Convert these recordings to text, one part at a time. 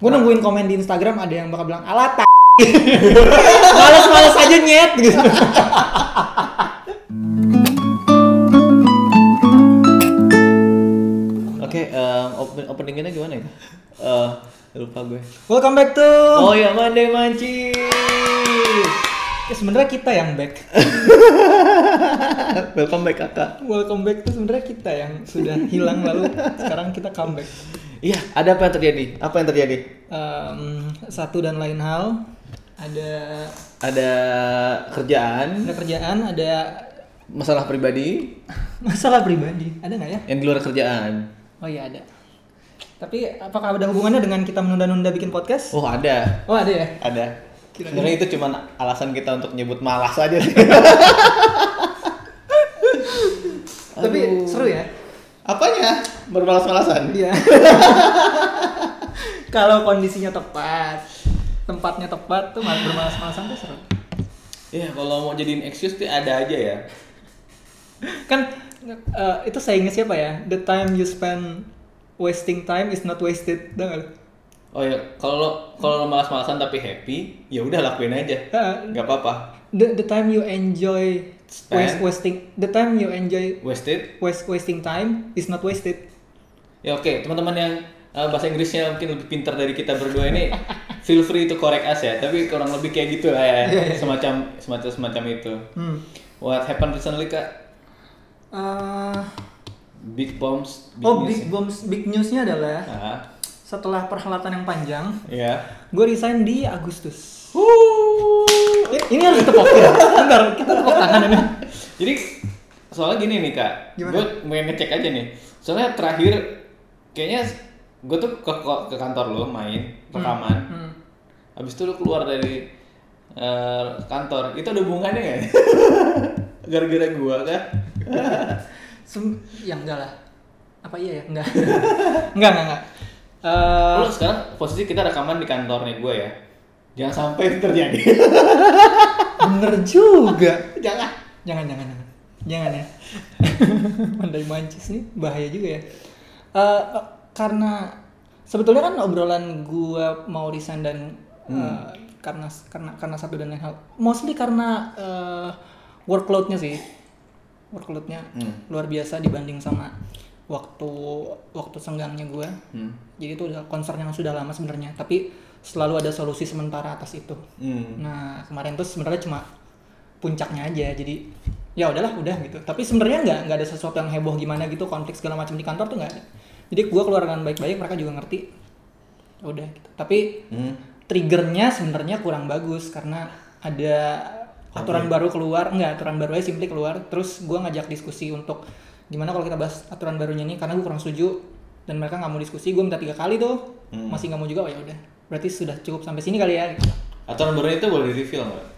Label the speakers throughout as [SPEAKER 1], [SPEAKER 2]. [SPEAKER 1] Gue nungguin komen di Instagram ada yang bakal bilang alat Males-males aja nyet gitu.
[SPEAKER 2] Oke, eh, open- openingnya gimana ya? Eh, lupa gue.
[SPEAKER 1] Welcome back to
[SPEAKER 2] Oh ya, Mande Manci.
[SPEAKER 1] Ya, sebenarnya kita yang back.
[SPEAKER 2] Welcome back kakak.
[SPEAKER 1] Welcome back tuh sebenarnya kita yang sudah hilang lalu sekarang kita comeback.
[SPEAKER 2] Iya, ada apa yang terjadi? Apa yang terjadi?
[SPEAKER 1] Em, satu dan lain hal ada
[SPEAKER 2] Ada kerjaan,
[SPEAKER 1] ada kerjaan, ada
[SPEAKER 2] masalah pribadi,
[SPEAKER 1] masalah pribadi. Ada nggak ya?
[SPEAKER 2] yang di luar kerjaan.
[SPEAKER 1] Oh iya ada. Tapi apakah ada hubungannya dengan kita menunda-nunda bikin podcast?
[SPEAKER 2] Oh ada,
[SPEAKER 1] Oh ada ya.
[SPEAKER 2] ada.
[SPEAKER 1] Kira-kira.
[SPEAKER 2] Sebenarnya itu cuma alasan kita untuk nyebut malas aja sih.
[SPEAKER 1] Tapi seru ya.
[SPEAKER 2] Apanya? Bermalas-malasan?
[SPEAKER 1] Iya. Kalau kondisinya tepat, tempatnya tepat tuh malah bermalas-malasan tuh seru.
[SPEAKER 2] Iya, kalau mau jadiin excuse tuh ada aja ya.
[SPEAKER 1] Kan eh, itu sayangnya siapa ya? The time you spend wasting time is not wasted, tau nggak lu?
[SPEAKER 2] Oh ya, kalau lo kalau lo malas-malasan tapi happy, ya udah lakuin aja.
[SPEAKER 1] Eh,
[SPEAKER 2] Gak apa-apa.
[SPEAKER 1] The the time you enjoy waste,
[SPEAKER 2] Spend.
[SPEAKER 1] wasting the time you enjoy
[SPEAKER 2] Wasted.
[SPEAKER 1] waste wasting time is not wasted.
[SPEAKER 2] Ya oke, teman-teman yang uh, bahasa Inggrisnya mungkin lebih pintar dari kita berdua ini, feel free to correct us ya. Tapi kurang lebih kayak gitu lah ya,
[SPEAKER 1] Iya,
[SPEAKER 2] semacam semacam semacam itu.
[SPEAKER 1] Hmm.
[SPEAKER 2] What happened recently kak?
[SPEAKER 1] Eh,
[SPEAKER 2] Big bombs. Big
[SPEAKER 1] oh
[SPEAKER 2] news,
[SPEAKER 1] big bombs big newsnya
[SPEAKER 2] ya.
[SPEAKER 1] adalah
[SPEAKER 2] Ah,
[SPEAKER 1] setelah perhelatan yang panjang,
[SPEAKER 2] ya.
[SPEAKER 1] gue resign di Agustus. Ini- Ini harus ditepokin. Bentar, kita tepok tangan ini.
[SPEAKER 2] Jadi soalnya gini nih kak,
[SPEAKER 1] Gimana?
[SPEAKER 2] gue mau ngecek aja nih. Soalnya terakhir kayaknya gue tuh ke, ke kantor lo main rekaman,
[SPEAKER 1] Hmm.
[SPEAKER 2] Habis itu lu keluar dari eh, kantor, itu ada hubungannya nggak? Gara-gara gua kan?
[SPEAKER 1] Sem- ya enggak lah. Apa iya ya? Enggak. enggak, enggak, enggak. Eh,
[SPEAKER 2] Lu sekarang posisi kita rekaman di kantornya gua ya. Jangan sampai itu terjadi.
[SPEAKER 1] bener juga.
[SPEAKER 2] Jangan.
[SPEAKER 1] Jangan, jangan, jangan. Jangan ya. Pandai mancis nih, bahaya juga ya. Eh, eh, karena sebetulnya kan obrolan gua mau resign dan eh,
[SPEAKER 2] Hmm.
[SPEAKER 1] karena karena karena satu dan lain hal. Mostly karena eh, workload-nya sih. Workload-nya
[SPEAKER 2] Hmm.
[SPEAKER 1] luar biasa dibanding sama waktu waktu senggangnya gua.
[SPEAKER 2] Hmm.
[SPEAKER 1] Jadi itu udah concern yang sudah lama sebenarnya, tapi selalu ada solusi sementara atas itu.
[SPEAKER 2] Hmm.
[SPEAKER 1] Nah kemarin tuh sebenarnya cuma puncaknya aja jadi ya udahlah udah gitu tapi sebenarnya nggak nggak ada sesuatu yang heboh gimana gitu konflik segala macam di kantor tuh nggak ada jadi gua keluar dengan baik-baik mereka juga ngerti Ya udah gitu. tapi
[SPEAKER 2] Hmm.
[SPEAKER 1] triggernya sebenarnya kurang bagus karena ada aturan baru keluar nggak aturan baru aja simply keluar terus gua ngajak diskusi untuk gimana kalau kita bahas aturan barunya ini karena gue kurang setuju dan mereka nggak mau diskusi gue minta tiga kali tuh
[SPEAKER 2] Hmm.
[SPEAKER 1] masih nggak mau juga oh ya udah berarti sudah cukup sampai sini kali ya gitu.
[SPEAKER 2] Aturan barunya itu boleh di-reveal nggak?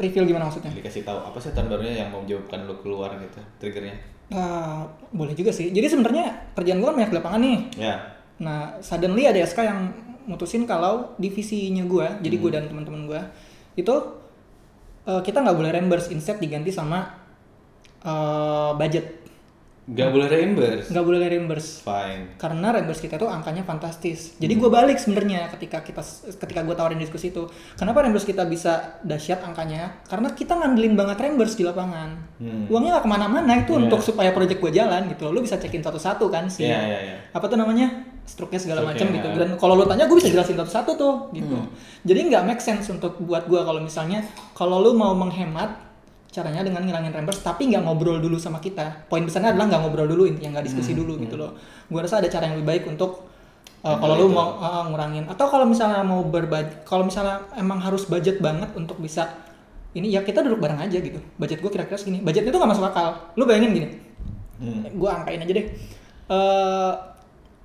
[SPEAKER 1] Reveal gimana maksudnya?
[SPEAKER 2] Dikasih tahu apa sih aturan barunya yang mau menjawabkan lu keluar gitu, triggernya?
[SPEAKER 1] Ah, boleh juga sih. Jadi sebenarnya kerjaan gua kan banyak di lapangan nih.
[SPEAKER 2] Ya.
[SPEAKER 1] Nah, suddenly ada SK yang mutusin kalau divisinya gua, jadi gua dan teman-teman gua itu eh, kita nggak boleh reimburse, instead diganti sama eh, budget.
[SPEAKER 2] Gak boleh reimburse.
[SPEAKER 1] Nggak boleh reimburse
[SPEAKER 2] Fine.
[SPEAKER 1] karena reimburse kita tuh angkanya fantastis. Jadi
[SPEAKER 2] Hmm.
[SPEAKER 1] gue balik sebenarnya ketika kita ketika gue tawarin diskusi itu, kenapa reimburse kita bisa dahsyat angkanya? Karena kita ngandelin banget reimburse di lapangan.
[SPEAKER 2] Hmm.
[SPEAKER 1] Uangnya nggak kemana-mana itu
[SPEAKER 2] Iya.
[SPEAKER 1] untuk supaya project gue jalan gitu. Lo bisa cekin satu-satu kan sih.
[SPEAKER 2] Iya, iya, iya.
[SPEAKER 1] Apa tuh namanya? struknya segala
[SPEAKER 2] Struknya,
[SPEAKER 1] macam gitu.
[SPEAKER 2] iya.
[SPEAKER 1] Dan kalau lo tanya gue bisa jelasin satu-satu tuh gitu. Jadi nggak make sense untuk buat gue kalau misalnya kalau lo mau menghemat caranya dengan ngilangin reimburse tapi nggak ngobrol dulu sama kita. Poin besarnya adalah nggak ngobrol dulu intinya nggak diskusi dulu gitu loh. Gue rasa ada cara yang lebih baik untuk uh, kalau lu mau uh, ngurangin atau kalau misalnya mau berbudget, kalau misalnya emang harus budget banget untuk bisa ini ya kita duduk bareng aja gitu. Budget gue kira-kira segini. Budgetnya tuh nggak masuk akal. Lu bayangin gini,
[SPEAKER 2] Hmm.
[SPEAKER 1] gue angkain aja deh. Eh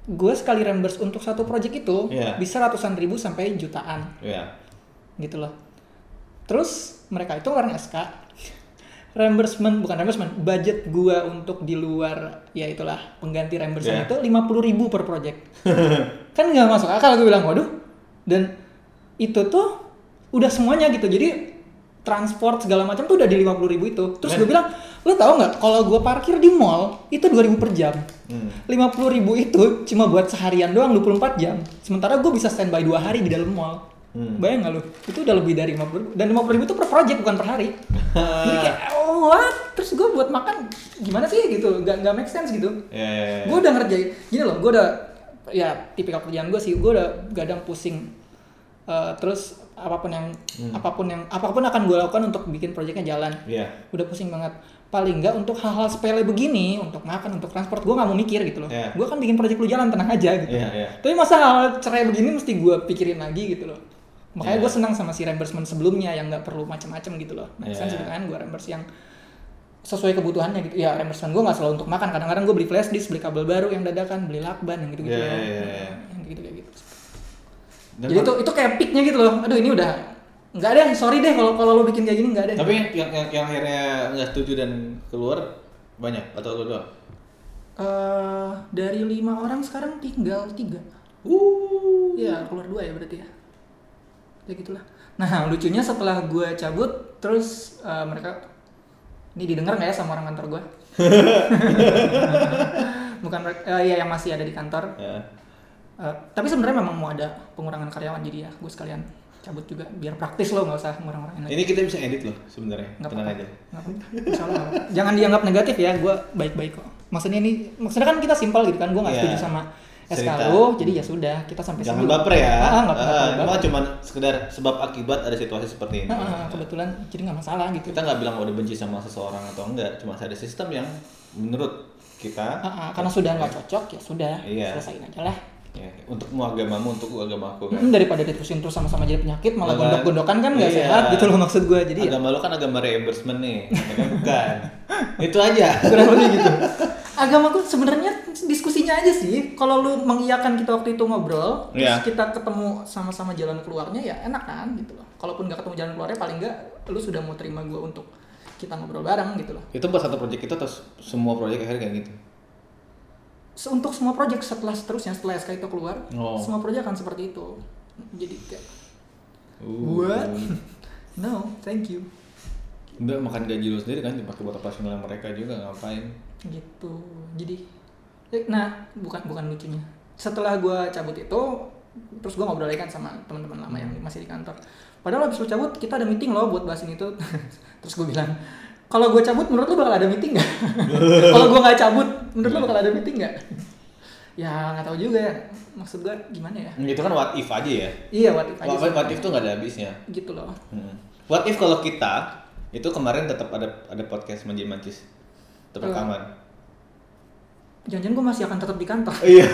[SPEAKER 1] gue sekali reimburse untuk satu project itu
[SPEAKER 2] Iya.
[SPEAKER 1] bisa ratusan ribu sampai jutaan
[SPEAKER 2] Ya.
[SPEAKER 1] gitu loh. Terus mereka itu ngeluarin SK reimbursement bukan reimbursement budget gua untuk di luar ya itulah pengganti reimbursement
[SPEAKER 2] Yeah.
[SPEAKER 1] itu 50.000 ribu per project kan nggak masuk akal gue bilang waduh dan itu tuh udah semuanya gitu jadi transport segala macam tuh udah di 50.000 itu. Terus gue bilang, lo tau nggak kalau gue parkir di mall itu 2.000 per jam.
[SPEAKER 2] Hmm.
[SPEAKER 1] 50.000 itu cuma buat seharian doang 24 jam. Sementara gue bisa standby dua hari di dalam mall.
[SPEAKER 2] Hmm.
[SPEAKER 1] Bayang nggak lo? Itu udah lebih dari 50.000 dan 50.000 itu per project bukan per hari. Jadi kayak oh, what? Terus gue buat makan gimana sih gitu? Gak nggak make sense gitu
[SPEAKER 2] Ya, ya, ya.
[SPEAKER 1] gue udah ngerjain gini loh gue udah ya tipikal kerjaan gue sih gue udah gadang pusing Eh, terus apapun yang apapun yang apapun akan gue lakukan untuk bikin proyeknya jalan
[SPEAKER 2] Iya.
[SPEAKER 1] udah pusing banget paling nggak untuk hal-hal sepele begini untuk makan untuk transport gue nggak mau mikir gitu loh
[SPEAKER 2] Iya.
[SPEAKER 1] gue kan bikin proyek lu jalan tenang aja gitu
[SPEAKER 2] Iya, iya.
[SPEAKER 1] tapi masa hal cerai begini mesti gue pikirin lagi gitu loh makanya
[SPEAKER 2] Iya.
[SPEAKER 1] gue senang sama si reimbursement sebelumnya yang nggak perlu macam-macam gitu loh make
[SPEAKER 2] Iya.
[SPEAKER 1] sense gitu kan gue reimburse yang sesuai kebutuhannya gitu ya reimbursement gue nggak selalu untuk makan kadang-kadang gue beli flash disk beli kabel baru yang dadakan beli lakban yang gitu-gitu
[SPEAKER 2] Iya,
[SPEAKER 1] loh.
[SPEAKER 2] iya, iya.
[SPEAKER 1] yang gitu kayak gitu
[SPEAKER 2] Dan
[SPEAKER 1] jadi itu itu kayak peaknya gitu loh aduh ini udah nggak deh sorry deh kalau kalau lo bikin kayak gini nggak deh
[SPEAKER 2] Tapi yang yang, yang, yang akhirnya nggak setuju dan keluar banyak atau lu doang?
[SPEAKER 1] Eh, dari lima orang sekarang tinggal tiga
[SPEAKER 2] Uh.
[SPEAKER 1] Iya, keluar dua ya berarti ya. Ya gitulah. Nah, lucunya setelah gue cabut, terus eh, mereka ini didengar nggak ya sama orang kantor gue? Bukan mereka, eh, iya yang masih ada di kantor.
[SPEAKER 2] Ya.
[SPEAKER 1] Eh, tapi sebenarnya memang mau ada pengurangan karyawan jadi ya gue sekalian cabut juga biar praktis loh nggak usah ngurang-ngurangin lagi.
[SPEAKER 2] Ini kita bisa edit loh
[SPEAKER 1] Nah.
[SPEAKER 2] sebenarnya.
[SPEAKER 1] Nggak
[SPEAKER 2] Tenang
[SPEAKER 1] apa-apa.
[SPEAKER 2] aja.
[SPEAKER 1] Nggak apa-apa. Insya Allah nggak apa-apa. Jangan dianggap negatif ya, gue baik-baik kok. Maksudnya ini, maksudnya kan kita simpel gitu kan, gue nggak
[SPEAKER 2] Iya.
[SPEAKER 1] setuju sama SK
[SPEAKER 2] Cerita.
[SPEAKER 1] lu, jadi ya sudah kita sampai
[SPEAKER 2] Jangan
[SPEAKER 1] sini.
[SPEAKER 2] baper ya.
[SPEAKER 1] Ah, nggak
[SPEAKER 2] Ah,
[SPEAKER 1] apa-apa.
[SPEAKER 2] emang cuma sekedar sebab akibat ada situasi seperti ini.
[SPEAKER 1] Nah, ah, kebetulan jadi nggak masalah gitu.
[SPEAKER 2] Kita nggak bilang udah benci sama seseorang atau enggak, cuma ada sistem yang menurut kita
[SPEAKER 1] Ah, ah, karena sudah nggak cocok ya sudah
[SPEAKER 2] Iya.
[SPEAKER 1] selesain aja lah.
[SPEAKER 2] ya, untukmu agamamu, untuk agamaku kan.
[SPEAKER 1] Mm, daripada diterusin terus sama-sama jadi penyakit malah
[SPEAKER 2] Malah-
[SPEAKER 1] gondok-gondokan kan nggak
[SPEAKER 2] Iya.
[SPEAKER 1] sehat gitu loh maksud gue jadi ya
[SPEAKER 2] agama lu kan agama reimbursement nih, ya kan? bukan. Itu aja.
[SPEAKER 1] kurang lebih gitu. Agamaku sebenarnya diskusinya aja sih. Kalau lu mengiyakan kita waktu itu ngobrol,
[SPEAKER 2] Iya.
[SPEAKER 1] terus kita ketemu sama-sama jalan keluarnya ya enak kan gitu loh. Kalaupun nggak ketemu jalan keluarnya paling nggak lu sudah mau terima gue untuk kita ngobrol bareng gitu loh.
[SPEAKER 2] Itu buat satu proyek kita terus semua proyek akhirnya kayak gitu.
[SPEAKER 1] Se- untuk semua project setelah seterusnya setelah SK itu keluar,
[SPEAKER 2] Oh.
[SPEAKER 1] semua project akan seperti itu. Jadi kayak
[SPEAKER 2] Uh.
[SPEAKER 1] What? no, thank you.
[SPEAKER 2] Udah makan gaji lu sendiri kan dipakai buat operasional mereka juga ngapain?
[SPEAKER 1] Gitu. Jadi, eh, nah bukan bukan lucunya. Setelah gua cabut itu, terus gua ngobrol lagi kan sama teman-teman lama yang
[SPEAKER 2] Hmm.
[SPEAKER 1] masih di kantor. Padahal abis lu cabut kita ada meeting loh buat bahasin itu. terus gue bilang, kalau gua cabut menurut lu bakal ada meeting nggak? kalau gua nggak cabut, menurut lu bakal ada meeting nggak? ya nggak tahu juga ya. Maksud gua gimana ya?
[SPEAKER 2] Itu kan what if aja ya.
[SPEAKER 1] Iya, what if aja
[SPEAKER 2] What,
[SPEAKER 1] sih.
[SPEAKER 2] what if tuh nggak ada habisnya.
[SPEAKER 1] gitu loh.
[SPEAKER 2] Hmm. What if kalau kita itu kemarin tetap ada ada podcast manji mancis tetap
[SPEAKER 1] Eh.
[SPEAKER 2] rekaman.
[SPEAKER 1] Jangan-jangan gua masih akan tetap di kantor.
[SPEAKER 2] Iya.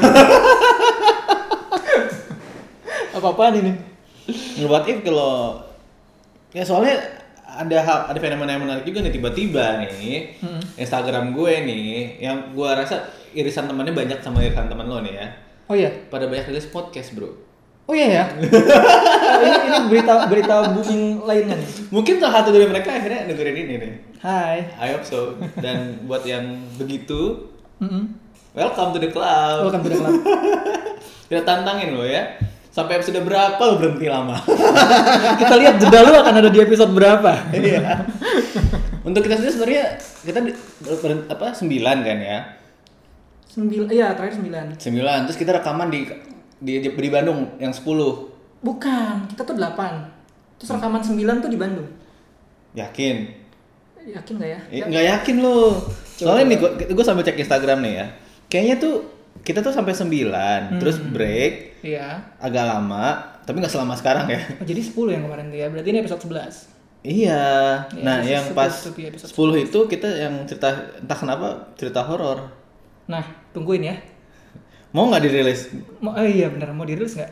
[SPEAKER 1] Apa-apaan ini?
[SPEAKER 2] What if kalau ya soalnya ada hal- ada fenomena yang menarik juga nih tiba-tiba nih Instagram gue nih yang gue rasa irisan temannya banyak sama irisan teman lo nih ya
[SPEAKER 1] Oh iya,
[SPEAKER 2] pada banyak rilis podcast bro
[SPEAKER 1] Oh iya ya. Oh, ini, ini berita berita booming lainnya nih.
[SPEAKER 2] mungkin salah satu dari mereka akhirnya dengerin ini nih
[SPEAKER 1] Hai.
[SPEAKER 2] I hope so dan buat yang begitu
[SPEAKER 1] Mm-mm.
[SPEAKER 2] welcome to the club
[SPEAKER 1] Welcome to the club.
[SPEAKER 2] kita tantangin lo ya sampai episode berapa lo berhenti lama
[SPEAKER 1] Kita lihat jeda lu akan ada di episode berapa.
[SPEAKER 2] Iya. untuk kita sendiri sebenarnya kita di- ber- apa sembilan kan ya
[SPEAKER 1] Sembilan, iya terakhir sembilan.
[SPEAKER 2] sembilan terus kita rekaman di di di Bandung yang sepuluh
[SPEAKER 1] Bukan, kita tuh delapan. Terus rekaman sembilan tuh di Bandung.
[SPEAKER 2] yakin
[SPEAKER 1] Yakin nggak ya?
[SPEAKER 2] Eh, nggak yakin lo soalnya nih gua, gua sambil cek Instagram nih ya kayaknya tuh kita tuh sampai
[SPEAKER 1] Hmm.
[SPEAKER 2] sembilan terus break
[SPEAKER 1] Iya.
[SPEAKER 2] agak lama tapi nggak selama sekarang ya
[SPEAKER 1] Oh, jadi sepuluh yang kemarin tuh ya. Berarti ini episode sebelas.
[SPEAKER 2] Iya.
[SPEAKER 1] Iya,
[SPEAKER 2] Nah,
[SPEAKER 1] episode-
[SPEAKER 2] yang pas
[SPEAKER 1] episode- episode
[SPEAKER 2] 10 itu kita yang cerita entah kenapa cerita horor.
[SPEAKER 1] Nah, tungguin ya.
[SPEAKER 2] Mau nggak dirilis?
[SPEAKER 1] Mau, oh iya benar mau dirilis nggak?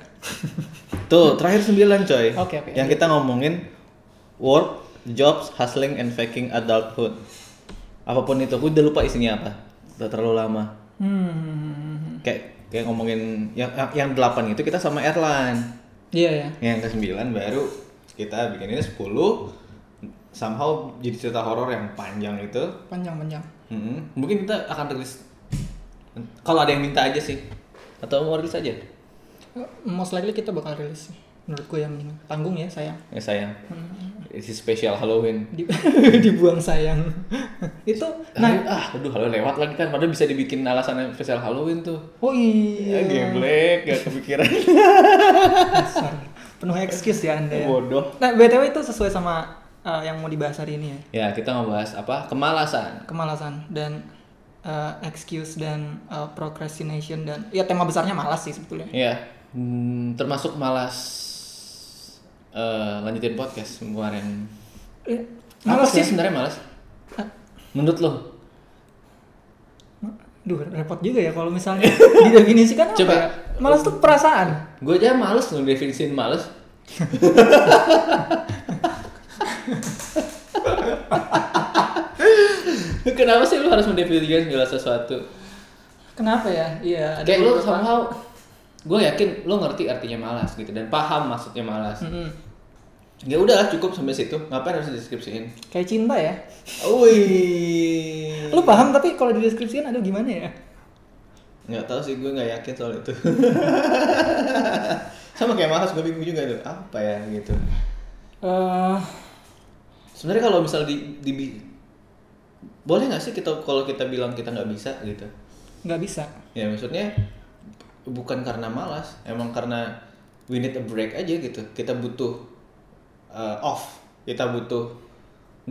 [SPEAKER 2] Tuh, terakhir 9 coy.
[SPEAKER 1] Oke, oke.
[SPEAKER 2] Yang kita ngomongin work, jobs, hustling and faking adulthood. Apapun itu, gue udah lupa isinya apa. Udah terlalu lama.
[SPEAKER 1] Hmm.
[SPEAKER 2] Kayak kayak ngomongin yang yang 8 itu kita sama airline.
[SPEAKER 1] Iya ya.
[SPEAKER 2] Yang ke 9 baru kita bikin ini 10 somehow jadi cerita horor yang panjang itu
[SPEAKER 1] Panjang panjang.
[SPEAKER 2] Mm-mm. Mungkin kita akan rilis kalau ada yang minta aja sih. Atau mau rilis aja?
[SPEAKER 1] Most likely kita bakal rilis sih. Menurut gue yang mendingan. Tanggung ya sayang.
[SPEAKER 2] Ya sayang. isi spesial Halloween.
[SPEAKER 1] Di- dibuang sayang itu
[SPEAKER 2] Nah,
[SPEAKER 1] nah
[SPEAKER 2] ah, aduh halo lewat lagi kan padahal bisa dibikin alasan yang spesial Halloween tuh.
[SPEAKER 1] oh
[SPEAKER 2] Ya
[SPEAKER 1] iya
[SPEAKER 2] geblek, gak kepikiran.
[SPEAKER 1] Dasar. penuh excuse ya anda ya.
[SPEAKER 2] Bodoh.
[SPEAKER 1] nah btw itu sesuai sama eh, yang mau dibahas hari ini ya
[SPEAKER 2] Ya, kita ngebahas apa? Kemalasan.
[SPEAKER 1] kemalasan dan eh, excuse dan eh, procrastination dan ya tema besarnya malas sih sebetulnya
[SPEAKER 2] Ya, hmm, termasuk malas eh, lanjutin podcast kemarin.
[SPEAKER 1] Eh,
[SPEAKER 2] Apa
[SPEAKER 1] malas
[SPEAKER 2] sih
[SPEAKER 1] sih
[SPEAKER 2] sebenarnya malas?
[SPEAKER 1] Ah.
[SPEAKER 2] Menurut lo?
[SPEAKER 1] duh repot juga ya kalau misalnya didefinisikan apa
[SPEAKER 2] Coba.
[SPEAKER 1] ya? malas tuh perasaan
[SPEAKER 2] Gue aja males lo definisiin malas. Kenapa sih lu harus mendefinisikan segala sesuatu?
[SPEAKER 1] kenapa ya iya ada
[SPEAKER 2] Kayak lu
[SPEAKER 1] beberapa-
[SPEAKER 2] somehow gue yakin lu ngerti artinya malas gitu dan paham maksudnya malas.
[SPEAKER 1] Mm-mm.
[SPEAKER 2] Ya udahlah cukup sampai situ. Ngapain harus deskripsiin?
[SPEAKER 1] kayak cinta ya
[SPEAKER 2] Wih.
[SPEAKER 1] lu paham tapi kalau dideskripsikan aduh gimana ya
[SPEAKER 2] Nggak tahu sih gue nggak yakin soal itu. Sama kayak malas gue bingung juga tuh apa ya gitu.
[SPEAKER 1] Eh,
[SPEAKER 2] Sebenarnya kalau misal di, di- boleh nggak sih kita kalau kita bilang kita nggak bisa gitu?
[SPEAKER 1] nggak bisa
[SPEAKER 2] Ya maksudnya bukan karena malas, emang karena we need a break aja gitu. Kita butuh uh, off, kita butuh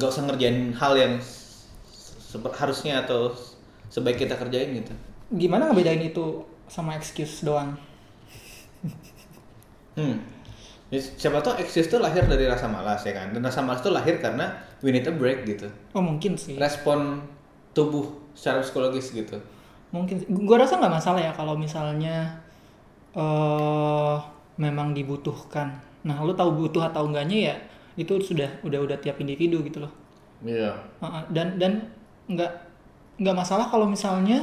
[SPEAKER 2] nggak usah ngerjain hal yang sebe- harusnya atau sebaik kita kerjain gitu.
[SPEAKER 1] gimana ngebedain itu sama excuse doang
[SPEAKER 2] Hmm. Ya, Siapa tahu eksis tuh lahir dari rasa malas ya kan. Dan rasa malas tuh lahir karena we need a break gitu.
[SPEAKER 1] oh mungkin sih
[SPEAKER 2] Respon tubuh secara psikologis gitu.
[SPEAKER 1] mungkin sih. gua rasa nggak masalah ya kalau misalnya eh memang dibutuhkan nah lu tahu butuh atau enggaknya ya itu sudah udah udah tiap individu gitu loh
[SPEAKER 2] Iya.
[SPEAKER 1] Heeh, Ah, dan dan nggak nggak masalah kalau misalnya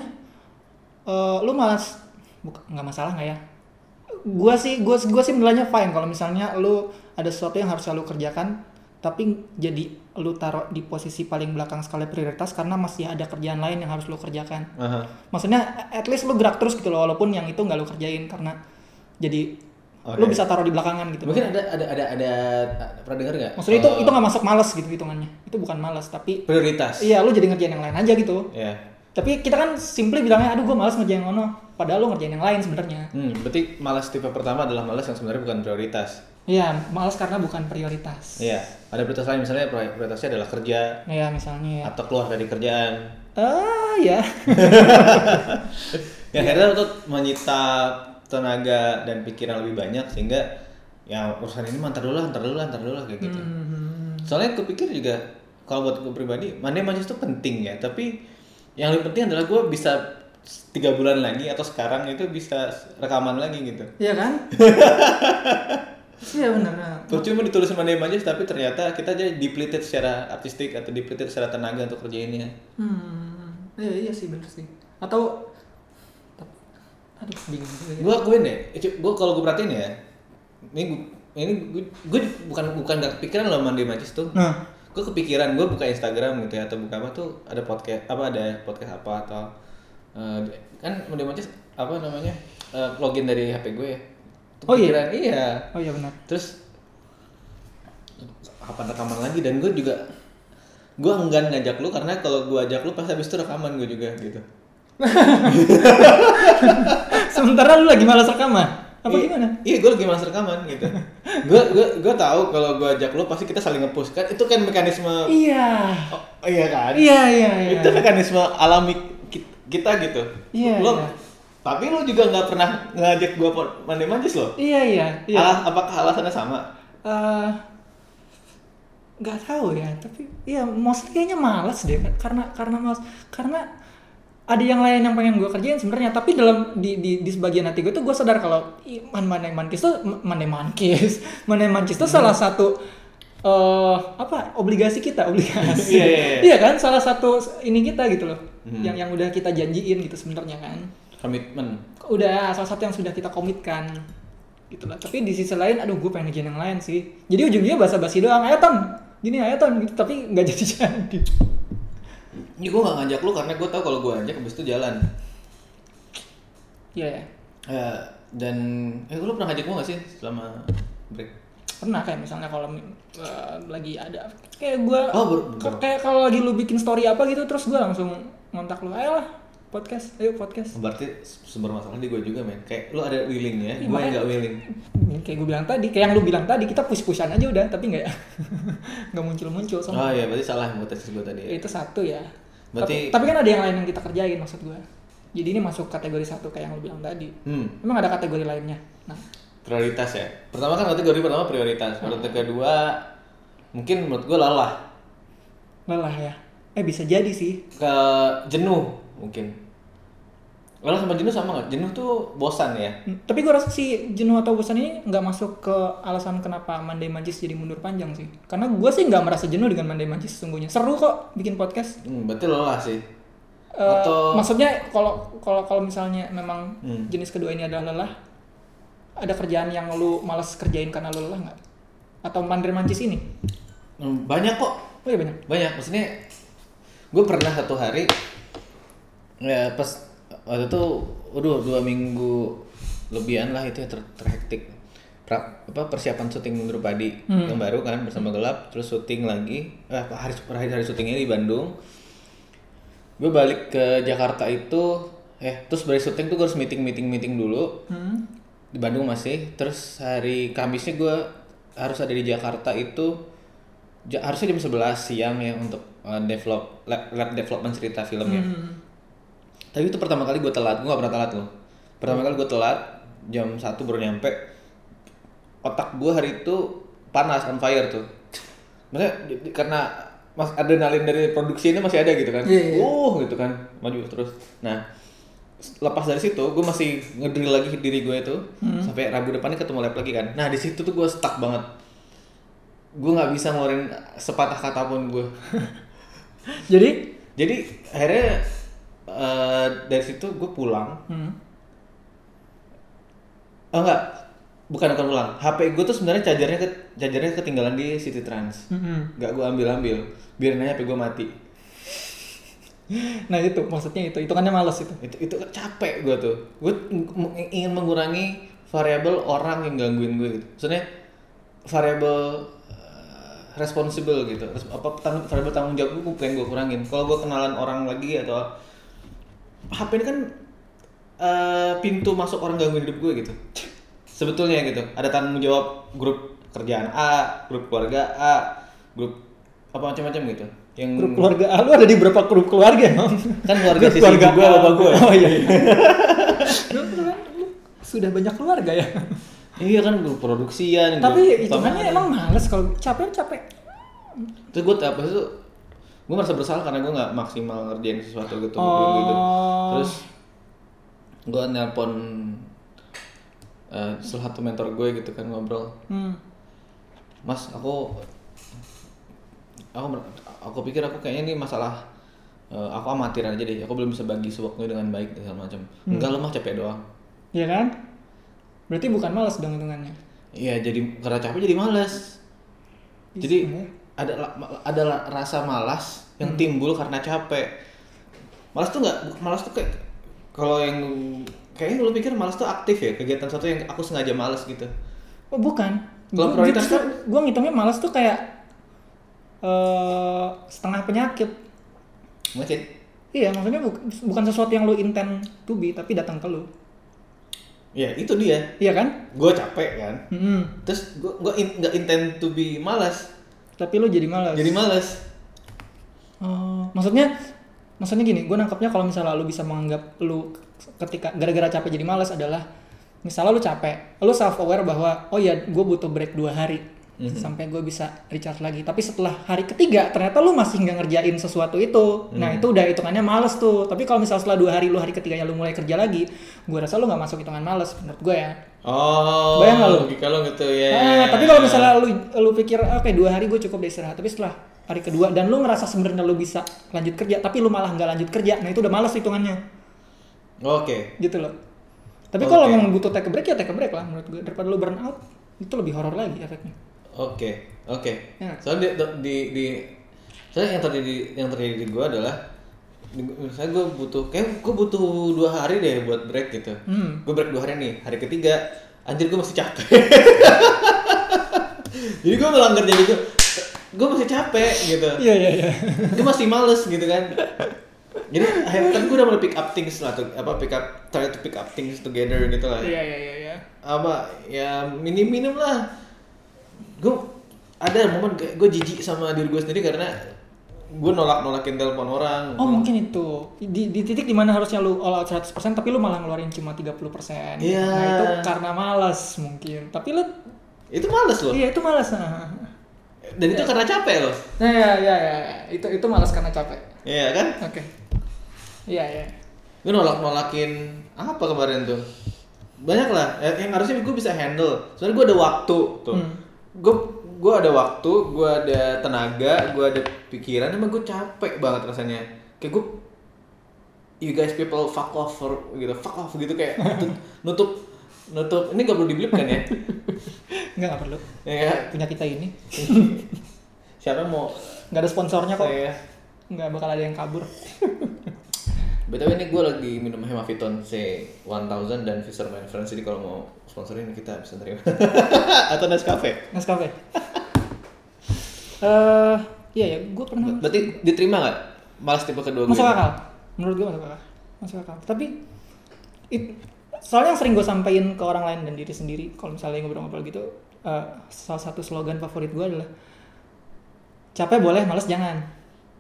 [SPEAKER 1] eh, lu malas buka- nggak masalah nggak ya gua sih gua gua sih menilainya fine kalau misalnya lu ada sesuatu yang harus selalu kerjakan tapi jadi lu taruh di posisi paling belakang skala prioritas karena masih ada kerjaan lain yang harus lu kerjakan
[SPEAKER 2] Aha.
[SPEAKER 1] maksudnya at least lu gerak terus gitu loh walaupun yang itu nggak lu kerjain karena jadi
[SPEAKER 2] Oke.
[SPEAKER 1] lu bisa taruh di belakangan gitu
[SPEAKER 2] Mungkin ada ada ada ada pernah dengar nggak?
[SPEAKER 1] maksudnya itu
[SPEAKER 2] Eh,
[SPEAKER 1] itu nggak masuk malas gitu hitungannya itu bukan malas tapi
[SPEAKER 2] prioritas.
[SPEAKER 1] iya lu jadi ngerjain yang lain aja gitu
[SPEAKER 2] Ya.
[SPEAKER 1] tapi kita kan simply bilangnya aduh gue malas ngerjain yang ono padahal lo ngerjain yang lain sebenarnya
[SPEAKER 2] Hmm, berarti malas tipe pertama adalah malas yang sebenarnya bukan prioritas.
[SPEAKER 1] iya malas karena bukan prioritas
[SPEAKER 2] Iya. Ada prioritas lain misalnya prior- prioritasnya adalah kerja
[SPEAKER 1] ya misalnya ya
[SPEAKER 2] atau keluar dari kerjaan.
[SPEAKER 1] ah ya
[SPEAKER 2] Ya akhirnya itu menyita tenaga dan pikiran lebih banyak sehingga ya urusan ini mantar dulu lah, ntar dulu lah, ntar dulu lah kayak gitu.
[SPEAKER 1] Hmm.
[SPEAKER 2] Soalnya aku pikir juga kalau buat gue pribadi, mandi manjis itu penting ya, tapi yang lebih penting adalah gue bisa tiga bulan lagi atau sekarang itu bisa rekaman lagi gitu.
[SPEAKER 1] iya kan iya benar nah.
[SPEAKER 2] Terus cuma ditulis mandi manjis tapi ternyata kita jadi depleted secara artistik atau depleted secara tenaga untuk kerjainnya.
[SPEAKER 1] hmm iya iya sih benar sih atau aduh bingung juga ya.
[SPEAKER 2] gue akuin deh gue kalau gue perhatiin ya ini gue ini gue bukan bukan gak kepikiran loh mandi macis tuh
[SPEAKER 1] nah
[SPEAKER 2] gue kepikiran gue buka Instagram gitu ya atau buka apa tuh ada podcast apa ada ya, podcast apa atau eh, kan mandi macis apa namanya eh, login dari HP gue ya Tuh
[SPEAKER 1] Oh iya?
[SPEAKER 2] kepikiran, iya
[SPEAKER 1] oh iya benar
[SPEAKER 2] terus kapan rekaman lagi dan gue juga gue enggan ngajak lu karena kalau gue ajak lu pasti habis itu rekaman gue juga gitu
[SPEAKER 1] sementara lu lagi malas rekaman apa
[SPEAKER 2] Iya-
[SPEAKER 1] gimana
[SPEAKER 2] Iya, gue lagi master rekaman gitu. gue gue gue tahu kalau gue ajak lo pasti kita saling nge-push kan. Itu kan mekanisme
[SPEAKER 1] iya
[SPEAKER 2] oh, iya kan?
[SPEAKER 1] iya iya iya
[SPEAKER 2] Itu mekanisme alami ki- kita gitu.
[SPEAKER 1] Iya,
[SPEAKER 2] Lo
[SPEAKER 1] iya.
[SPEAKER 2] tapi lo juga nggak pernah ngajak gue mandi manjis lo.
[SPEAKER 1] iya iya iya
[SPEAKER 2] Alah, apakah alasannya sama?
[SPEAKER 1] eh nggak tahu ya tapi ya mostly kayaknya malas deh karena karena malas karena ada yang lain yang pengen gue kerjain sebenarnya tapi dalam di, di, di sebagian hati gue tuh gue sadar kalau "Ih, man manai mankis tuh manai mankis manai mankis tuh salah satu eh apa obligasi kita obligasi
[SPEAKER 2] Iya, iya, iya.
[SPEAKER 1] iya kan salah satu ini kita gitu loh
[SPEAKER 2] Hmm.
[SPEAKER 1] yang yang udah kita janjiin gitu sebenarnya kan
[SPEAKER 2] Komitmen.
[SPEAKER 1] udah salah satu yang sudah kita komitkan gitu lah tapi di sisi lain aduh gue pengen ngerjain yang lain sih jadi ujungnya basa-basi doang ayo ton gini ayo ton gitu tapi nggak jadi jadi
[SPEAKER 2] Ini gue nggak ngajak lo karena gue tahu kalau gue ajak habis itu jalan.
[SPEAKER 1] iya ya Iya,
[SPEAKER 2] Ya, dan eh lo pernah ngajak gue nggak sih selama break?
[SPEAKER 1] pernah kayak misalnya kalau eh, lagi ada kayak gua
[SPEAKER 2] Oh, ber- ber-
[SPEAKER 1] kayak kalau lagi lu bikin story apa gitu terus gua langsung ngontak lu ayolah podcast ayo podcast
[SPEAKER 2] Berarti sumber masalah di gue juga men. Kayak lu ada willing ya, gue
[SPEAKER 1] Iya, makanya-
[SPEAKER 2] nggak willing.
[SPEAKER 1] kayak gue bilang tadi kayak yang lu bilang tadi kita push pushan aja udah tapi nggak nggak muncul muncul soalnya
[SPEAKER 2] Oh iya, berarti salah hipotesis gue tadi. Ya.
[SPEAKER 1] itu satu ya
[SPEAKER 2] Berarti-
[SPEAKER 1] tapi, tapi kan ada yang lain yang kita kerjain maksud gua jadi ini masuk kategori satu kayak yang lu bilang tadi
[SPEAKER 2] Hmm.
[SPEAKER 1] emang ada kategori lainnya nah
[SPEAKER 2] prioritas ya pertama kan kategori pertama prioritas menurut kedua mungkin menurut gue lelah
[SPEAKER 1] lelah ya eh bisa jadi sih
[SPEAKER 2] ke jenuh mungkin lelah sama jenuh sama nggak jenuh tuh bosan ya
[SPEAKER 1] Hmm, tapi gua rasa si jenuh atau bosan ini nggak masuk ke alasan kenapa Mandai Mancis jadi mundur panjang sih karena gua sih nggak merasa jenuh dengan Mandai Mancis sesungguhnya seru kok bikin podcast
[SPEAKER 2] hmm, berarti lelah sih
[SPEAKER 1] Eh,
[SPEAKER 2] atau
[SPEAKER 1] maksudnya kalau kalau kalau misalnya memang
[SPEAKER 2] Hmm.
[SPEAKER 1] jenis kedua ini adalah lelah ada kerjaan yang lu malas kerjain karena lu lelah nggak atau Mandai Mancis ini
[SPEAKER 2] Hmm, banyak kok
[SPEAKER 1] oh iya banyak
[SPEAKER 2] banyak maksudnya gue pernah satu hari ya pas waktu itu waduh dua minggu lebihan lah itu ya ter- terhektik Pra- apa persiapan syuting Mundur Padi yang baru kan bersama gelap terus syuting lagi eh, hari hari hari syutingnya di Bandung gue balik ke Jakarta itu eh terus dari syuting tuh gue harus meeting meeting meeting dulu
[SPEAKER 1] Hmm.
[SPEAKER 2] di Bandung masih terus hari Kamisnya gue harus ada di Jakarta itu ja- harusnya jam 11 siang ya untuk uh, develop lab, lab development cerita filmnya tapi itu pertama kali gue telat gue gak pernah telat loh pertama kali gue telat jam 1 baru nyampe otak gue hari itu panas on fire tuh maksudnya di- di- karena mas adrenalin dari produksi ini masih ada gitu kan
[SPEAKER 1] Iya, iya.
[SPEAKER 2] uh gitu kan maju terus nah s- lepas dari situ gue masih ngedrill lagi diri gue itu
[SPEAKER 1] Hmm.
[SPEAKER 2] sampai rabu depannya ketemu lab lagi kan nah di situ tuh gue stuck banget gue nggak bisa ngeluarin sepatah kata pun gue
[SPEAKER 1] jadi
[SPEAKER 2] jadi akhirnya eh, dari situ gue pulang
[SPEAKER 1] Hmm.
[SPEAKER 2] oh enggak bukan bukan pulang HP gue tuh sebenarnya chargernya ke, chargernya ketinggalan di City Trans
[SPEAKER 1] Mm-mm.
[SPEAKER 2] nggak gue ambil ambil biarin aja HP gue mati
[SPEAKER 1] Nah itu maksudnya itu hitungannya males itu.
[SPEAKER 2] itu itu capek gue tuh gue ingin mengurangi variabel orang yang gangguin gue gitu maksudnya variabel eh, responsible gitu Res- apa tang- variabel tanggung jawab gue pengen gue kurangin kalau gue kenalan orang lagi atau HP ini kan eh, pintu masuk orang gangguin hidup gue gitu sebetulnya gitu ada tanggung jawab grup kerjaan A grup keluarga A grup apa macam-macam gitu yang
[SPEAKER 1] Grup keluarga ah, lu ada di berapa grup keluarga emang?
[SPEAKER 2] Kan keluarga
[SPEAKER 1] Grup
[SPEAKER 2] sisi ibu gua,
[SPEAKER 1] ah.
[SPEAKER 2] bapak gua.
[SPEAKER 1] Oh iya. iya. Lu- lu- lu sudah banyak keluarga ya.
[SPEAKER 2] iya kan grup produksian grup
[SPEAKER 1] Tapi
[SPEAKER 2] utamanya.
[SPEAKER 1] hitungannya emang males kalau capek capek.
[SPEAKER 2] terus gue apa itu gue merasa bersalah karena gue nggak maksimal ngerjain sesuatu gitu
[SPEAKER 1] Oh.
[SPEAKER 2] gitu terus gue nelpon eh, salah satu mentor gue gitu kan ngobrol
[SPEAKER 1] Hmm.
[SPEAKER 2] mas aku aku mer- aku pikir aku kayaknya ini masalah eh, aku amatiran aja deh aku belum bisa bagi sewaktunya dengan baik dan segala macam
[SPEAKER 1] Hmm.
[SPEAKER 2] enggak lemah capek doang
[SPEAKER 1] Iya kan? Berarti bukan males dong hitungannya.
[SPEAKER 2] iya jadi karena capek jadi males jadi
[SPEAKER 1] Iya.
[SPEAKER 2] ada la- ma- ada la- rasa malas yang
[SPEAKER 1] Hmm.
[SPEAKER 2] timbul karena capek malas tuh nggak malas tuh kayak kalau yang kayaknya lu pikir malas tuh aktif ya kegiatan satu yang aku sengaja malas gitu
[SPEAKER 1] Oh bukan.
[SPEAKER 2] Kalau
[SPEAKER 1] Gua-
[SPEAKER 2] prioritas
[SPEAKER 1] justru
[SPEAKER 2] kan-
[SPEAKER 1] gua ngitungnya males tuh kayak eh setengah penyakit.
[SPEAKER 2] macet
[SPEAKER 1] Iya, maksudnya bu- bukan sesuatu yang lu intent to be tapi datang ke lu.
[SPEAKER 2] ya itu dia
[SPEAKER 1] Iya kan? Hmm.
[SPEAKER 2] gue capek kan
[SPEAKER 1] Mm-mm.
[SPEAKER 2] terus gue gue in- nggak intent to be malas
[SPEAKER 1] Tapi lu jadi malas.
[SPEAKER 2] jadi malas
[SPEAKER 1] Oh, maksudnya maksudnya gini, gue nangkepnya kalau misalnya lu bisa menganggap lu ketika gara-gara capek jadi malas adalah misalnya lu capek, lu self aware bahwa oh ya gue butuh break dua hari sampai gue bisa recharge lagi. Tapi setelah hari ketiga ternyata lu masih nggak ngerjain sesuatu itu. Nah itu udah hitungannya males tuh. Tapi kalau misalnya setelah dua hari lu hari ketiganya lu mulai kerja lagi, gue rasa lu nggak masuk hitungan males menurut gue ya.
[SPEAKER 2] oh
[SPEAKER 1] Bayang nggak lu?
[SPEAKER 2] kalau gitu ya
[SPEAKER 1] Ah, tapi kalau misalnya lu lu pikir "Ah, oke dua hari gue cukup deh istirahat tapi setelah hari kedua dan lu ngerasa sebenarnya lu bisa lanjut kerja tapi lu malah nggak lanjut kerja nah itu udah males hitungannya
[SPEAKER 2] oke
[SPEAKER 1] gitu loh tapi
[SPEAKER 2] Oke.
[SPEAKER 1] kalau memang butuh take a break ya take a break lah menurut gue daripada lu burn out itu lebih horor lagi efeknya
[SPEAKER 2] Oke, oke.
[SPEAKER 1] Ya.
[SPEAKER 2] Soalnya di, di, di soalnya yang terjadi yang terjadi di gua adalah di- misalnya gue butuh kayak gue butuh dua hari deh buat break gitu.
[SPEAKER 1] Hmm.
[SPEAKER 2] Gue break dua hari nih. Hari ketiga anjir gue masih capek. jadi gue pulang kerja gitu gue masih capek gitu
[SPEAKER 1] Iya iya iya.
[SPEAKER 2] gue masih males gitu kan jadi akhirnya kan gue udah mulai pick up things lah tuh, apa pick up try to pick up things together gitu lah
[SPEAKER 1] Iya iya iya. iya.
[SPEAKER 2] apa ya minim minim lah gue ada momen gue jijik sama diri gue sendiri karena gue nolak nolakin telepon orang
[SPEAKER 1] Oh mungkin itu di, di titik dimana harusnya lu all out 100% tapi lu malah ngeluarin cuma 30%
[SPEAKER 2] Iya.
[SPEAKER 1] Nah itu karena malas mungkin Tapi lu
[SPEAKER 2] itu males loh
[SPEAKER 1] iya itu malas nah.
[SPEAKER 2] dan itu karena capek loh
[SPEAKER 1] Nah ya ya ya itu itu malas karena capek
[SPEAKER 2] Iya kan
[SPEAKER 1] Oke Iya iya
[SPEAKER 2] gue nolak nolakin apa kemarin tuh banyak lah eh, yang harusnya gue bisa handle soalnya gue ada waktu tuh
[SPEAKER 1] Hmm.
[SPEAKER 2] gue gue ada waktu gue ada tenaga gue ada pikiran emang gue capek banget rasanya kayak gue you guys people fuck off or, gitu fuck off gitu kayak nutup- nutup nutup ini gak perlu dibelip kan ya
[SPEAKER 1] Enggak nggak perlu
[SPEAKER 2] ya kan?
[SPEAKER 1] punya kita ini
[SPEAKER 2] siapa yang mau
[SPEAKER 1] nggak ada sponsornya kok
[SPEAKER 2] saya
[SPEAKER 1] nggak bakal ada yang kabur
[SPEAKER 2] btw ini gue lagi minum Hemaviton C 1000 dan Fisherman Friends jadi kalau mau sponsorin kita bisa terima atau Nescafe
[SPEAKER 1] Nescafe Eh iya ya gue pernah
[SPEAKER 2] Ber- Berarti diterima nggak? Malas tipe kedua
[SPEAKER 1] masuk
[SPEAKER 2] gue.
[SPEAKER 1] akal menurut gue masuk akal masuk akal tapi it- soalnya yang sering gue sampein ke orang lain dan diri sendiri kalau misalnya ngobrol-ngobrol gitu eh, salah satu slogan favorit gue adalah capek boleh males jangan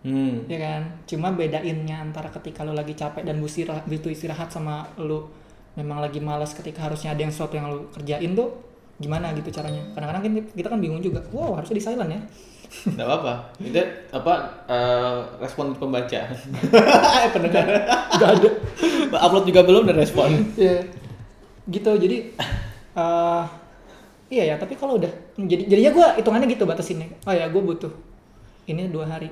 [SPEAKER 2] Hmm.
[SPEAKER 1] ya kan cuma bedainnya antara ketika lo lagi capek dan butuh istirahat, butuh istirahat sama lo memang lagi malas ketika harusnya ada yang sesuatu yang lo kerjain tuh gimana gitu caranya kadang-kadang kan kita kan bingung juga wow harusnya di silent ya
[SPEAKER 2] Nggak apa-apa. Itu apa eh, respon pembaca. eh pendengar.
[SPEAKER 1] gak ada
[SPEAKER 2] Upload juga belum dan respon.
[SPEAKER 1] Iya. Gitu. Jadi eh iya ya, tapi kalau udah jadi jadinya gua hitungannya gitu batasinnya. Oh ya, gua butuh ini dua hari.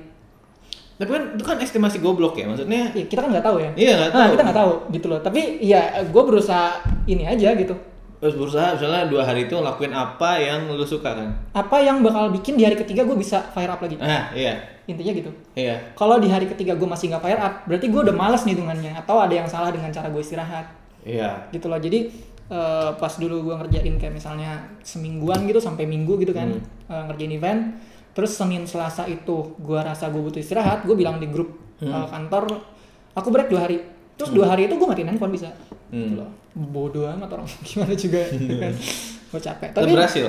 [SPEAKER 2] Tapi kan itu kan estimasi goblok ya maksudnya.
[SPEAKER 1] Iya, kita kan nggak tahu ya.
[SPEAKER 2] Iya nggak
[SPEAKER 1] Nah,
[SPEAKER 2] tahu.
[SPEAKER 1] kita nggak tahu gitu loh. Tapi ya gua berusaha ini aja gitu.
[SPEAKER 2] Terus berusaha misalnya dua hari itu lakuin apa yang lu suka kan?
[SPEAKER 1] Apa yang bakal bikin di hari ketiga gua bisa fire up lagi?
[SPEAKER 2] Ah iya
[SPEAKER 1] Intinya gitu.
[SPEAKER 2] iya.
[SPEAKER 1] Kalau di hari ketiga gua masih nggak fire up, berarti gua udah males nih hitungannya. Atau ada yang salah dengan cara gue istirahat.
[SPEAKER 2] Iya.
[SPEAKER 1] gitu loh jadi eh, pas dulu gua ngerjain kayak misalnya semingguan gitu sampai minggu gitu kan eh, ngerjain event terus senin selasa itu gua rasa gue butuh istirahat gue bilang di grup eh, kantor aku break dua hari terus dua hari itu gue matiin handphone bisa gitu
[SPEAKER 2] Hmm.
[SPEAKER 1] loh bodoh amat orang gimana juga gitu kan gue capek
[SPEAKER 2] Tapi
[SPEAKER 1] tapi
[SPEAKER 2] berhasil.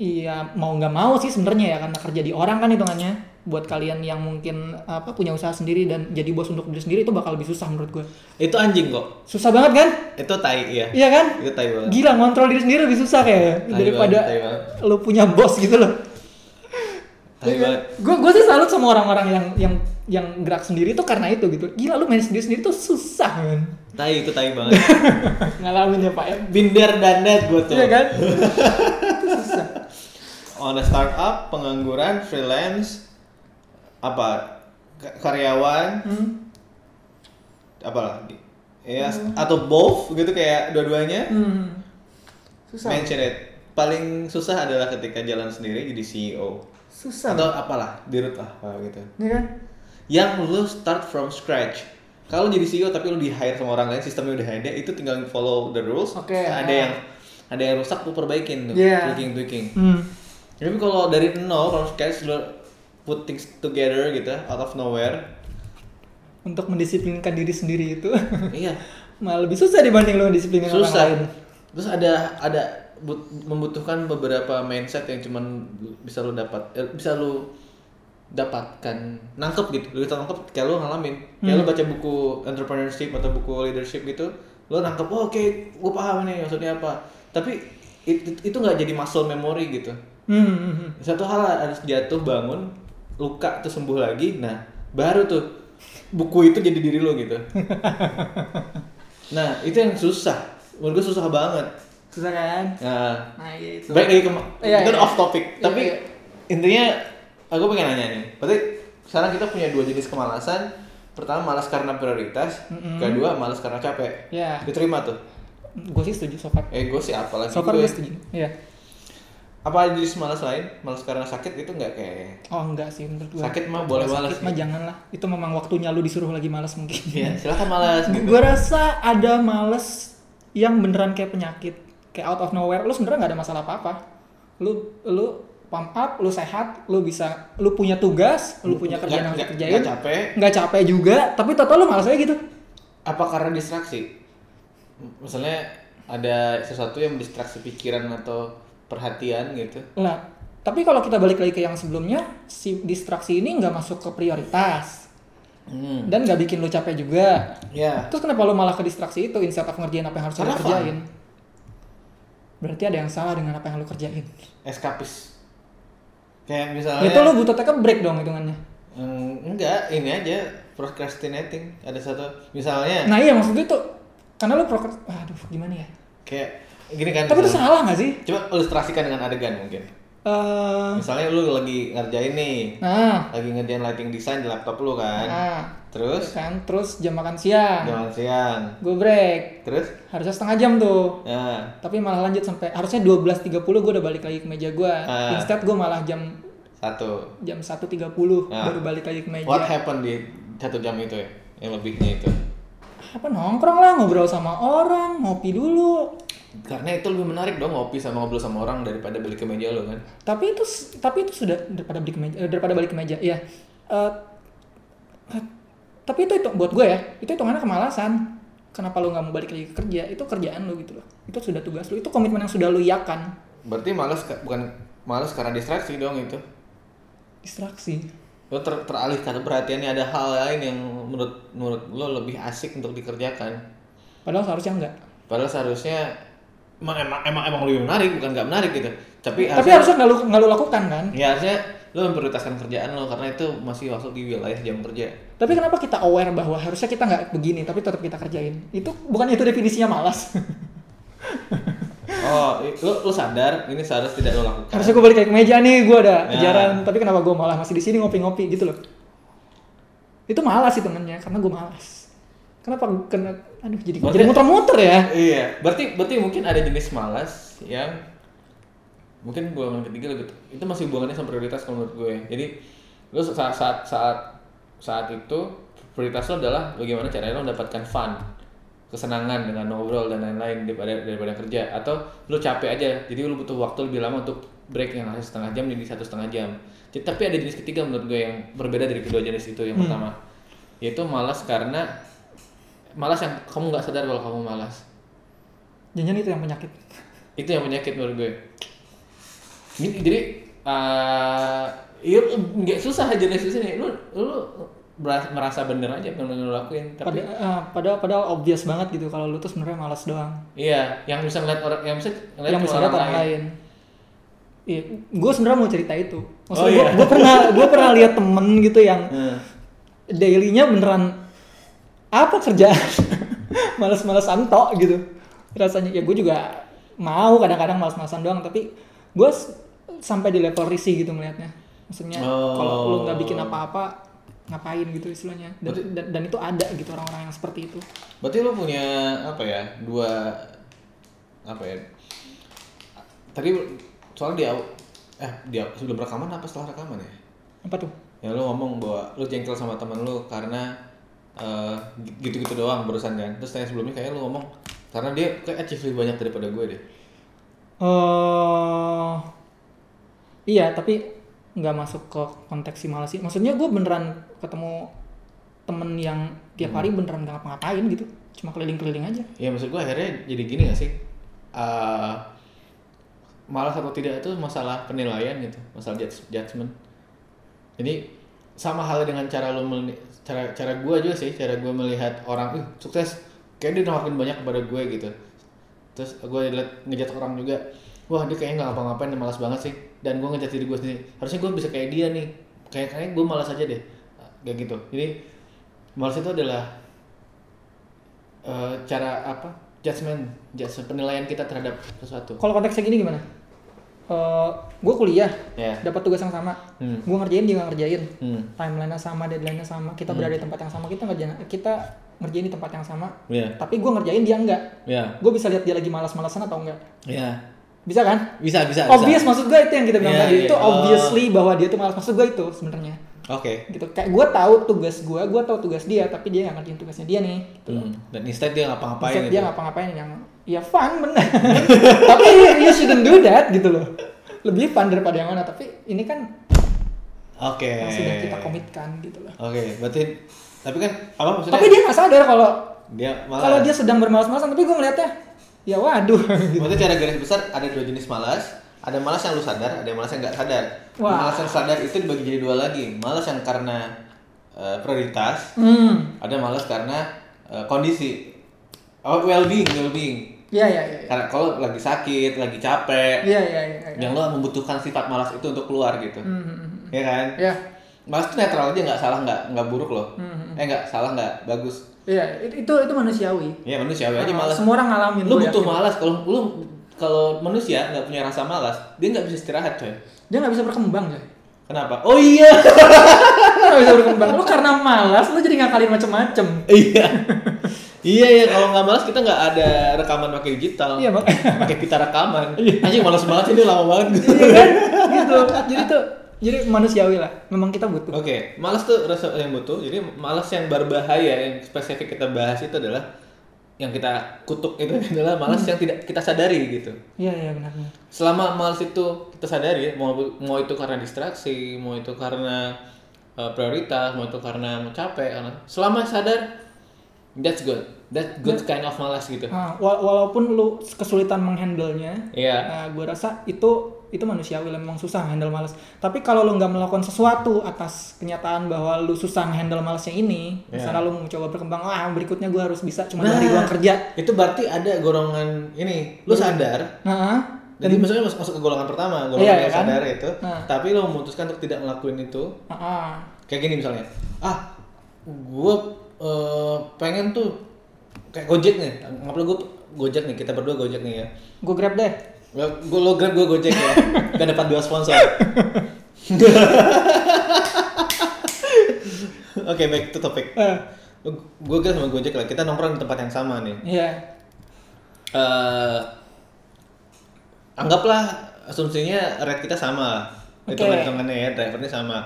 [SPEAKER 1] Iya mau nggak mau sih sebenarnya ya karena kerja di orang kan hitungannya buat kalian yang mungkin apa punya usaha sendiri dan jadi bos untuk diri sendiri itu bakal lebih susah menurut gue
[SPEAKER 2] Itu anjing kok.
[SPEAKER 1] susah banget kan
[SPEAKER 2] Itu tai iya.
[SPEAKER 1] iya kan
[SPEAKER 2] Itu tai banget.
[SPEAKER 1] Gila ngontrol diri sendiri lebih susah kayak
[SPEAKER 2] Tai
[SPEAKER 1] daripada
[SPEAKER 2] banget, tai banget.
[SPEAKER 1] lo punya bos gitu loh. Iya
[SPEAKER 2] Tai
[SPEAKER 1] kan?
[SPEAKER 2] banget.
[SPEAKER 1] Gue gue sih salut sama orang-orang yang yang yang gerak sendiri tuh karena itu gitu. Gila lu main sendiri sendiri tuh susah kan.
[SPEAKER 2] Tai itu tai banget.
[SPEAKER 1] Ngalamin ya Pak ya.
[SPEAKER 2] Binder dan net gue tuh.
[SPEAKER 1] Iya kan? Itu susah.
[SPEAKER 2] on a startup, pengangguran, freelance, apa k- karyawan,
[SPEAKER 1] Hmm.
[SPEAKER 2] apalah, ya atau both gitu kayak dua-duanya.
[SPEAKER 1] Hmm. Susah.
[SPEAKER 2] Mention it. Paling susah adalah ketika jalan sendiri jadi CEO
[SPEAKER 1] Susah.
[SPEAKER 2] atau apalah, dirut lah apa gitu.
[SPEAKER 1] Iya kan?
[SPEAKER 2] Yang lu start from scratch. Kalau jadi CEO tapi lu di hire sama orang lain, sistemnya udah ada, itu tinggal follow the rules.
[SPEAKER 1] Oke,
[SPEAKER 2] Ada
[SPEAKER 1] ah.
[SPEAKER 2] yang ada yang rusak lu perbaikin tuh,
[SPEAKER 1] Iya.
[SPEAKER 2] tweaking tweaking.
[SPEAKER 1] Hmm.
[SPEAKER 2] Tapi kalau dari nol, kalau kayak lu put things together gitu, out of nowhere,
[SPEAKER 1] Untuk mendisiplinkan diri sendiri itu
[SPEAKER 2] iya
[SPEAKER 1] malah lebih susah dibanding lo mendisiplinkan orang lain.
[SPEAKER 2] susah. Terus ada ada but- membutuhkan beberapa mindset yang cuman bisa lu dapat, eh, bisa lu dapatkan nangkep gitu lu bisa nangkep kayak lu ngalamin kayak
[SPEAKER 1] Hmm.
[SPEAKER 2] lu baca buku entrepreneurship atau buku leadership gitu lu nangkep oh, oke gue paham nih maksudnya apa tapi it- it- itu nggak jadi muscle memory gitu
[SPEAKER 1] Hmm, Hmm. hmm.
[SPEAKER 2] satu hal harus jatuh bangun luka tuh sembuh lagi nah baru tuh buku itu jadi diri lo gitu nah itu yang susah menurut gue susah banget
[SPEAKER 1] Susah kan?
[SPEAKER 2] nah
[SPEAKER 1] Nah, iya itu.
[SPEAKER 2] baik lagi ke ma-
[SPEAKER 1] Iya,
[SPEAKER 2] itu
[SPEAKER 1] iya.
[SPEAKER 2] off
[SPEAKER 1] Iya,
[SPEAKER 2] topic tapi
[SPEAKER 1] iya.
[SPEAKER 2] intinya aku pengen nanya nih berarti sekarang kita punya dua jenis kemalasan pertama malas karena prioritas kedua malas karena capek
[SPEAKER 1] Iya.
[SPEAKER 2] diterima tuh
[SPEAKER 1] Gue sih setuju so far.
[SPEAKER 2] eh gue sih apalagi
[SPEAKER 1] So far
[SPEAKER 2] gue
[SPEAKER 1] gue setuju. Iya.
[SPEAKER 2] apa jenis malas lain malas karena sakit itu nggak kayak
[SPEAKER 1] Oh enggak sih menurut gua.
[SPEAKER 2] Sakit mah boleh gitu.
[SPEAKER 1] Kalau
[SPEAKER 2] malas
[SPEAKER 1] Sakit mah jangan lah. Itu memang waktunya lu disuruh lagi malas mungkin.
[SPEAKER 2] ya silakan malas gitu
[SPEAKER 1] Gua rasa ada malas yang beneran kayak penyakit, kayak out of nowhere. Lu sebenarnya nggak ada masalah apa-apa. Lu lu pump up, lu sehat, lu bisa, lu punya tugas, lu punya kerjaan yang harus
[SPEAKER 2] Nggak-
[SPEAKER 1] dikerjain,
[SPEAKER 2] nggak capek.
[SPEAKER 1] nggak capek juga, tapi tau lu malas aja gitu.
[SPEAKER 2] apa karena distraksi M- misalnya ada sesuatu yang distraksi pikiran atau perhatian gitu
[SPEAKER 1] Nah, tapi kalau kita balik lagi ke yang sebelumnya, si distraksi ini nggak masuk ke prioritas
[SPEAKER 2] hmm.
[SPEAKER 1] dan nggak bikin lu capek juga.
[SPEAKER 2] ya
[SPEAKER 1] Terus kenapa lu malah ke distraksi itu instead of ngerjain apa yang harus lu
[SPEAKER 2] Karena fun.
[SPEAKER 1] kerjain? Berarti ada yang salah dengan apa yang lu kerjain.
[SPEAKER 2] eskapis kayak misalnya
[SPEAKER 1] Itu lu butuh take a break dong hitungannya.
[SPEAKER 2] Hmm, enggak ini aja procrastinating ada satu misalnya
[SPEAKER 1] Nah iya maksud gue itu karena lu prokres, aduh gimana ya?
[SPEAKER 2] kayak gini kan
[SPEAKER 1] Tapi itu
[SPEAKER 2] misalnya.
[SPEAKER 1] salah nggak sih?
[SPEAKER 2] coba ilustrasikan dengan adegan mungkin
[SPEAKER 1] Eh,
[SPEAKER 2] misalnya lu lagi ngerjain nih
[SPEAKER 1] nah,
[SPEAKER 2] lagi ngerjain lighting design di laptop lu kan
[SPEAKER 1] nah,
[SPEAKER 2] terus
[SPEAKER 1] kan terus jam makan siang,
[SPEAKER 2] jalan siang
[SPEAKER 1] gue break,
[SPEAKER 2] terus
[SPEAKER 1] harusnya setengah jam tuh.
[SPEAKER 2] nah
[SPEAKER 1] tapi malah lanjut sampai harusnya 12.30 gue udah balik lagi ke meja gue
[SPEAKER 2] Ah.
[SPEAKER 1] instead gue malah jam
[SPEAKER 2] satu
[SPEAKER 1] jam 1.30
[SPEAKER 2] Ah.
[SPEAKER 1] baru balik lagi ke meja
[SPEAKER 2] what happened di satu jam itu ya yang lebihnya itu
[SPEAKER 1] apa nongkrong lah ngobrol sama orang ngopi dulu
[SPEAKER 2] karena itu lebih menarik dong ngopi sama ngobrol sama orang daripada beli ke meja lo kan
[SPEAKER 1] tapi itu s- tapi itu sudah daripada balik ke meja eh, daripada balik ke meja ya Eh, eh, tapi itu itu buat gue ya itu hitungannya kemalasan kenapa lo nggak mau balik lagi ke kerja itu kerjaan lo gitu loh itu sudah tugas lo itu komitmen yang sudah lo iakan
[SPEAKER 2] berarti malas ka- bukan malas karena distraksi dong itu
[SPEAKER 1] distraksi
[SPEAKER 2] lo ter- teralihkan perhatiannya ada hal lain yang menurut menurut lo lebih asik untuk dikerjakan
[SPEAKER 1] padahal seharusnya enggak
[SPEAKER 2] padahal seharusnya emang emang emang, emang lebih menarik bukan nggak menarik gitu tapi,
[SPEAKER 1] tapi
[SPEAKER 2] harusnya,
[SPEAKER 1] harusnya nggak lo nggak lo lakukan kan
[SPEAKER 2] ya harusnya lo memprioritaskan kerjaan lo karena itu masih masuk di wilayah jam kerja
[SPEAKER 1] Tapi kenapa kita aware bahwa harusnya kita nggak begini, tapi tetap kita kerjain? Itu bukan itu definisinya malas.
[SPEAKER 2] oh i- lo, lo sadar ini seharusnya tidak lo lakukan
[SPEAKER 1] harusnya gue balik kayak ke meja nih, gue ada
[SPEAKER 2] Ya.
[SPEAKER 1] kejaran, tapi kenapa gue malah masih di sini ngopi-ngopi gitu loh? Itu malas sih temennya, karena gue malas. Kenapa gua kena? Aduh, jadi
[SPEAKER 2] Berarti-
[SPEAKER 1] jadi muter-muter ya.
[SPEAKER 2] Iya, berarti berarti mungkin ada jenis malas yang mungkin golongan ketiga lebih itu masih hubungannya sama prioritas kalau menurut gue. Jadi lu saat saat saat saat itu prioritas lo adalah bagaimana caranya lo mendapatkan fun, kesenangan dengan ngobrol dan lain-lain daripada daripada kerja atau lu capek aja jadi lu butuh waktu lebih lama untuk break yang harusnya setengah jam jadi satu setengah jam Jadi, tapi ada jenis ketiga menurut gue yang berbeda dari kedua jenis itu yang pertama yaitu malas karena malas yang kamu nggak sadar kalau kamu malas
[SPEAKER 1] Jangan itu yang penyakit.
[SPEAKER 2] itu yang penyakit menurut gue Ini- jadi eh ya nggak susah aja nih susah nih lu lu beras- merasa bener aja apa yang lu lakuin
[SPEAKER 1] Pada,
[SPEAKER 2] tapi
[SPEAKER 1] eh, padahal padahal obvious banget gitu kalau lu tuh sebenarnya malas doang.
[SPEAKER 2] iya yang bisa ngeliat orang yang bisa ngeliat
[SPEAKER 1] yang
[SPEAKER 2] ke
[SPEAKER 1] misalnya orang lain. Iya, gue sebenarnya mau cerita itu. Maksudnya
[SPEAKER 2] Oh,
[SPEAKER 1] gue
[SPEAKER 2] iya.
[SPEAKER 1] gue pernah gue pernah lihat temen gitu yang
[SPEAKER 2] Hmm.
[SPEAKER 1] dailynya beneran apa kerjaan males-malesan tok gitu rasanya ya gue juga mau kadang-kadang males-malesan doang tapi gue s- sampai di level risih gitu melihatnya maksudnya
[SPEAKER 2] Oh.
[SPEAKER 1] kalau lu nggak bikin apa-apa ngapain gitu istilahnya dan, dan, dan itu ada gitu orang-orang yang seperti itu
[SPEAKER 2] berarti lu punya apa ya dua apa ya tadi soal di aw- eh di aw- sebelum rekaman apa setelah rekaman ya
[SPEAKER 1] apa tuh
[SPEAKER 2] ya lu ngomong bahwa lu jengkel sama temen lu karena eh, gitu-gitu doang barusan kan terus tanya sebelumnya kayak lu ngomong karena dia kayak achieve lebih banyak daripada gue deh
[SPEAKER 1] eh iya tapi nggak masuk ke konteks si malas sih maksudnya gue beneran ketemu temen yang tiap hari
[SPEAKER 2] Hmm.
[SPEAKER 1] beneran nggak ngapa-ngapain gitu cuma keliling-keliling aja
[SPEAKER 2] ya maksud gue akhirnya jadi gini gak sih Eh malas atau tidak itu masalah penilaian gitu masalah judge- judgement jadi sama halnya dengan cara lu meli- cara cara gue juga sih cara gue melihat orang "Ih, sukses kayak dia nawarin banyak kepada gue gitu terus gue liat ngejat orang juga wah dia kayaknya nggak ngapa-ngapain malas banget sih dan gue ngejat diri gue sendiri harusnya gue bisa kayak dia nih kayak kayaknya gue malas aja deh kayak gitu jadi malas itu adalah eh, cara apa judgement judgement penilaian kita terhadap sesuatu
[SPEAKER 1] kalau konteksnya gini gimana gue kuliah
[SPEAKER 2] ya
[SPEAKER 1] dapat tugas yang sama
[SPEAKER 2] hmm.
[SPEAKER 1] gue ngerjain dia nggak ngerjain
[SPEAKER 2] Hmm.
[SPEAKER 1] timelinenya sama deadline-nya sama kita berada di tempat yang sama kita ngerjain kita ngerjain di tempat yang sama
[SPEAKER 2] ya
[SPEAKER 1] tapi gue ngerjain dia enggak
[SPEAKER 2] ya
[SPEAKER 1] gue bisa lihat dia lagi malas-malasan atau enggak
[SPEAKER 2] ya
[SPEAKER 1] bisa kan
[SPEAKER 2] bisa bisa
[SPEAKER 1] obvious maksud gue itu yang kita bilang
[SPEAKER 2] Iya,
[SPEAKER 1] tadi
[SPEAKER 2] iya.
[SPEAKER 1] itu
[SPEAKER 2] Oh.
[SPEAKER 1] obviously bahwa dia tuh malas maksud gue itu sebenarnya
[SPEAKER 2] oke
[SPEAKER 1] gitu kayak gue tahu tugas gue gue tahu tugas dia tapi dia nggak ngerjain tugasnya dia nih gitu
[SPEAKER 2] Hmm. dan instead dia ngapa-ngapain
[SPEAKER 1] Maksud
[SPEAKER 2] gitu.
[SPEAKER 1] dia ngapa-ngapain yang ya fun bener tapi you, you shouldn't do that gitu loh lebih fun daripada yang mana tapi ini kan
[SPEAKER 2] Oke.
[SPEAKER 1] yang sudah kita komitkan gitu loh
[SPEAKER 2] Oke, berarti tapi kan apa maksudnya?
[SPEAKER 1] tapi dia nggak sadar kalau
[SPEAKER 2] dia malas.
[SPEAKER 1] kalau dia sedang bermalas-malasan tapi gue ngeliatnya ya waduh gitu.
[SPEAKER 2] Maksudnya cara garis besar ada dua jenis malas. Ada malas yang lu sadar, ada yang malas yang nggak sadar.
[SPEAKER 1] Wah.
[SPEAKER 2] Malas yang sadar itu dibagi jadi dua lagi. Malas yang karena eh, prioritas,
[SPEAKER 1] hmm
[SPEAKER 2] ada malas karena eh, kondisi. Oh, well being, well being.
[SPEAKER 1] iya iya iya
[SPEAKER 2] Karena kalau lagi sakit, lagi capek,
[SPEAKER 1] iya iya iya iya
[SPEAKER 2] yang lo membutuhkan sifat malas itu untuk keluar gitu.
[SPEAKER 1] Hmm, hmm, hmm.
[SPEAKER 2] Ya kan?
[SPEAKER 1] iya
[SPEAKER 2] Malas itu netral aja nggak salah nggak nggak buruk loh.
[SPEAKER 1] Hmm.
[SPEAKER 2] Eh nggak salah nggak bagus.
[SPEAKER 1] iya itu itu itu manusiawi Ah,
[SPEAKER 2] Ya manusia aja
[SPEAKER 1] semua ya,
[SPEAKER 2] malas.
[SPEAKER 1] gitu. orang ngalamin
[SPEAKER 2] lu
[SPEAKER 1] gua
[SPEAKER 2] butuh
[SPEAKER 1] yakin.
[SPEAKER 2] malas kalau lu kalau manusia nggak punya rasa malas dia nggak bisa istirahat coy
[SPEAKER 1] dia nggak bisa berkembang ya
[SPEAKER 2] kenapa oh iya
[SPEAKER 1] nggak bisa berkembang lu karena malas lu jadi ngakalin macem-macem
[SPEAKER 2] iya iya ya kalau nggak malas kita nggak ada rekaman pakai digital
[SPEAKER 1] Iya, Bang.
[SPEAKER 2] pakai pita rekaman anjing malas banget ini lama banget gitu
[SPEAKER 1] iya kan gitu jadi tuh jadi manusiawi lah memang kita butuh
[SPEAKER 2] oke malas tuh rasa yang butuh jadi malas yang berbahaya yang spesifik kita bahas itu adalah yang kita kutuk itu adalah malas yang tidak kita sadari gitu
[SPEAKER 1] iya iya benar benar.
[SPEAKER 2] selama malas itu kita sadari mau mau itu karena distraksi mau itu karena uh, prioritas mau itu karena capek karena selama sadar that's good that good kind of malas gitu
[SPEAKER 1] Nah, wa- walaupun lu kesulitan menghandlenya
[SPEAKER 2] Iya.
[SPEAKER 1] nah, gue rasa itu itu manusiawi lah memang susah handle malas tapi kalau lu nggak melakukan sesuatu atas kenyataan bahwa lu susah handle malasnya ini
[SPEAKER 2] Iya.
[SPEAKER 1] misalnya lu mencoba berkembang ah berikutnya gue harus bisa cuma
[SPEAKER 2] Nah.
[SPEAKER 1] dari ruang kerja
[SPEAKER 2] itu berarti ada golongan
[SPEAKER 1] Iya.
[SPEAKER 2] ini lu sadar
[SPEAKER 1] nah
[SPEAKER 2] jadi maksudnya masuk, masuk ke golongan pertama golongan
[SPEAKER 1] Iya,
[SPEAKER 2] yang
[SPEAKER 1] kan?
[SPEAKER 2] sadar itu
[SPEAKER 1] Nah.
[SPEAKER 2] tapi lu memutuskan untuk tidak ngelakuin itu
[SPEAKER 1] ah, ah.
[SPEAKER 2] kayak gini misalnya ah gue pengen tuh kayak gojek nih ngapain gue gojek nih kita berdua gojek nih ya
[SPEAKER 1] gue grab deh
[SPEAKER 2] Gue lo grab gue gojek ya. Kita dapat dua sponsor. Oke back to topic.
[SPEAKER 1] Eh,
[SPEAKER 2] Gue grab sama gojek lah. Kita nongkrong di tempat yang sama nih.
[SPEAKER 1] iya
[SPEAKER 2] Eh, anggaplah asumsinya rate kita sama. Itu
[SPEAKER 1] Oke.
[SPEAKER 2] hitungannya ya, drivernya sama.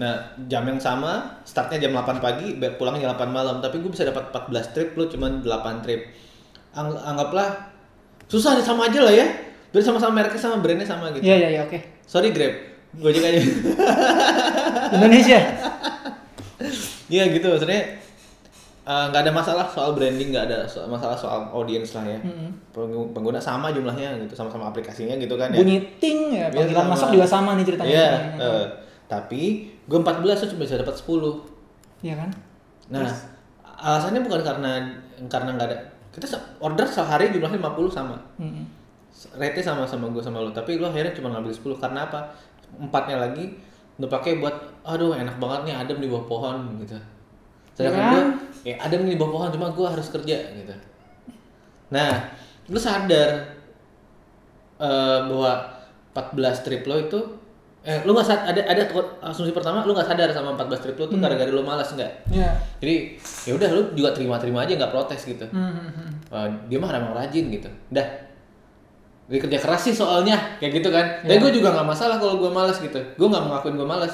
[SPEAKER 2] Nah, jam yang sama, startnya jam 8 pagi, be- pulangnya 8 malam, tapi gue bisa dapat 14 trip, lu cuma 8 trip. Ang- anggaplah susah nih, sama aja lah ya. Biar sama-sama mereknya sama brandnya sama gitu.
[SPEAKER 1] iya iya iya oke
[SPEAKER 2] Sorry Grab, Gojek aja.
[SPEAKER 1] Indonesia
[SPEAKER 2] Iya gitu maksudnya eh, nggak ada masalah soal branding, nggak ada so- masalah soal audience lah ya.
[SPEAKER 1] Mm-mm.
[SPEAKER 2] Penggu- Pengguna sama jumlahnya gitu, sama-sama aplikasinya gitu kan ya.
[SPEAKER 1] bunyi ting ya
[SPEAKER 2] Iya,
[SPEAKER 1] panggilan
[SPEAKER 2] sama.
[SPEAKER 1] masuk juga sama nih ceritanya
[SPEAKER 2] Iya,
[SPEAKER 1] ceritanya.
[SPEAKER 2] eh, tapi gue 14 tuh cuma bisa dapat 10.
[SPEAKER 1] Iya kan
[SPEAKER 2] Nah, alasannya bukan karena karena nggak ada kita se- order sehari jumlahnya 50 sama.
[SPEAKER 1] Mm-mm.
[SPEAKER 2] Rate sama sama gue sama lo, tapi lo akhirnya cuma ngambil 10 karena apa? Empatnya lagi lo pakai buat aduh enak banget nih adem di bawah pohon gitu. Sedangkan
[SPEAKER 1] Ya.
[SPEAKER 2] gue ya adem nih di bawah pohon cuma gue harus kerja gitu. Nah, lo sadar eh, bahwa 14 trip lo itu eh lu nggak sad- ada ada asumsi pertama lu nggak sadar sama 14 trip lo tuh gara-gara lo malas nggak
[SPEAKER 1] Iya.
[SPEAKER 2] jadi ya udah lu juga terima-terima aja nggak protes gitu.
[SPEAKER 1] Mm-mm.
[SPEAKER 2] Eh, dia mah emang rajin gitu. Dah. Dia kerja keras sih soalnya kayak gitu kan.
[SPEAKER 1] Iya.
[SPEAKER 2] Dan gue juga nggak masalah kalau gue malas gitu. Gue nggak mengakuin gue malas.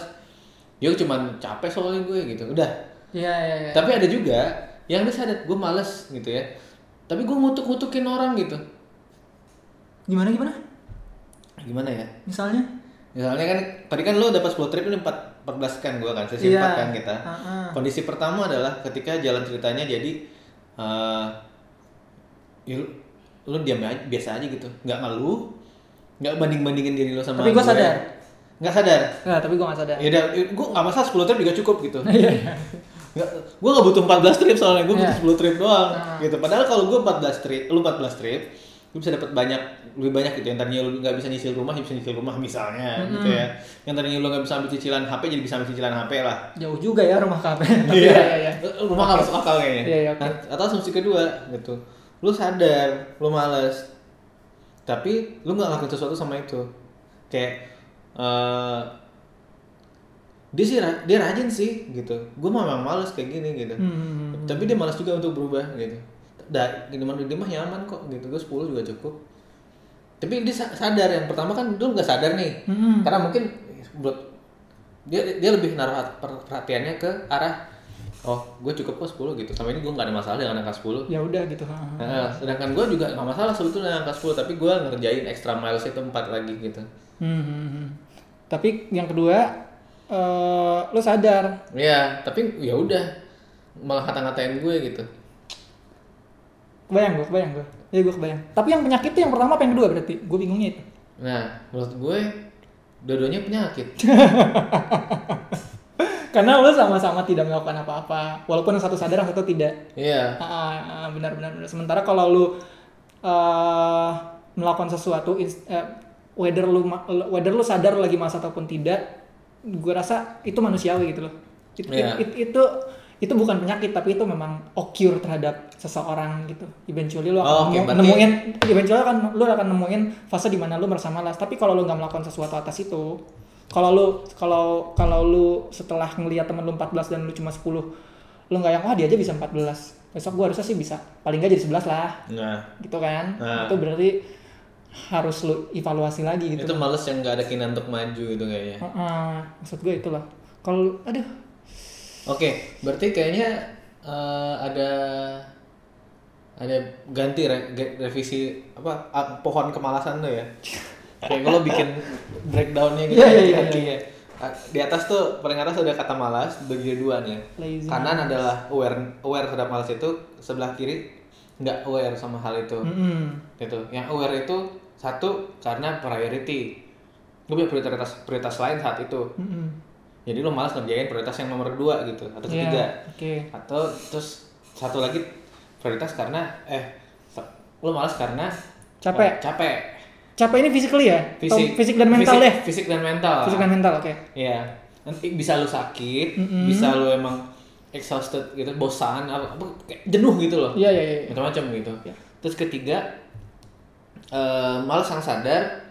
[SPEAKER 2] Dia cuman capek soalnya gue gitu. Udah.
[SPEAKER 1] Iya iya iya.
[SPEAKER 2] Tapi ada juga yang dia sadar gue malas gitu ya. Tapi gue ngutuk-ngutukin orang gitu.
[SPEAKER 1] Gimana gimana?
[SPEAKER 2] Gimana ya?
[SPEAKER 1] Misalnya?
[SPEAKER 2] Misalnya kan tadi kan lo dapat 10 trip ini 4 14 kan gue kan, sesi
[SPEAKER 1] Iya.
[SPEAKER 2] empat kan kita.
[SPEAKER 1] Ah, ah.
[SPEAKER 2] Kondisi pertama adalah ketika jalan ceritanya jadi eh ya lu, lu diam aja, biasa aja gitu, nggak ngeluh, nggak banding bandingin diri lo sama
[SPEAKER 1] Tapi gua
[SPEAKER 2] gue.
[SPEAKER 1] sadar.
[SPEAKER 2] nggak sadar.
[SPEAKER 1] Nah, tapi gue gak sadar.
[SPEAKER 2] Ya udah, gue nggak masalah 10 trip juga cukup gitu. Nggak, gue nggak butuh 14 trip soalnya gue
[SPEAKER 1] Iya.
[SPEAKER 2] butuh 10 trip doang
[SPEAKER 1] Ah.
[SPEAKER 2] gitu. Padahal kalau gue 14 trip, lu 14 trip, lu bisa dapat banyak lebih banyak gitu. Yang tadinya lu nggak bisa nyicil rumah, jadi bisa nyicil rumah misalnya gitu ya. Yang tadinya lu nggak bisa ambil cicilan HP, jadi bisa ambil cicilan HP lah.
[SPEAKER 1] Jauh juga ya rumah KB. Tapi iya iya iya.
[SPEAKER 2] Rumah nggak masuk akal kayaknya.
[SPEAKER 1] Iya, iya, oke.
[SPEAKER 2] Nah, Atau asumsi kedua gitu, lu sadar, lu males, tapi lu nggak ngelakuin sesuatu sama itu. Kayak eh dia sih ra- dia rajin sih gitu. Gue memang males kayak gini gitu.
[SPEAKER 1] Hmm.
[SPEAKER 2] Tapi dia malas juga untuk berubah gitu. Dah, gini mah dia mah nyaman kok gitu. Gue 10 juga cukup. Tapi dia sa- sadar yang pertama kan dulu nggak sadar nih.
[SPEAKER 1] Hmm.
[SPEAKER 2] Karena mungkin buat dia dia lebih naruh hat- per- perhatiannya ke arah oh gue cukup kok 10 gitu sama ini gue nggak ada masalah dengan angka 10
[SPEAKER 1] ya udah gitu ha, ha.
[SPEAKER 2] Nah, sedangkan gue juga nggak masalah sebetulnya angka 10 tapi gue ngerjain extra miles itu empat lagi gitu
[SPEAKER 1] Hmm, hmm, hmm. tapi yang kedua eh lo sadar
[SPEAKER 2] ya tapi ya udah malah kata-katain gue gitu
[SPEAKER 1] kebayang gue kebayang gue ya gue kebayang tapi yang penyakit itu yang pertama apa yang kedua berarti gue bingungnya itu
[SPEAKER 2] nah menurut gue dua-duanya penyakit
[SPEAKER 1] karena lo sama-sama tidak melakukan apa-apa walaupun yang satu sadar yang satu tidak
[SPEAKER 2] iya
[SPEAKER 1] Ah, benar-benar sementara kalau lu eh, melakukan sesuatu ins- eh, whether lu ma- whether lu sadar lu lagi masa ataupun tidak gue rasa itu manusiawi gitu loh It- it-
[SPEAKER 2] Iya.
[SPEAKER 1] it- itu itu bukan penyakit tapi itu memang occur terhadap seseorang gitu eventually lu akan
[SPEAKER 2] Oh, oke,
[SPEAKER 1] nemu-
[SPEAKER 2] berarti-
[SPEAKER 1] nemuin eventually akan lu akan nemuin fase di mana lu merasa malas tapi kalau lu nggak melakukan sesuatu atas itu kalau lu kalau kalau lu setelah ngelihat temen lu 14 dan lu cuma 10 lu nggak yang wah dia aja bisa 14 besok gua harusnya sih bisa paling nggak jadi 11 lah
[SPEAKER 2] nah
[SPEAKER 1] gitu kan
[SPEAKER 2] Nah.
[SPEAKER 1] itu berarti harus lu evaluasi lagi gitu
[SPEAKER 2] itu males yang nggak ada keinginan untuk maju itu kayaknya
[SPEAKER 1] Heeh, maksud gue itulah kalau lu- aduh
[SPEAKER 2] Oke, berarti kayaknya eh, ada ada ganti re- ge- revisi apa ah, pohon kemalasan tuh ya. Kayak kalau bikin breakdownnya gitu.
[SPEAKER 1] Iya, iya, iya,
[SPEAKER 2] kaki ya. Ah, Di atas tuh paling atas ada kata malas bagi dua nih. ya.
[SPEAKER 1] lazy
[SPEAKER 2] Kanan adalah aware aware terhadap malas itu, sebelah kiri nggak aware sama hal itu.
[SPEAKER 1] Hmm. Mm-mm.
[SPEAKER 2] Gitu. Yang aware itu satu karena priority. Gue punya prioritas prioritas lain saat itu.
[SPEAKER 1] Mm-mm.
[SPEAKER 2] Jadi lo malas ngerjain prioritas yang nomor dua gitu atau
[SPEAKER 1] Iya,
[SPEAKER 2] ketiga
[SPEAKER 1] oke
[SPEAKER 2] atau terus satu lagi prioritas karena eh lo malas karena
[SPEAKER 1] Capek.
[SPEAKER 2] eh, capek
[SPEAKER 1] capek ini physically ya Atau
[SPEAKER 2] fisik
[SPEAKER 1] fisik dan mental deh
[SPEAKER 2] fisik, fisik dan mental
[SPEAKER 1] fisik dan mental oke
[SPEAKER 2] Iya. nanti bisa lo sakit
[SPEAKER 1] Mm-mm.
[SPEAKER 2] bisa lo emang exhausted gitu bosan apa, apa kayak jenuh gitu loh
[SPEAKER 1] iya iya iya
[SPEAKER 2] macam-macam gitu
[SPEAKER 1] Iya.
[SPEAKER 2] terus ketiga eh malas yang sadar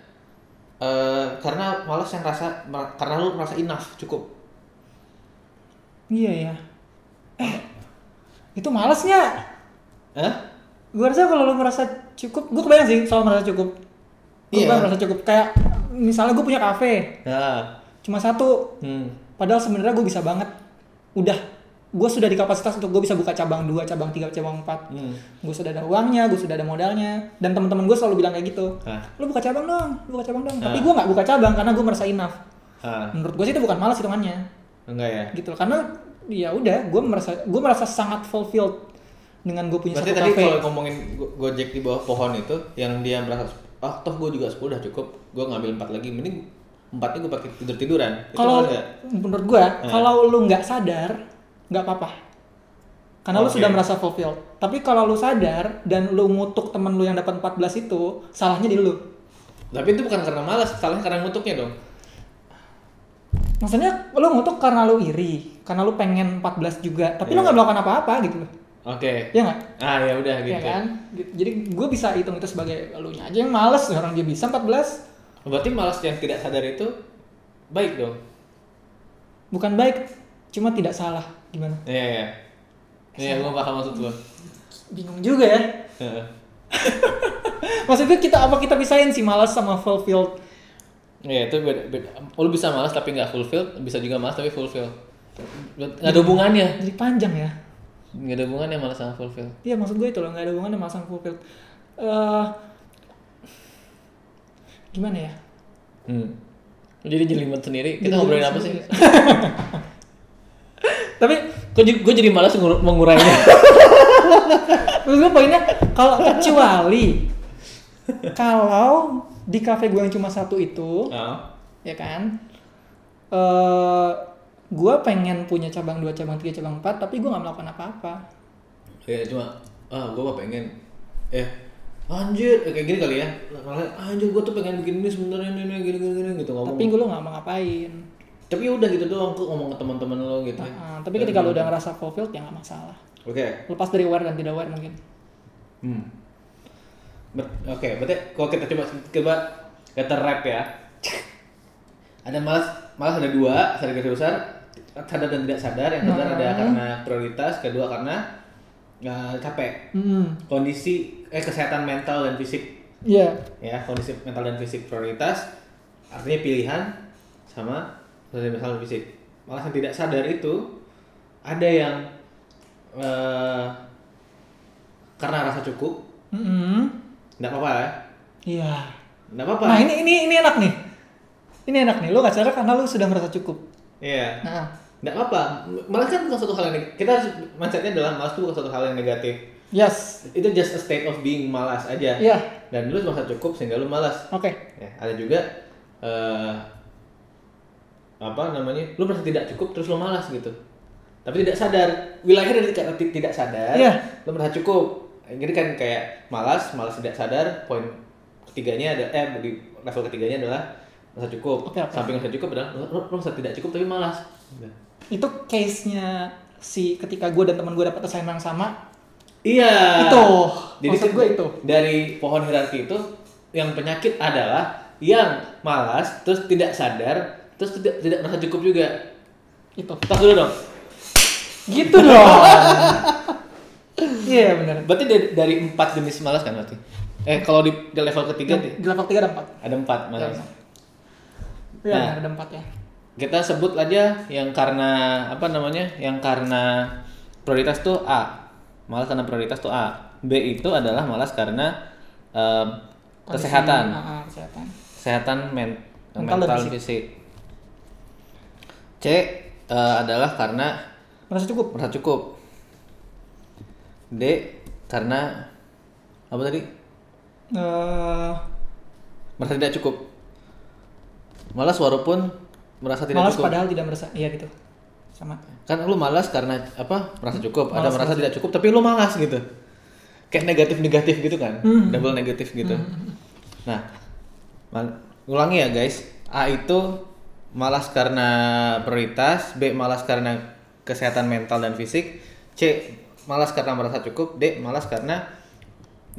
[SPEAKER 2] eh karena malas yang rasa karena lo merasa enough cukup
[SPEAKER 1] Iya ya. Eh, itu malasnya.
[SPEAKER 2] Hah?
[SPEAKER 1] Gue rasa kalau lo merasa cukup, gue kebayang sih soal merasa cukup. Gue
[SPEAKER 2] Iya.
[SPEAKER 1] kebayang merasa cukup. Kayak misalnya gue punya kafe,
[SPEAKER 2] Nah.
[SPEAKER 1] cuma satu.
[SPEAKER 2] Hmm.
[SPEAKER 1] Padahal sebenarnya gue bisa banget. Udah, gue sudah di kapasitas untuk gue bisa buka cabang 2, cabang 3, cabang 4.
[SPEAKER 2] Hmm.
[SPEAKER 1] Gue sudah ada uangnya, gue sudah ada modalnya. Dan teman-teman gue selalu bilang kayak gitu.
[SPEAKER 2] Hah.
[SPEAKER 1] Lo buka cabang dong, lo buka cabang dong. Tapi
[SPEAKER 2] Ah.
[SPEAKER 1] gue nggak buka cabang karena gue merasa enough.
[SPEAKER 2] Hah.
[SPEAKER 1] Menurut gue sih itu bukan malas hitungannya.
[SPEAKER 2] Ah, Enggak ya?
[SPEAKER 1] gitu loh. karena ya udah gue merasa gue merasa sangat fulfilled dengan gue punya
[SPEAKER 2] Berarti
[SPEAKER 1] satu
[SPEAKER 2] tadi
[SPEAKER 1] kafe
[SPEAKER 2] kalau ngomongin go- Gojek di bawah pohon itu yang dia merasa ah toh gue juga 10 udah cukup, gue ngambil 4 lagi, mending 4 gue pakai tidur-tiduran. Itu
[SPEAKER 1] kalau
[SPEAKER 2] bener nggak?
[SPEAKER 1] menurut gue
[SPEAKER 2] Eh.
[SPEAKER 1] kalau lu nggak sadar nggak apa-apa karena lu
[SPEAKER 2] Oke.
[SPEAKER 1] sudah merasa fulfilled tapi kalau lu sadar dan lu ngutuk temen lu yang dapat 14 itu salahnya di lu
[SPEAKER 2] tapi itu bukan karena malas, salahnya karena ngutuknya dong.
[SPEAKER 1] maksudnya lu ngutuk karena lu iri karena lu pengen 14 juga
[SPEAKER 2] Iya.
[SPEAKER 1] tapi lu nggak melakukan apa-apa gitu loh
[SPEAKER 2] Oke.
[SPEAKER 1] ya nggak
[SPEAKER 2] Ah ya udah gitu.
[SPEAKER 1] ya kan Gitu. jadi gue bisa hitung itu sebagai elunya aja yang males orang dia bisa 14
[SPEAKER 2] Berarti malas yang tidak sadar itu baik dong.
[SPEAKER 1] bukan baik cuma tidak salah gimana
[SPEAKER 2] Iya iya. Iya, gue paham maksud lo.
[SPEAKER 1] bingung juga ya
[SPEAKER 2] Heeh.
[SPEAKER 1] maksudnya kita apa kita pisahin sih malas sama fulfilled
[SPEAKER 2] Iya itu beda, beda. Lo bisa malas tapi nggak fulfill, bisa juga malas tapi fulfill. Nggak ada hubungannya.
[SPEAKER 1] jadi panjang ya
[SPEAKER 2] Nggak ada hubungannya malas sama fulfill.
[SPEAKER 1] iya maksud gue itu loh nggak ada hubungannya sama sama fulfilled Eh, gimana ya
[SPEAKER 2] Hmm. Jadi jelimet sendiri.
[SPEAKER 1] Jadi
[SPEAKER 2] Kita ngobrolin
[SPEAKER 1] jelimet
[SPEAKER 2] apa sih?
[SPEAKER 1] sendiri. tapi
[SPEAKER 2] Kok ju- gue jadi malas ngur- mengurainya.
[SPEAKER 1] maksud gue poinnya kalau kecuali kalau di cafe gue yang cuma satu
[SPEAKER 2] Ah.
[SPEAKER 1] itu ya kan eh gue pengen punya cabang dua cabang tiga cabang empat tapi gue nggak melakukan apa-apa
[SPEAKER 2] Ya cuma ah gue mah pengen eh anjir eh, kayak gini kali ya. Malah anjir gue tuh pengen bikin ini sebenarnya ini, ini gini gini gini gitu ngomong.
[SPEAKER 1] tapi
[SPEAKER 2] Tapi,
[SPEAKER 1] gue lo nggak mau ngapain
[SPEAKER 2] udah gitu doang kok ngomong ke teman-teman lo gitu. ya.
[SPEAKER 1] Nah, tapi ketika lo udah ngerasa fulfilled ya nggak masalah.
[SPEAKER 2] Oke.
[SPEAKER 1] Lepas dari aware dan tidak aware mungkin.
[SPEAKER 2] Hmm. Ber- Oke, berarti kalau kita coba coba kata rap ya. Ada malas, malas ada dua, sadar garis besar, sadar dan tidak sadar. Yang sadar ada karena prioritas, kedua karena eh, capek.
[SPEAKER 1] Hmm.
[SPEAKER 2] Kondisi eh kesehatan mental dan fisik
[SPEAKER 1] Iya.
[SPEAKER 2] ya, kondisi mental dan fisik prioritas artinya pilihan sama sadar dan fisik. Malas yang tidak sadar itu ada yang eh, karena rasa cukup,
[SPEAKER 1] Mm-mm.
[SPEAKER 2] nggak apa-apa ya?
[SPEAKER 1] Hmm. Iya.
[SPEAKER 2] Nggak apa-apa.
[SPEAKER 1] Nah ini ini ini enak nih. Ini enak nih. Lo nggak sadar karena lo sudah merasa cukup.
[SPEAKER 2] Iya.
[SPEAKER 1] Nah,
[SPEAKER 2] Nggak apa-apa. Malah kan bukan suatu hal yang neg- kita harus mindsetnya adalah malas itu bukan suatu hal yang negatif.
[SPEAKER 1] yes.
[SPEAKER 2] Itu just a state of being malas aja.
[SPEAKER 1] Iya.
[SPEAKER 2] Dan lu merasa cukup sehingga lu malas.
[SPEAKER 1] Oke.
[SPEAKER 2] Ya, ada juga eh apa namanya? Lu merasa tidak cukup terus lu malas gitu. Tapi tidak sadar. Wilayahnya dari kata ti- tidak sadar.
[SPEAKER 1] Iya.
[SPEAKER 2] Lu merasa cukup. Jadi kan kayak malas, malas tidak sadar. Poin ketiganya ada eh di level ketiganya adalah merasa cukup.
[SPEAKER 1] Oke, oke.
[SPEAKER 2] Samping merasa cukup adalah lu, lu merasa tidak cukup tapi malas. Gitu.
[SPEAKER 1] Itu case nya si ketika gue dan teman gue dapat assignment yang sama.
[SPEAKER 2] Iya.
[SPEAKER 1] Itu.
[SPEAKER 2] Jadi
[SPEAKER 1] Maksud
[SPEAKER 2] se-
[SPEAKER 1] gue itu.
[SPEAKER 2] Dari pohon hierarki itu yang penyakit adalah yang malas terus tidak sadar terus tidak tidak merasa cukup juga.
[SPEAKER 1] Itu.
[SPEAKER 2] Tos dulu dong.
[SPEAKER 1] Gitu dong. Iya benar.
[SPEAKER 2] Berarti dari, dari empat jenis malas kan berarti. Eh kalau di, di level ketiga di-
[SPEAKER 1] Di level 3 ada 4.
[SPEAKER 2] ada empat malas.
[SPEAKER 1] Iya
[SPEAKER 2] Nah.
[SPEAKER 1] ada 4 ya.
[SPEAKER 2] Kita sebut aja yang karena apa namanya? Yang karena prioritas tuh A. Malas karena prioritas tuh A. B itu adalah malas karena eh,
[SPEAKER 1] Kondisi-
[SPEAKER 2] kesehatan.
[SPEAKER 1] Ah, ah, kesehatan.
[SPEAKER 2] kesehatan men-
[SPEAKER 1] Mental
[SPEAKER 2] mental,
[SPEAKER 1] dan
[SPEAKER 2] dan fisik. C eh, adalah karena
[SPEAKER 1] Merasa cukup.
[SPEAKER 2] merasa cukup. D karena apa tadi?
[SPEAKER 1] Eh,
[SPEAKER 2] Merasa tidak cukup. Malas walaupun merasa tidak
[SPEAKER 1] malas
[SPEAKER 2] cukup.
[SPEAKER 1] padahal tidak merasa. Iya gitu. Sama.
[SPEAKER 2] Kan lu malas karena apa? Merasa cukup. Ada
[SPEAKER 1] Malas,
[SPEAKER 2] merasa tidak cukup tapi lu malas gitu. Kayak negatif-negatif gitu kan.
[SPEAKER 1] Hmm.
[SPEAKER 2] Double negatif gitu. Nah, mal- ulangi ya guys. A itu malas karena prioritas, B malas karena kesehatan mental dan fisik, C malas karena merasa cukup, D malas karena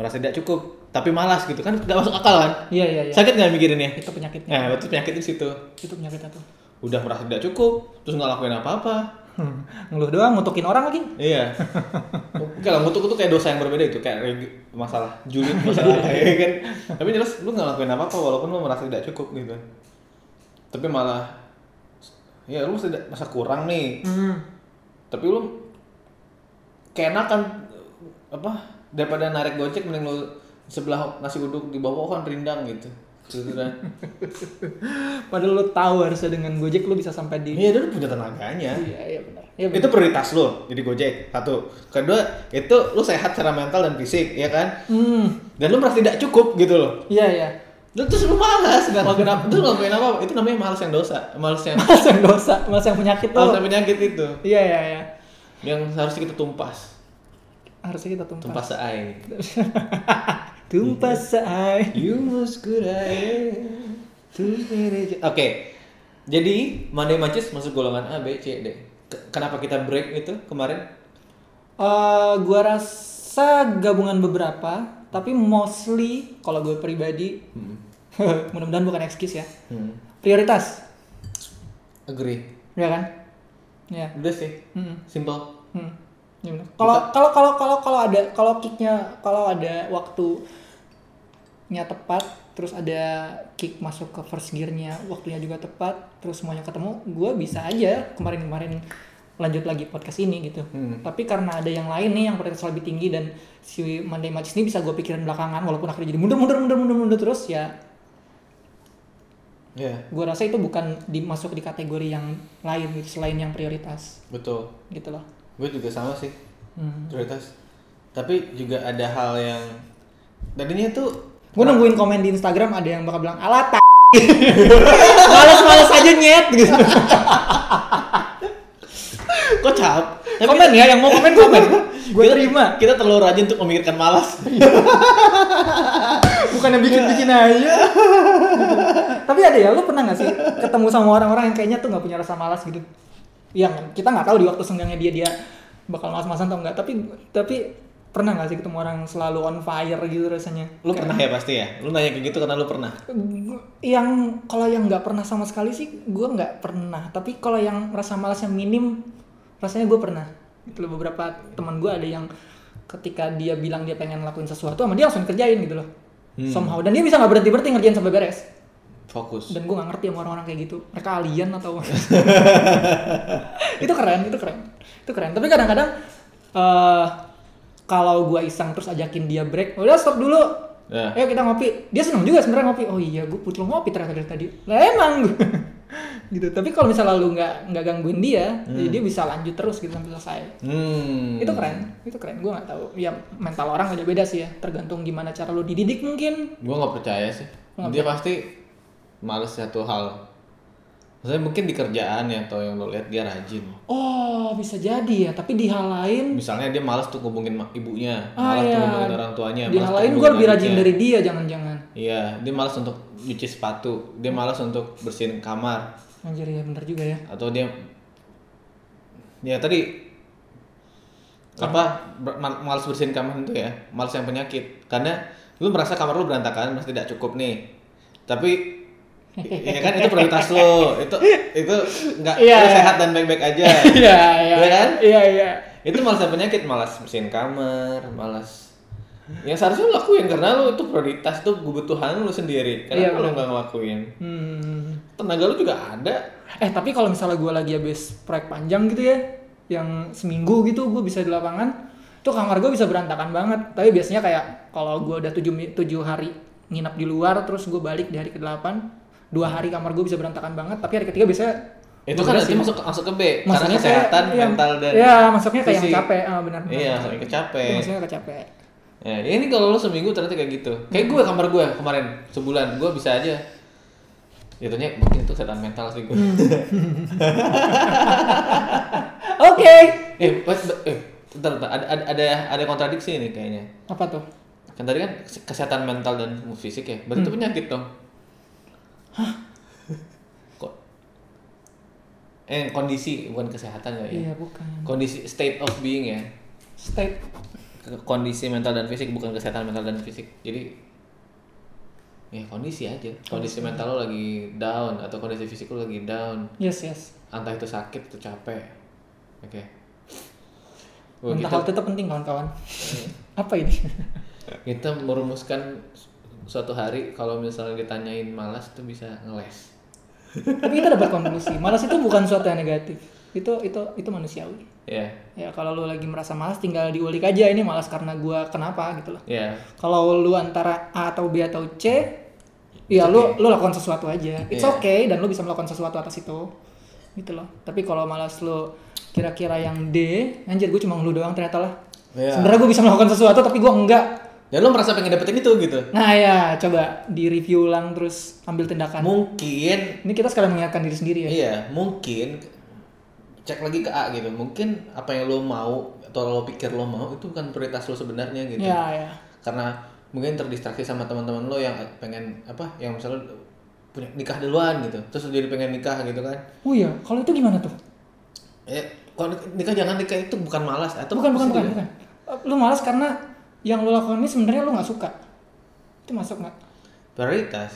[SPEAKER 2] merasa tidak cukup. Tapi malas gitu kan nggak masuk akal kan?
[SPEAKER 1] Iya iya iya.
[SPEAKER 2] Sakit nggak mikirinnya?
[SPEAKER 1] Itu penyakitnya.
[SPEAKER 2] Nah, itu penyakit di situ.
[SPEAKER 1] Itu penyakit tuh.
[SPEAKER 2] Udah merasa tidak cukup, terus nggak lakuin apa-apa,
[SPEAKER 1] Hmm. Ngeluh doang, ngutukin orang lagi.
[SPEAKER 2] Iya. Oke lah, ngutuk itu kayak dosa yang berbeda itu, kayak reg- masalah julid masalah apa ya kan. Tapi jelas lu nggak lakuin apa-apa walaupun lu merasa tidak cukup gitu. Tapi malah ya lu merasa tidak merasa kurang nih.
[SPEAKER 1] Hmm.
[SPEAKER 2] Tapi lu keenakan apa daripada narik gojek mending lu sebelah nasi uduk di bawah pohon rindang gitu. Sebenarnya.
[SPEAKER 1] Padahal lo tahu harusnya dengan Gojek lo bisa sampai di
[SPEAKER 2] Iya, dia udah punya tenaganya.
[SPEAKER 1] Iya, iya benar. Iya benar.
[SPEAKER 2] itu prioritas lo jadi gojek satu kedua itu lu sehat secara mental dan fisik ya kan
[SPEAKER 1] Hmm.
[SPEAKER 2] dan lu merasa tidak cukup gitu loh
[SPEAKER 1] Iya, iya.
[SPEAKER 2] lu terus lu malas nggak ngelakuin apa terus ngelakuin apa itu namanya malas yang dosa malas yang
[SPEAKER 1] Mas yang dosa, mas yang penyakit
[SPEAKER 2] malas
[SPEAKER 1] lo.
[SPEAKER 2] yang penyakit itu
[SPEAKER 1] Iya, iya, iya.
[SPEAKER 2] yang harusnya kita tumpas
[SPEAKER 1] Harusnya kita tumpas.
[SPEAKER 2] tumpas seai
[SPEAKER 1] Tumpas say.
[SPEAKER 2] you must go away to manage- oke jadi Monday Matches masuk golongan A B C D Ke- kenapa kita break itu kemarin
[SPEAKER 1] Eh, gua rasa gabungan beberapa, tapi mostly kalau gue pribadi mudah-mudahan bukan excuse ya.
[SPEAKER 2] hmm.
[SPEAKER 1] Prioritas,
[SPEAKER 2] agree
[SPEAKER 1] ya kan? Ya.
[SPEAKER 2] udah sih
[SPEAKER 1] Mm-mm.
[SPEAKER 2] simple
[SPEAKER 1] Hmm. Ya benar. Kalau kalau kalau kalau kalau ada kalau kicknya kalau ada waktunya tepat, terus ada kick masuk ke first gearnya, waktunya juga tepat, terus semuanya ketemu, gue bisa aja kemarin-kemarin lanjut lagi podcast ini gitu.
[SPEAKER 2] Hmm.
[SPEAKER 1] Tapi karena ada yang lain nih yang prioritas lebih tinggi dan si Monday Match ini bisa gue pikirin belakangan, walaupun akhirnya jadi mundur mundur mundur mundur mundur terus ya,
[SPEAKER 2] ya
[SPEAKER 1] gue rasa itu bukan dimasuk di kategori yang lain gitu, selain yang prioritas
[SPEAKER 2] betul
[SPEAKER 1] gitu loh.
[SPEAKER 2] gue juga sama sih
[SPEAKER 1] Hmm.
[SPEAKER 2] prioritas tapi juga ada hal yang tadinya tuh
[SPEAKER 1] Gue nungguin komen di Instagram ada yang bakal bilang alat t- Males-males aja nyet gitu.
[SPEAKER 2] kocak
[SPEAKER 1] Komen ya yang mau komen komen. Gue terima.
[SPEAKER 2] kita terlalu rajin untuk memikirkan malas
[SPEAKER 1] Bukan yang bikin-bikin aja. Iya. Tapi ada ya, lu pernah gak sih ketemu sama orang-orang yang kayaknya tuh gak punya rasa malas gitu? Yang kita nggak tahu di waktu senggangnya dia dia bakal malas-malasan atau enggak. Tapi tapi pernah gak sih ketemu orang yang selalu on fire gitu rasanya?
[SPEAKER 2] lu pernah ya pasti ya lu nanya kayak gitu karena lu pernah
[SPEAKER 1] yang kalau yang nggak pernah sama sekali sih gue nggak pernah tapi kalau yang rasa malasnya minim rasanya gue pernah itu loh, beberapa teman gue ada yang ketika dia bilang dia pengen lakuin sesuatu sama dia langsung kerjain gitu loh
[SPEAKER 2] Hmm.
[SPEAKER 1] somehow dan dia bisa nggak berhenti berhenti ngerjain sampai beres
[SPEAKER 2] fokus
[SPEAKER 1] dan gue nggak ngerti sama orang-orang kayak gitu mereka alien atau itu keren itu keren itu keren tapi kadang-kadang eh kalau gua iseng terus ajakin dia break, udah stop dulu.
[SPEAKER 2] Nah.
[SPEAKER 1] Ayo kita ngopi. Dia seneng juga sebenarnya ngopi. Oh iya, gue putus ngopi terakhir dari tadi. Lah emang gitu. Tapi kalau misalnya lu nggak nggak gangguin dia, jadi dia bisa lanjut terus gitu sampai selesai.
[SPEAKER 2] Hmm.
[SPEAKER 1] Itu keren, itu keren. Gua nggak tahu. Ya mental orang beda-beda sih ya. Tergantung gimana cara lu dididik mungkin.
[SPEAKER 2] Gue nggak percaya sih. Dia pasti males satu hal. Maksudnya mungkin di kerjaan ya atau yang lo lihat dia rajin.
[SPEAKER 1] Oh bisa jadi ya. Tapi di hal lain,
[SPEAKER 2] Misalnya dia males tuh ngubungin ma- ibunya,
[SPEAKER 1] Ah,
[SPEAKER 2] malas
[SPEAKER 1] iya.
[SPEAKER 2] tuh ngubungin orang tuanya,
[SPEAKER 1] di hal
[SPEAKER 2] malas tuh
[SPEAKER 1] lain gue
[SPEAKER 2] ngubungin
[SPEAKER 1] lebih rajin
[SPEAKER 2] adiknya.
[SPEAKER 1] dari dia jangan-jangan.
[SPEAKER 2] Iya, dia malas untuk nyuci sepatu, dia malas untuk bersihin kamar,
[SPEAKER 1] Anjir ya bener juga ya.
[SPEAKER 2] atau dia ya tadi apa ber- ma- malas bersihin kamar itu ya malas yang penyakit karena lu merasa kamar lu berantakan masih tidak cukup nih tapi ya kan itu prioritas lo itu itu nggak
[SPEAKER 1] Iya.
[SPEAKER 2] lu sehat dan baik-baik aja
[SPEAKER 1] Iya
[SPEAKER 2] Iya kan?
[SPEAKER 1] Iya iya.
[SPEAKER 2] itu malas yang penyakit malas bersihin kamar malas yang seharusnya lu lakuin karena lu itu prioritas tuh kebutuhan lu sendiri
[SPEAKER 1] Iya,
[SPEAKER 2] karena lu nggak ngelakuin
[SPEAKER 1] Hmm.
[SPEAKER 2] tenaga lu juga ada
[SPEAKER 1] Eh tapi kalau misalnya gue lagi habis proyek panjang gitu ya, yang seminggu gitu gue bisa di lapangan, tuh kamar gue bisa berantakan banget. Tapi biasanya kayak kalau gue udah tujuh mi- tujuh hari nginap di luar, terus gue balik di hari ke delapan, dua hari kamar gue bisa berantakan banget. Tapi hari ketiga biasanya
[SPEAKER 2] itu kan nanti masuk masuk ke B
[SPEAKER 1] maksudnya
[SPEAKER 2] Eh, karena kesehatan
[SPEAKER 1] kayak, iya,
[SPEAKER 2] mental dan
[SPEAKER 1] Iya, maksudnya kayak yang
[SPEAKER 2] fisik.
[SPEAKER 1] capek, ah, benar. benar.
[SPEAKER 2] iya maksudnya
[SPEAKER 1] Itu
[SPEAKER 2] kecapek
[SPEAKER 1] maksudnya kecapek.
[SPEAKER 2] ya, ini kalau lu seminggu ternyata kayak gitu kayak gue kamar gue kemarin sebulan gue bisa aja jatuhnya mungkin itu kesehatan mental sih gue
[SPEAKER 1] Oke.
[SPEAKER 2] eh, but- but- eh bentar, bentar. Ada, ada ada ada kontradiksi nih kayaknya
[SPEAKER 1] Apa tuh?
[SPEAKER 2] kan tadi kan kesehatan mental dan fisik ya berarti itu penyakit dong kok eh kondisi bukan kesehatan ya, ya?
[SPEAKER 1] Iya, bukan.
[SPEAKER 2] kondisi state of being ya
[SPEAKER 1] State.
[SPEAKER 2] Ke- kondisi mental dan fisik bukan kesehatan mental dan fisik jadi ya kondisi aja kondisi mental lo lagi down atau kondisi fisik lo lagi down
[SPEAKER 1] Yes, yes.
[SPEAKER 2] entah itu sakit atau capek oke Wah,
[SPEAKER 1] Mental
[SPEAKER 2] kita,
[SPEAKER 1] health itu penting kawan-kawan.
[SPEAKER 2] Eh.
[SPEAKER 1] Apa ini?
[SPEAKER 2] kita merumuskan su- suatu hari kalau misalnya ditanyain malas tuh bisa ngeles
[SPEAKER 1] Tapi kita dapat konklusi, malas itu bukan suatu yang negatif. Itu itu itu manusiawi.
[SPEAKER 2] ya
[SPEAKER 1] Ya kalau lu lagi merasa malas tinggal diulik aja ini malas karena gua kenapa gitu loh.
[SPEAKER 2] ya
[SPEAKER 1] Kalau lu antara A atau B atau C, ya lu lu lakukan sesuatu aja. It's
[SPEAKER 2] Iya.
[SPEAKER 1] okay dan lu bisa melakukan sesuatu atas itu. Gitu loh. Tapi kalau malas lu kira-kira yang D, anjir gue cuma lu doang ternyata lah.
[SPEAKER 2] Iya.
[SPEAKER 1] Sebenarnya gue bisa melakukan sesuatu tapi gua enggak.
[SPEAKER 2] dan Ya, lo merasa pengen dapetin itu gitu
[SPEAKER 1] Nah ya coba di review ulang terus ambil tindakan.
[SPEAKER 2] mungkin
[SPEAKER 1] Ini kita sekalian mengingatkan diri sendiri ya.
[SPEAKER 2] Iya, mungkin cek lagi ke A gitu. Mungkin apa yang lo mau atau lo pikir lo mau itu bukan prioritas lo sebenarnya gitu.
[SPEAKER 1] Ya ya.
[SPEAKER 2] Karena mungkin terdistraksi sama teman-teman lo yang pengen apa? Yang misalnya punya nikah duluan gitu. Terus lo jadi pengen nikah gitu kan.
[SPEAKER 1] Oh iya, kalau itu gimana tuh?
[SPEAKER 2] Eh, kalau nikah jangan nikah itu bukan malas atau
[SPEAKER 1] bukan bukan
[SPEAKER 2] apa sih
[SPEAKER 1] bukan,
[SPEAKER 2] itu ya?
[SPEAKER 1] bukan. Eh, Lu malas karena yang lu lakukan ini sebenarnya lu nggak suka. Itu masuk nggak?
[SPEAKER 2] Prioritas.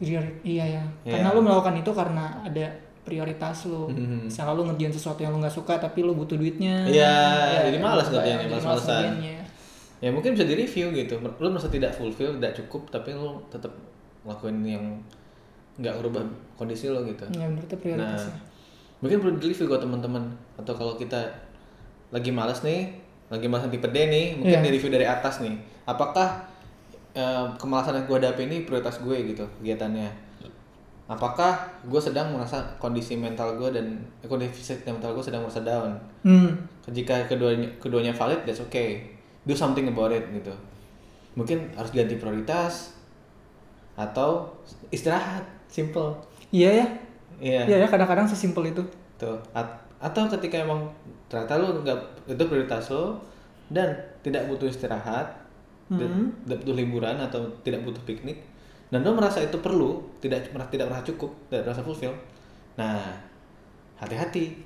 [SPEAKER 1] Priori- Iya ya.
[SPEAKER 2] Iya.
[SPEAKER 1] Karena lu melakukan itu karena ada prioritas lu.
[SPEAKER 2] Mhm.
[SPEAKER 1] Misalnya lu ngerjain sesuatu yang lu nggak suka tapi lu butuh duitnya.
[SPEAKER 2] Iya,
[SPEAKER 1] Ya,
[SPEAKER 2] jadi malas
[SPEAKER 1] coba
[SPEAKER 2] ngerjainnya,
[SPEAKER 1] jadi malas
[SPEAKER 2] malas-malesan.
[SPEAKER 1] ngerjainnya.
[SPEAKER 2] Ya mungkin bisa di-review gitu. Lo merasa tidak fulfill, tidak cukup tapi lo tetap ngelakuin yang nggak merubah kondisi lo gitu.
[SPEAKER 1] Ya bener itu prioritasnya.
[SPEAKER 2] mungkin perlu di review ke teman-teman atau kalau kita lagi malas nih lagi malas nanti pede nih mungkin
[SPEAKER 1] Iya.
[SPEAKER 2] di review dari atas nih apakah eh, kemalasan yang gue hadapi ini prioritas gue gitu kegiatannya apakah gue sedang merasa kondisi mental gue dan eh, kondisi fisik dan mental gue sedang merasa down
[SPEAKER 1] Hmm.
[SPEAKER 2] jika keduanya keduanya valid that's okay do something about it gitu mungkin harus ganti prioritas atau istirahat simple
[SPEAKER 1] Iya ya.
[SPEAKER 2] iya
[SPEAKER 1] Iya ya kadang-kadang sesimpel itu.
[SPEAKER 2] tuh At- atau ketika emang ternyata lu nggak itu prioritas lo dan tidak butuh istirahat tidak- tidak butuh liburan atau tidak butuh piknik dan lo merasa itu perlu tidak merasa tidak merasa cukup tidak merasa fulfill nah hati-hati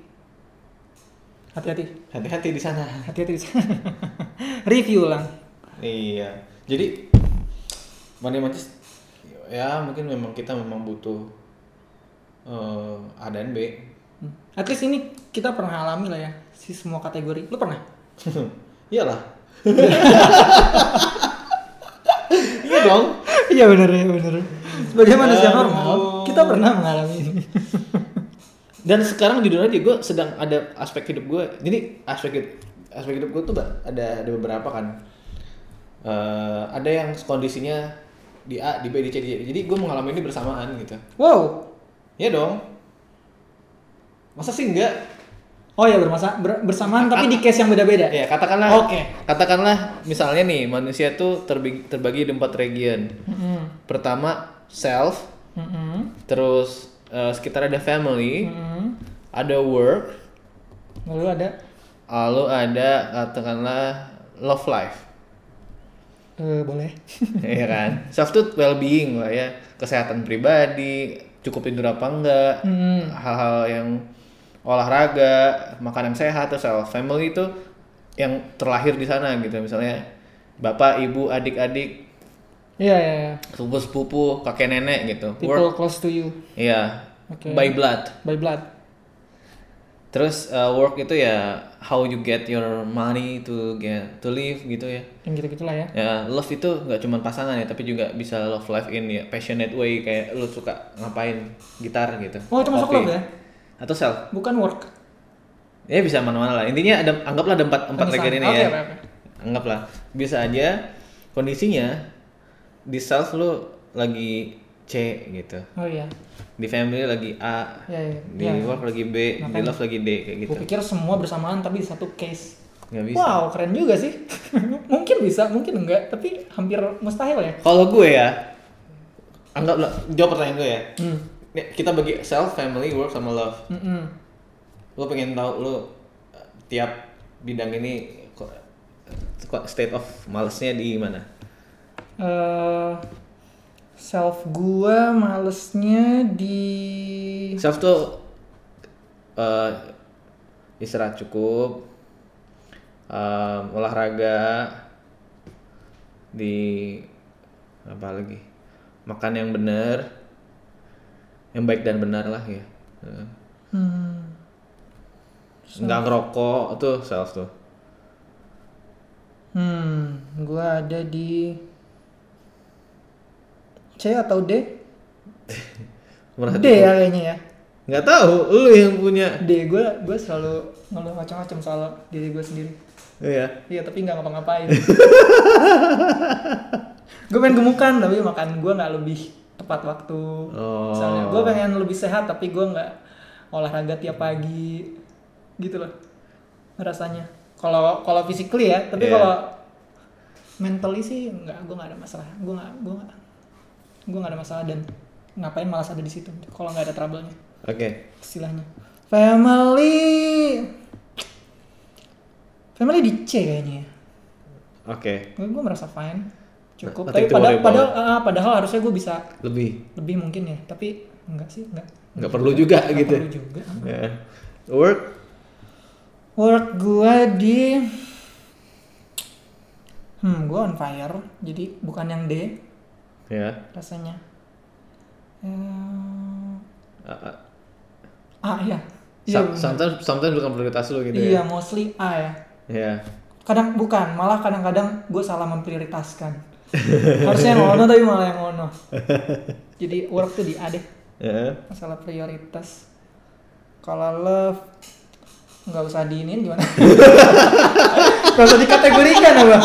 [SPEAKER 1] Hati-hati.
[SPEAKER 2] hati-hati di sana
[SPEAKER 1] Hati-hati. Review ulang.
[SPEAKER 2] iya jadi money mantis ya mungkin memang kita memang butuh eh, A dan B
[SPEAKER 1] Hmm. At least ini kita pernah alami lah ya si semua kategori. Lu pernah?
[SPEAKER 2] iyalah iya dong
[SPEAKER 1] Iya benar ya benar. Sebagai manusia
[SPEAKER 2] Aduh.
[SPEAKER 1] normal, kita pernah mengalami ini.
[SPEAKER 2] dan sekarang jujur aja gue sedang ada aspek hidup gue jadi aspek hid- aspek hidup gue tuh ba- ada ada beberapa kan. Eh, ada yang kondisinya di A, di B, di C, di C. Jadi gue mengalami ini bersamaan gitu.
[SPEAKER 1] Wow.
[SPEAKER 2] Ya dong. Masa sih enggak?
[SPEAKER 1] Oh ya bermasa ber- bersamaan tapi di case yang beda-beda.
[SPEAKER 2] Ya katakanlah.
[SPEAKER 1] Oke.
[SPEAKER 2] Katakanlah misalnya nih manusia tuh terbagi, terbagi di empat region.
[SPEAKER 1] Mm-mm.
[SPEAKER 2] Pertama self,
[SPEAKER 1] Mm-mm.
[SPEAKER 2] terus eh, sekitar ada family,
[SPEAKER 1] Mm-mm.
[SPEAKER 2] ada work,
[SPEAKER 1] Lalu ada
[SPEAKER 2] lalu ada katakanlah love life.
[SPEAKER 1] eh, boleh.
[SPEAKER 2] Iya kan? Self tuh well-being lah ya, kesehatan pribadi, cukup tidur apa enggak,
[SPEAKER 1] Mm-mm.
[SPEAKER 2] hal-hal yang olahraga, makanan sehat, terus self family itu yang terlahir di sana gitu, misalnya bapak, ibu, adik-adik,
[SPEAKER 1] Iya iya iya.
[SPEAKER 2] sepupu-sepupu, kakek nenek gitu.
[SPEAKER 1] People
[SPEAKER 2] Work,
[SPEAKER 1] close to you
[SPEAKER 2] iya,
[SPEAKER 1] Oke.
[SPEAKER 2] by blood.
[SPEAKER 1] by blood.
[SPEAKER 2] Terus uh, work itu ya how you get your money to get to live gitu ya.
[SPEAKER 1] Yang gitu-gitulah ya.
[SPEAKER 2] Ya, love itu nggak cuma pasangan ya, tapi juga bisa love life in ya passionate way kayak lu suka ngapain gitar gitu.
[SPEAKER 1] Oh, itu masuk love
[SPEAKER 2] Kopi.
[SPEAKER 1] ya?
[SPEAKER 2] Atau self.
[SPEAKER 1] Bukan work.
[SPEAKER 2] Ya bisa mana-mana lah. Intinya ada anggaplah ada empat empat
[SPEAKER 1] Penyesal.
[SPEAKER 2] region ini
[SPEAKER 1] Oke,
[SPEAKER 2] ya.
[SPEAKER 1] oke, oke.
[SPEAKER 2] Anggaplah. Bisa aja kondisinya di self lu lagi C gitu.
[SPEAKER 1] Oh iya.
[SPEAKER 2] Di family lagi A,
[SPEAKER 1] Iya iya.
[SPEAKER 2] di
[SPEAKER 1] Iya.
[SPEAKER 2] work lagi B, di
[SPEAKER 1] Makanya.
[SPEAKER 2] love lagi D kayak gitu.
[SPEAKER 1] Gue pikir semua bersamaan tapi di satu case.
[SPEAKER 2] Nggak bisa.
[SPEAKER 1] Wow, keren juga sih. mungkin bisa, mungkin enggak, tapi hampir mustahil ya.
[SPEAKER 2] Kalau gue ya, anggaplah jawab pertanyaan gue ya.
[SPEAKER 1] Hmm.
[SPEAKER 2] Nih, Kita bagi self, family, work sama love.
[SPEAKER 1] Mm-mm.
[SPEAKER 2] Lo pengen tahu lo eh, tiap bidang ini ko- ko- state of malesnya di mana?
[SPEAKER 1] Eh, self gua malesnya di
[SPEAKER 2] Self tuh eh, istirahat cukup, em, olahraga, di apa lagi? Makan yang benar, yang baik dan benar lah ya. Eh.
[SPEAKER 1] Hmm,
[SPEAKER 2] nggak ngerokok tuh self tuh
[SPEAKER 1] hmm, gua ada di C atau D?
[SPEAKER 2] merasa
[SPEAKER 1] D ya kayaknya ya.
[SPEAKER 2] nggak tahu lu yang punya
[SPEAKER 1] D gua gua selalu ngeluh macam-macam soal diri gua sendiri.
[SPEAKER 2] iya
[SPEAKER 1] Iya, tapi nggak ngapa-ngapain. gue pengen gemukan tapi makan gue nggak lebih tepat waktu.
[SPEAKER 2] Oh.
[SPEAKER 1] Misalnya gue pengen lebih sehat tapi gue nggak olahraga tiap pagi gitu loh rasanya. Kalau kalau physically ya, tapi
[SPEAKER 2] Iya.
[SPEAKER 1] kalau mentally sih nggak gue nggak ada masalah. Gue nggak gue nggak gue nggak ada masalah dan ngapain malas ada di situ kalau nggak ada trouble-nya
[SPEAKER 2] oke
[SPEAKER 1] istilahnya. Family Family di C kayaknya. ya.
[SPEAKER 2] oke
[SPEAKER 1] Gue gue merasa fine, cukup.
[SPEAKER 2] Nothing
[SPEAKER 1] Tapi
[SPEAKER 2] to
[SPEAKER 1] pada,
[SPEAKER 2] worry about.
[SPEAKER 1] padahal, ah, padahal harusnya gue bisa
[SPEAKER 2] lebih
[SPEAKER 1] lebih mungkin ya. Tapi enggak sih, enggak.
[SPEAKER 2] nggak perlu juga
[SPEAKER 1] Enggak
[SPEAKER 2] gitu
[SPEAKER 1] perlu juga.
[SPEAKER 2] ya. work
[SPEAKER 1] Work gue di Hmm, gue on fire. Jadi bukan yang D
[SPEAKER 2] ya
[SPEAKER 1] rasanya. Eh,
[SPEAKER 2] A- a-
[SPEAKER 1] ah iya. Iya,
[SPEAKER 2] some-
[SPEAKER 1] bener.
[SPEAKER 2] sometimes sometimes bukan prioritas lu gitu
[SPEAKER 1] iya
[SPEAKER 2] ya
[SPEAKER 1] mostly A ya.
[SPEAKER 2] ya
[SPEAKER 1] kadang bukan malah kadang-kadang gue salah memprioritaskan harusnya yang ono tapi malah yang ono jadi work tuh di A deh
[SPEAKER 2] ya
[SPEAKER 1] masalah prioritas kalau love nggak usah diinin gimana nggak usah dikategorikan apa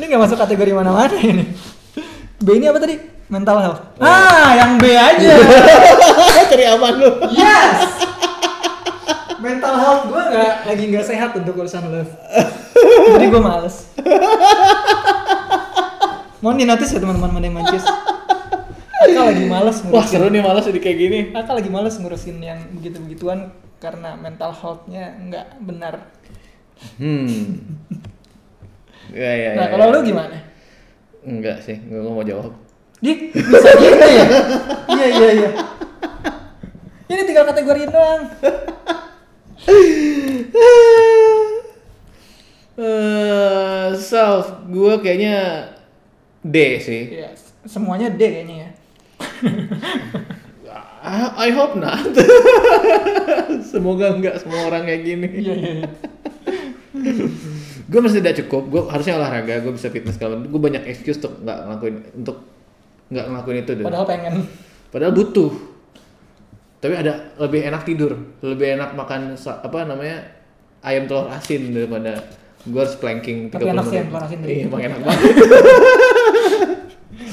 [SPEAKER 1] ini nggak masuk kategori mana-mana ini B ini apa tadi mental health ah yang B aja
[SPEAKER 2] cari aman lu
[SPEAKER 1] Yes. Mental health gue nggak lagi nggak sehat untuk urusan love. Jadi gue males. Mohon dinotis ya teman-teman yang mancis. Aka lagi males
[SPEAKER 2] wah
[SPEAKER 1] ngurusin.
[SPEAKER 2] seru nih malas jadi kayak gini
[SPEAKER 1] Aka lagi males ngurusin yang begitu-begituan karena mental health-nya nggak benar.
[SPEAKER 2] hmm ya ya
[SPEAKER 1] Nah
[SPEAKER 2] ya,
[SPEAKER 1] kalau
[SPEAKER 2] ya.
[SPEAKER 1] lu gimana?
[SPEAKER 2] enggak sih gue nggak mau jawab
[SPEAKER 1] Di bisa gitu ya? Iya iya iya. Ini tinggal kategori doang.
[SPEAKER 2] Eh, self gue kayaknya D sih
[SPEAKER 1] Iya, semuanya D kayaknya ya.
[SPEAKER 2] I, I hope not. Semoga nggak semua orang kayak gini.
[SPEAKER 1] Iya iya. iya.
[SPEAKER 2] Gue masih tidak cukup. Gue harusnya olahraga. Gue bisa fitness kalau gue banyak excuse untuk nggak ngelakuin untuk nggak ngelakuin itu deh. Padahal,
[SPEAKER 1] Padahal pengen.
[SPEAKER 2] butuh. Tapi ada lebih enak tidur, lebih enak makan sa- apa namanya
[SPEAKER 3] ayam telur asin daripada gue harus planking 30
[SPEAKER 1] Tapi enak sih
[SPEAKER 3] menit.
[SPEAKER 1] ayam telur asin tuh.
[SPEAKER 3] Iya, emang enak banget.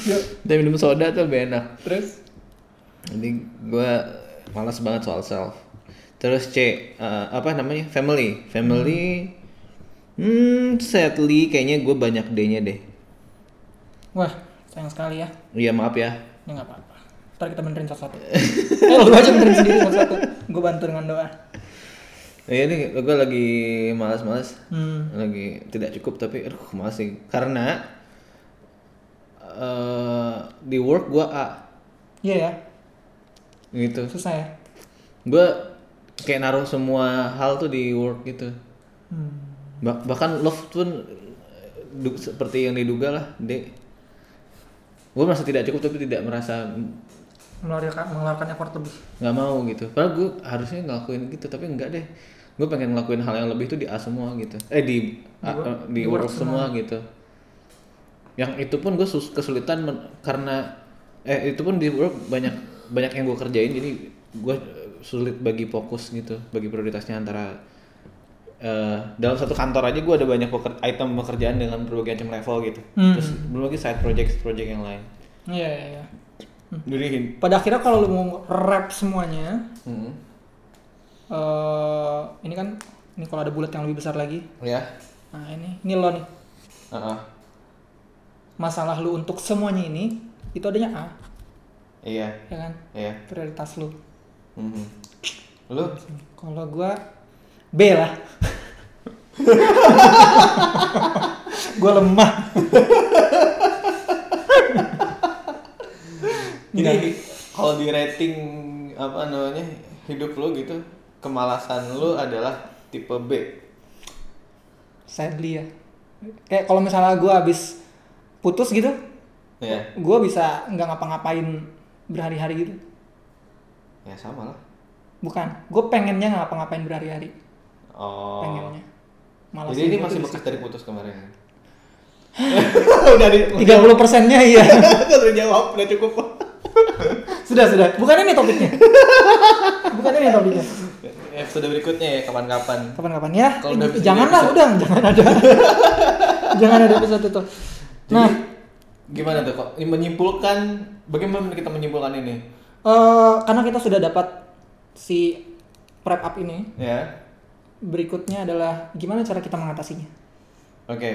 [SPEAKER 2] Iya.
[SPEAKER 3] Dan minum soda tuh lebih enak.
[SPEAKER 1] Terus?
[SPEAKER 3] Jadi gue malas banget soal self. Terus C, eh, apa namanya? Family. Family, hmm, sadly kayaknya gue banyak D-nya deh.
[SPEAKER 1] Wah, sayang sekali ya.
[SPEAKER 3] Iya maaf ya.
[SPEAKER 1] Ya nggak apa-apa. Ntar kita benerin satu-satu. eh, lu aja benerin sendiri satu-satu. Gue bantu dengan doa.
[SPEAKER 3] Iya nih, gue lagi malas-malas.
[SPEAKER 1] Hmm.
[SPEAKER 3] lagi tidak cukup tapi aduh malas sih karena eh di work gua A
[SPEAKER 1] Iya ya,
[SPEAKER 3] gitu
[SPEAKER 1] susah ya.
[SPEAKER 3] gua kayak naruh semua hal tuh di work gitu
[SPEAKER 1] Hmm.
[SPEAKER 3] Bah- bahkan love pun du- seperti yang diduga lah D gue merasa tidak cukup tapi tidak merasa
[SPEAKER 1] Mengeluarkan, mengeluarkan effort lebih.
[SPEAKER 3] nggak mau gitu padahal gue harusnya ngelakuin gitu tapi enggak deh gue pengen ngelakuin hal yang lebih itu di A semua gitu eh di A-
[SPEAKER 1] Di work-
[SPEAKER 3] eh, di,
[SPEAKER 1] di
[SPEAKER 3] work,
[SPEAKER 1] work
[SPEAKER 3] semua gitu yang itu pun gue sus- kesulitan men- karena eh itu pun di work banyak banyak yang gue kerjain jadi gue sulit bagi fokus gitu bagi prioritasnya antara eh, dalam satu kantor aja gue ada banyak peker- item pekerjaan dengan berbagai macam level gitu
[SPEAKER 1] Hmm.
[SPEAKER 3] terus belum lagi side project project yang lain
[SPEAKER 1] Iya, iya, iya.
[SPEAKER 3] Hmm. jadi hin-
[SPEAKER 1] Pada akhirnya kalau lu mau rap semuanya,
[SPEAKER 3] Mm.
[SPEAKER 1] eh ini kan, ini kalau ada bulat yang lebih besar lagi.
[SPEAKER 3] ya
[SPEAKER 1] Nah ini, ini lo nih.
[SPEAKER 3] Heeh.
[SPEAKER 1] Masalah lu untuk semuanya ini, itu adanya A,
[SPEAKER 3] iya
[SPEAKER 1] ya kan?
[SPEAKER 3] iya
[SPEAKER 1] Prioritas lu.
[SPEAKER 3] Mhm. Lu?
[SPEAKER 1] Kalau gua B lah. gua lemah.
[SPEAKER 2] Jadi kalau di rating apa namanya hidup lu gitu, kemalasan lu adalah tipe B.
[SPEAKER 1] Sadly ya. Kayak kalau misalnya gua habis putus gitu,
[SPEAKER 2] Ya,
[SPEAKER 1] gua bisa nggak ngapa-ngapain berhari-hari gitu.
[SPEAKER 2] ya sama lah.
[SPEAKER 1] Bukan, gue pengennya nggak ngapa-ngapain berhari-hari.
[SPEAKER 2] Oh.
[SPEAKER 1] Pengennya. Malah
[SPEAKER 2] Jadi ini masih bekas dari putus kemarin.
[SPEAKER 3] udah di
[SPEAKER 1] 30 persennya iya.
[SPEAKER 3] udah jawab udah cukup
[SPEAKER 1] sudah, sudah. Bukan ini topiknya. Bukan ini topiknya.
[SPEAKER 2] Episode berikutnya ya kapan-kapan.
[SPEAKER 1] kapan-kapan ya.
[SPEAKER 2] Kalau udah
[SPEAKER 1] Ini-
[SPEAKER 2] episode
[SPEAKER 1] janganlah
[SPEAKER 2] episode.
[SPEAKER 1] udah, jangan ada. jangan ada episode itu. Nah,
[SPEAKER 2] Gimana tuh kok? Ini Menyimpulkan bagaimana kita menyimpulkan ini?
[SPEAKER 1] eh, karena kita sudah dapat si prep up ini,
[SPEAKER 2] Ya.
[SPEAKER 1] berikutnya adalah gimana cara kita mengatasinya.
[SPEAKER 2] Oke.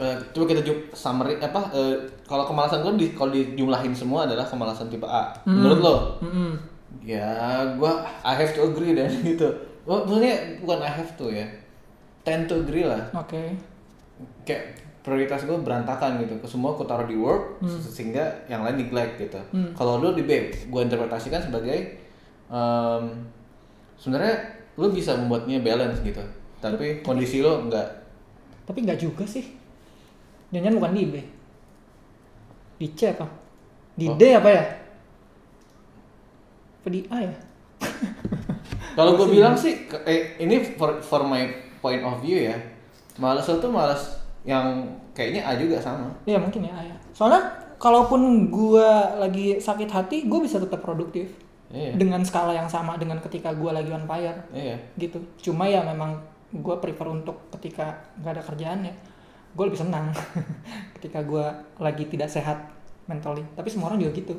[SPEAKER 2] Eh, coba kita ju- summary apa eh, kalau kemalasan gue di kalau dijumlahin semua adalah kemalasan tipe A. Menurut lo?
[SPEAKER 1] Mm-mm.
[SPEAKER 2] Ya, gua I have to agree dan gitu. Wah, Maksudnya bukan I have to ya. Tend to agree lah.
[SPEAKER 1] Oke.
[SPEAKER 2] Kayak prioritas gue berantakan gitu. Semua aku taruh di work se- sehingga yang lain neglect gitu. Kalau lu di babe, gue interpretasikan sebagai em, sebenarnya lu bisa membuatnya balance gitu. Tapi kondisi lo enggak.
[SPEAKER 1] Tapi nggak juga sih. Jangan bukan di B. Di C apa? Di
[SPEAKER 2] Oh.
[SPEAKER 1] D apa ya? Apa di A ya?
[SPEAKER 2] Kalau gue bilang sih ke- eh, ini for, for my point of view ya. Males lo tuh males yang kayaknya A juga sama.
[SPEAKER 1] Iya mungkin ya A ya. Soalnya kalaupun gua lagi sakit hati, gua bisa tetap produktif.
[SPEAKER 2] Iya.
[SPEAKER 1] dengan skala yang sama dengan ketika gue lagi on fire
[SPEAKER 2] Iya.
[SPEAKER 1] gitu cuma ya memang gue prefer untuk ketika nggak ada kerjaan ya gue lebih senang ketika gue lagi tidak sehat mentally tapi semua orang juga gitu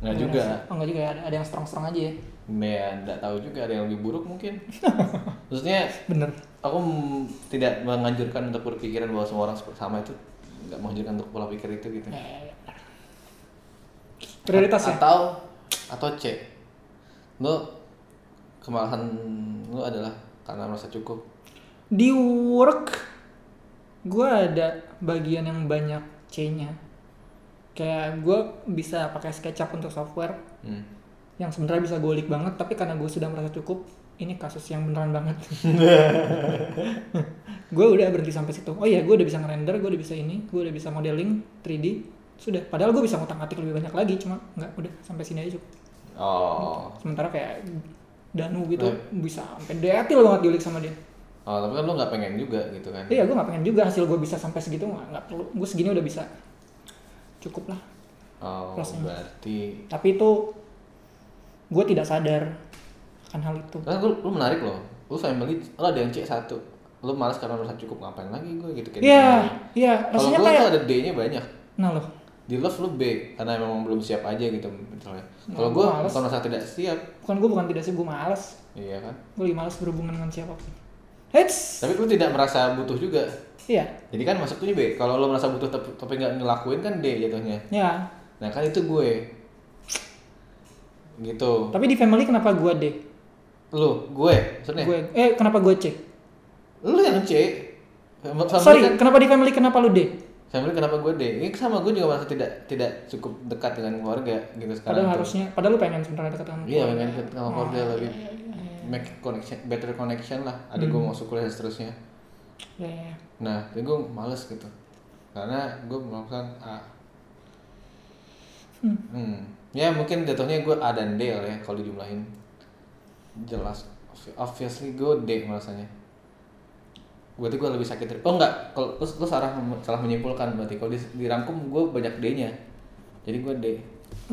[SPEAKER 2] Enggak
[SPEAKER 1] Ada
[SPEAKER 2] juga.
[SPEAKER 1] yang- oh, nggak juga ya, ada, ada yang strong strong aja ya
[SPEAKER 2] Ya, nggak tahu juga ada yang lebih buruk mungkin. Maksudnya
[SPEAKER 1] bener
[SPEAKER 2] aku m- tidak menganjurkan untuk berpikiran bahwa semua orang seperti- sama itu nggak menganjurkan untuk pola pikir itu gitu.
[SPEAKER 1] Ya, ya, ya. prioritas ya
[SPEAKER 2] Atau atau C. Lo kemalasan lo adalah karena merasa cukup.
[SPEAKER 1] di work gue ada bagian yang banyak C-nya kayak gue bisa pakai SketchUp untuk software
[SPEAKER 2] Hmm.
[SPEAKER 1] yang sebenarnya bisa golik banget tapi karena gue sudah merasa cukup ini kasus yang beneran banget gue udah berhenti sampai situ oh iya gue udah bisa ngerender gue udah bisa ini gue udah bisa modeling 3D sudah padahal gue bisa ngutang atik lebih banyak lagi cuma nggak udah sampai sini aja cukup
[SPEAKER 2] Oh.
[SPEAKER 1] sementara kayak Danu gitu
[SPEAKER 2] Iya.
[SPEAKER 1] bisa sampai detil banget diolik sama dia
[SPEAKER 2] Oh, tapi kan lo nggak pengen juga gitu kan.
[SPEAKER 1] iya gue nggak pengen juga hasil gue bisa sampai segitu nggak nggak perlu gue segini udah bisa cukup lah
[SPEAKER 2] Oh,
[SPEAKER 1] Plus ini.
[SPEAKER 2] berarti
[SPEAKER 1] tapi itu gue tidak sadar akan hal itu
[SPEAKER 2] kan lo, lo menarik loh. Lo lu family lu ada yang C1 lu malas karena merasa cukup ngapain lagi gue gitu kayak
[SPEAKER 1] Iya,
[SPEAKER 2] gitu.
[SPEAKER 1] iya.
[SPEAKER 2] kalau
[SPEAKER 1] Rasanya
[SPEAKER 2] gue
[SPEAKER 1] kayak
[SPEAKER 2] tuh ada D-nya banyak
[SPEAKER 1] nah loh.
[SPEAKER 2] di love lu B karena memang belum siap aja gitu misalnya kalau
[SPEAKER 1] Nah,
[SPEAKER 2] gue
[SPEAKER 1] males.
[SPEAKER 2] bukan merasa tidak siap
[SPEAKER 1] Bukan gue bukan tidak sih gue malas.
[SPEAKER 2] iya kan
[SPEAKER 1] Gue lebih malas berhubungan dengan siapapun. Hits.
[SPEAKER 2] tapi lu tidak merasa butuh juga
[SPEAKER 1] Iya.
[SPEAKER 2] jadi kan masuknya B kalau lu merasa butuh tapi tapi nggak ngelakuin kan D jatuhnya
[SPEAKER 1] Ya.
[SPEAKER 2] nah kan itu gue gitu
[SPEAKER 1] Tapi di family kenapa gue D?
[SPEAKER 2] lu gue maksudnya
[SPEAKER 1] Gue eh kenapa gue C?
[SPEAKER 2] lu yang C Family
[SPEAKER 1] Sorry,
[SPEAKER 2] kan-
[SPEAKER 1] kenapa di family kenapa lu D?
[SPEAKER 2] Family kenapa gue deh? Ini sama gue juga merasa tidak tidak cukup dekat dengan keluarga gitu sekarang.
[SPEAKER 1] Padahal
[SPEAKER 2] tuh.
[SPEAKER 1] harusnya, padahal lu pengen sebenarnya dekat sama
[SPEAKER 2] Iya,
[SPEAKER 1] keluarga. Oh, iya,
[SPEAKER 2] pengen dekat sama keluarga lebih make connection, better connection lah.
[SPEAKER 1] Hmm.
[SPEAKER 2] Ada gue masuk kuliah dan seterusnya.
[SPEAKER 1] Iya, iya, iya.
[SPEAKER 2] Nah, tapi gue males gitu. Karena gue melakukan A.
[SPEAKER 1] Hmm.
[SPEAKER 2] Hmm. Ya mungkin jatuhnya gue A dan D lah ya kalau dijumlahin. Jelas. Obviously gue D merasanya. Berarti gue lebih sakit dari... Oh enggak, kalau lu, lu salah, salah menyimpulkan berarti. Kalau di- dirangkum gue banyak D-nya. Jadi gue D.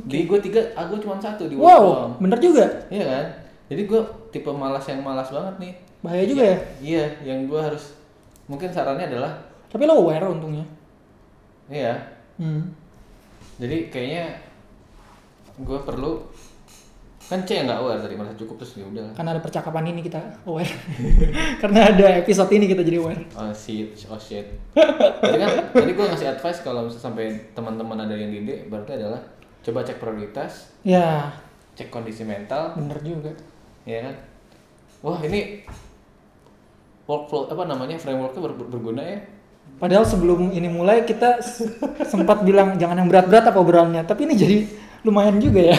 [SPEAKER 2] Di gue tiga, ah gue cuma satu di
[SPEAKER 1] Wow,
[SPEAKER 2] doang.
[SPEAKER 1] bener juga.
[SPEAKER 2] Iya kan? Jadi gue tipe malas yang malas banget nih.
[SPEAKER 1] Bahaya juga ya.
[SPEAKER 2] Iya, yang gue harus... Mungkin sarannya adalah
[SPEAKER 1] Tapi lo aware untungnya.
[SPEAKER 2] Iya,
[SPEAKER 1] Hmm.
[SPEAKER 2] jadi kayaknya gue perlu kan C yang nggak aware tadi merasa cukup terus ya udah lah.
[SPEAKER 1] Karena ada percakapan ini kita aware. Karena ada episode ini kita jadi aware.
[SPEAKER 2] Oh shit, oh shit. Jadi kan tadi gue ngasih advice kalau misalnya sampai teman-teman ada yang di D, berarti adalah coba cek prioritas,
[SPEAKER 1] Ya,
[SPEAKER 2] cek kondisi mental,
[SPEAKER 1] bener juga.
[SPEAKER 2] ya kan. Wah ini workflow apa namanya frameworknya ber- berguna ya.
[SPEAKER 1] Padahal sebelum ini mulai kita s- sempat bilang jangan yang berat-berat apa obrolannya. Tapi ini jadi lumayan juga ya.